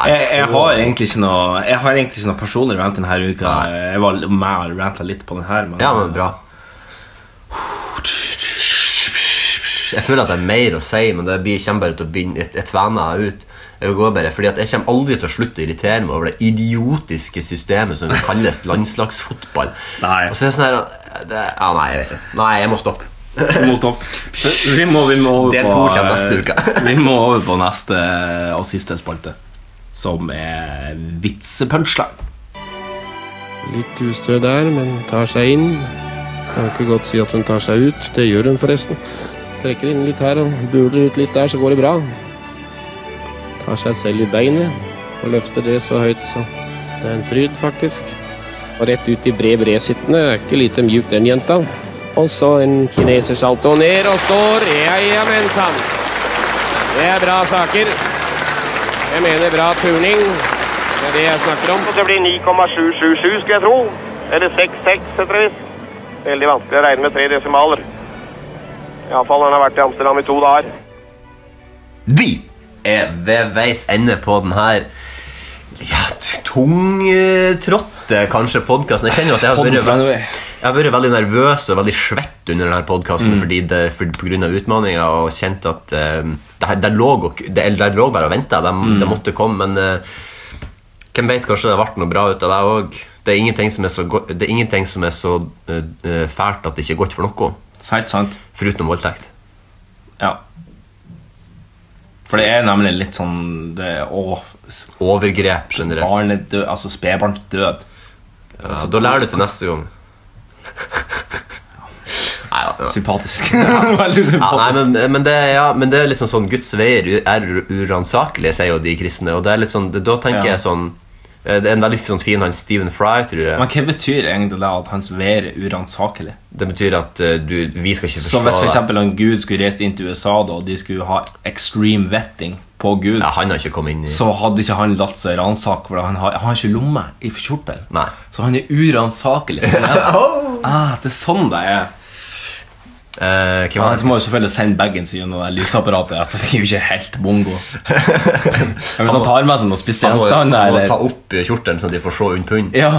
Speaker 2: Jeg, jeg har egentlig ikke noe Jeg har egentlig ikke noe personlig rant denne uka.
Speaker 3: Nei.
Speaker 2: Jeg var med og ranta litt på den her, men,
Speaker 3: Ja, men bra. Jeg føler at det er mer å si, men det blir, kommer bare til å begynne Jeg, jeg tvener meg ut. Jeg går bare, fordi at jeg kommer aldri til å slutte å irritere meg over det idiotiske systemet som kalles landslagsfotball.
Speaker 2: Nei.
Speaker 3: Og så er det sånn her det, ja, nei, jeg vet ikke. nei, jeg må stoppe.
Speaker 2: Vi må stoppe. Vi må, vi må over
Speaker 3: Del
Speaker 2: på eh,
Speaker 3: to kommer neste uke.
Speaker 2: Vi må over på neste og siste spalte, som er vitsepunchline.
Speaker 11: Litt ustø der, men tar seg inn. Kan ikke godt si at hun tar seg ut. Det gjør hun forresten. Trekker inn litt her og buler ut litt der, så går det bra. Tar seg selv i beinet og løfter det så høyt, så det er en fryd, faktisk. Og rett ut i bred bred sittende. Er Ikke lite mjuk, den jenta. Og så en kinesersalto ned og står. Ja, ja, men sann. Det er bra saker. Jeg mener bra turning. Det er det jeg snakker om.
Speaker 12: Det blir 9,777, skulle jeg tro. Eller 66, etter visst. Veldig vanskelig å regne med tre desimaler. Iallfall han har vært i Amsterdam i to dager.
Speaker 3: Vi er ved veis ende på den her ja, tungtrådte kanskje podkasten. Jeg kjenner jo at jeg har,
Speaker 2: Poddens lange vei.
Speaker 3: vært, jeg har vært veldig nervøs og veldig svett under denne podkasten
Speaker 2: Mm.
Speaker 3: fordi det, for, på grunn av utfordringa og kjent at eh, det, her- der, lå, og- det, eller der lå bare og venta. De,
Speaker 2: Mm.
Speaker 3: de måtte komme, men eh, hvem vet, kanskje det ble noe bra ut av deg òg. Det er ingenting som er så, go det er ingenting som er så eh, eh, fælt at det ikke er godt for noe.
Speaker 2: Helt sant.
Speaker 3: Foruten voldtekt.
Speaker 2: Ja. For det er nemlig litt sånn det, er- å,
Speaker 3: Overgrep generelt.
Speaker 2: Barnedød, altså spedbarnsdød.
Speaker 3: Ja, da lærer du til neste gang. Nei, ja.
Speaker 2: Sympatisk.
Speaker 3: Ja.
Speaker 2: Veldig sympatisk.
Speaker 3: Ja, nei, men, men, det, ja, men det er liksom sånn Guds veier er uransakelige, sier jo de kristne. Og det er litt sånn, det, da tenker
Speaker 2: Ja.
Speaker 3: jeg sånn eh, Det er en veldig sånn fin han Stephen Fry, tror jeg.
Speaker 2: Men hva betyr egentlig det at hans vær er uransakelig?
Speaker 3: Det betyr at eh, du, vi skal ikke forstå
Speaker 2: Så hvis for
Speaker 3: det.
Speaker 2: eksempel en gud skulle reist inn til USA da, og de skulle ha extreme vetting på Gud, så hadde ikke han latt seg ransake, for han har, han har ikke lomme i kjortel. Så han er uransakelig. sånn er det. ah, det er sånn det er.
Speaker 3: var
Speaker 2: Men så må jo selvfølgelig sende bagen sin gjennom det lysapparatet. Altså, vi er jo ikke helt bongo. Men Hvis han tar med seg noen
Speaker 3: Han må, han
Speaker 2: spisegjenstander
Speaker 3: må ta
Speaker 2: eller
Speaker 3: opp eh, kjortelen, så de får se under pund.
Speaker 2: Ja.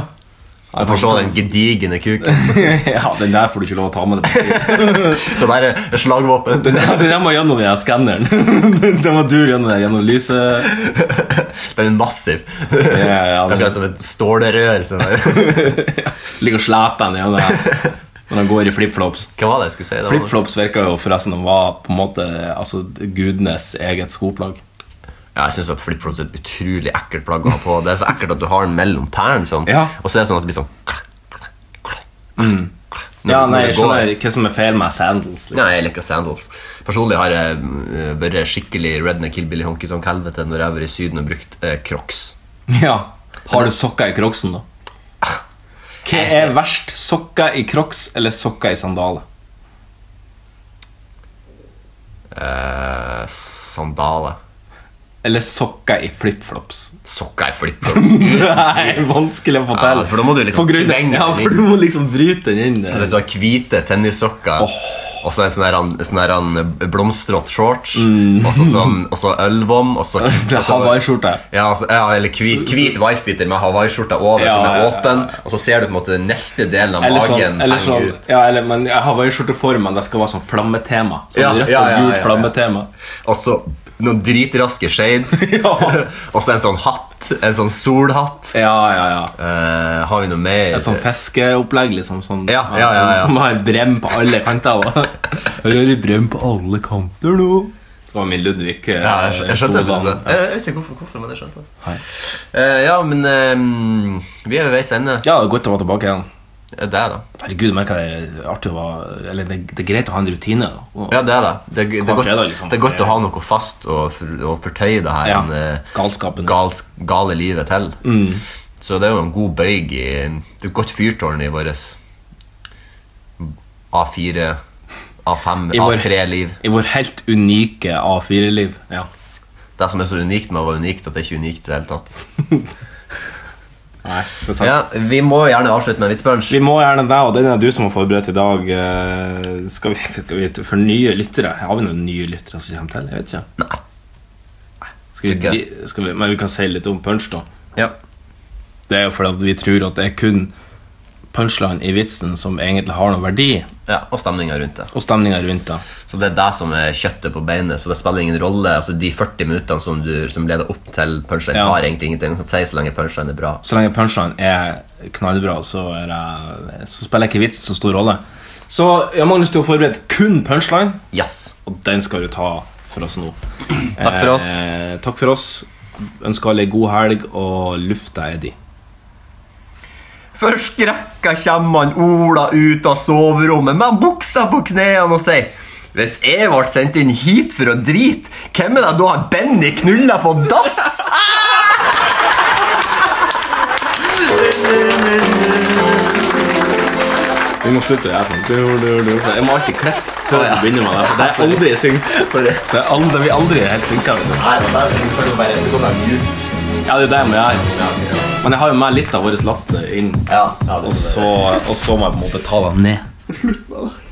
Speaker 3: De får se den gedigne kuken.
Speaker 2: ja, den der får du ikke lov å ta med deg.
Speaker 3: det der er slagvåpen.
Speaker 2: Den der, den der må gjennom den her skanneren. den må dure gjennom, den- gjennom lyset.
Speaker 3: Den er massiv.
Speaker 2: ja,
Speaker 3: Akkurat som et stålrør. som er-
Speaker 2: Ligger og sleper den gjennom her. Når han går i flipflops.
Speaker 3: Hva var det jeg skulle si? Det var noe-
Speaker 2: Flipflops virker jo forresten å være på en måte altså, gudenes eget skoplagg.
Speaker 3: Ja, jeg synes at flipflops er et utrolig ekkelt plagg å ha på. Det er så ekkelt at du har den mellom tærne, sånn. og så er det sånn at det blir sånn
Speaker 2: Mm.
Speaker 3: Når-
Speaker 2: Ja,
Speaker 3: når
Speaker 2: nei,
Speaker 3: det
Speaker 2: jeg
Speaker 3: går-
Speaker 2: skjønner hva som er feil med sandals.
Speaker 3: Nei, jeg liker sandals. Personlig har jeg eh, vært skikkelig redneck hillbilly honky tonk helvete når jeg har vært i Syden og brukt eh, crocs.
Speaker 2: Ja. Har du sokker i crocsen, da? Hva er verst? Sokker i crocs eller sokker i sandaler?
Speaker 3: Eh, sandaler.
Speaker 2: Eller sokker i flipflops?
Speaker 3: Sokker i flipflops?
Speaker 2: Nei, vanskelig å få til.
Speaker 3: Ja, for da må du liksom
Speaker 2: På grunn av-
Speaker 3: tvinge
Speaker 2: ja,
Speaker 3: den
Speaker 2: for
Speaker 3: inn. Altså,
Speaker 2: du må liksom bryte den inn.
Speaker 3: Eller så har hvite tennissokker. Og så en sånn her, sånn her eh, blomstrått shorts.
Speaker 2: Mm.
Speaker 3: Og så sånn, og så ølvom. Og så, og så-
Speaker 2: Hawaiiskjorte.
Speaker 3: Ja, altså, ja, eller hvit,
Speaker 2: Så- så-
Speaker 3: hvit whitebiter med hawaiiskjorta over
Speaker 2: Ja,
Speaker 3: som er
Speaker 2: ja, ja,
Speaker 3: åpen. Og så ser du på en måte den neste delen av
Speaker 2: Eller
Speaker 3: magen
Speaker 2: sånn, eller
Speaker 3: henge
Speaker 2: sånn
Speaker 3: ut.
Speaker 2: ja, eller, men Jeg har vært i skjorteformen. Det skal være sånn flammetema. Sånn
Speaker 3: Ja,
Speaker 2: rødt
Speaker 3: ja, ja,
Speaker 2: og
Speaker 3: ja, ja.
Speaker 2: gult flammetema.
Speaker 3: Og så noen dritraske shades. og så en sånn hatt. En sånn solhatt. Eh, har vi noe mer?
Speaker 2: Et sånn fiskeopplegg, liksom. Sånn,
Speaker 3: Ja, ja, ja, ja.
Speaker 2: Som har brem på alle kanter. da. Her er det brem på alle kanter nå. Det var min Ludvig. eh,
Speaker 3: Ja, jeg, skj- jeg skjønte det. altså. liksom.
Speaker 2: Solvang.
Speaker 3: Jeg, jeg vet ikke hvorfor, hvorfor men jeg skjønte det. Eh, ja, men eh, vi er ved veis ende.
Speaker 2: Ja, det er godt å være tilbake igjen.
Speaker 3: Det er det.
Speaker 2: Herregud, jeg merker det er artig å være Eller det, det er greit å ha en rutine. da. Og-
Speaker 3: Ja, det er det. Det, det,
Speaker 2: Hver
Speaker 3: er godt,
Speaker 2: fredag, liksom.
Speaker 3: det er godt å ha noe fast og, for, og fortøye det her
Speaker 2: Ja,
Speaker 3: eh, Gals, gale livet til.
Speaker 2: Mm.
Speaker 3: Så det er jo en god bøyg i Det er et godt fyrtårn i vårt A4, A5,
Speaker 2: I vår-
Speaker 3: A3-liv.
Speaker 2: I vår helt unike A4-liv. ja.
Speaker 3: Det som er så unikt med å være unikt, at det er ikke unikt i det hele tatt.
Speaker 2: Nei, det er sant.
Speaker 3: Ja, vi må gjerne avslutte med en vitsbunch.
Speaker 2: Vi må gjerne det, og den er du som har forberedt i dag. Eh, Skal vi, skal vi for nye lyttere? Har vi noen nye lyttere som kommer til? Jeg vet ikke.
Speaker 3: Nei.
Speaker 2: Skal vi,
Speaker 3: Ikke.
Speaker 2: skal vi, men vi kan si litt om punch, da.
Speaker 3: Ja.
Speaker 2: Det er jo fordi at vi tror at det er kun punchline i vitsen som egentlig har noen verdi.
Speaker 3: Ja, og stemninga rundt det.
Speaker 2: Og stemninga rundt det.
Speaker 3: Så det er det som er kjøttet på beinet, så det spiller ingen rolle. Altså, de 40 minuttene som, du, som leder opp til punchline,
Speaker 2: Ja.
Speaker 3: har egentlig ingenting å si så lenge punchline er bra.
Speaker 2: Så lenge punchline er knallbra, så, er det, så spiller ikke vitsen så stor rolle. Så ja, Magnus, du har forberedt kun punchline,
Speaker 3: Yes.
Speaker 2: og den skal du ta for oss nå.
Speaker 3: Takk for oss.
Speaker 2: Eh, takk for oss. Ønsker alle ei god helg, og lufta er di.
Speaker 3: Forskrekka kommer han Ola ut av soverommet med buksa på knærne og sier Hvis jeg ble sendt inn hit for å drite, hvem er det da han Benny knulla på dass?
Speaker 2: Vi må slutte det her. sånn. Du, du, du. Jeg må alltid klippe før vi begynner med det. for Det er aldri synkt. Det er aldri, vi er aldri helt synka. vet du. Ja, det er det jeg må gjøre. Men jeg har jo med litt av vår latter inn. Og så, og så må jeg på en måte ta den ned.
Speaker 3: Slutt med det.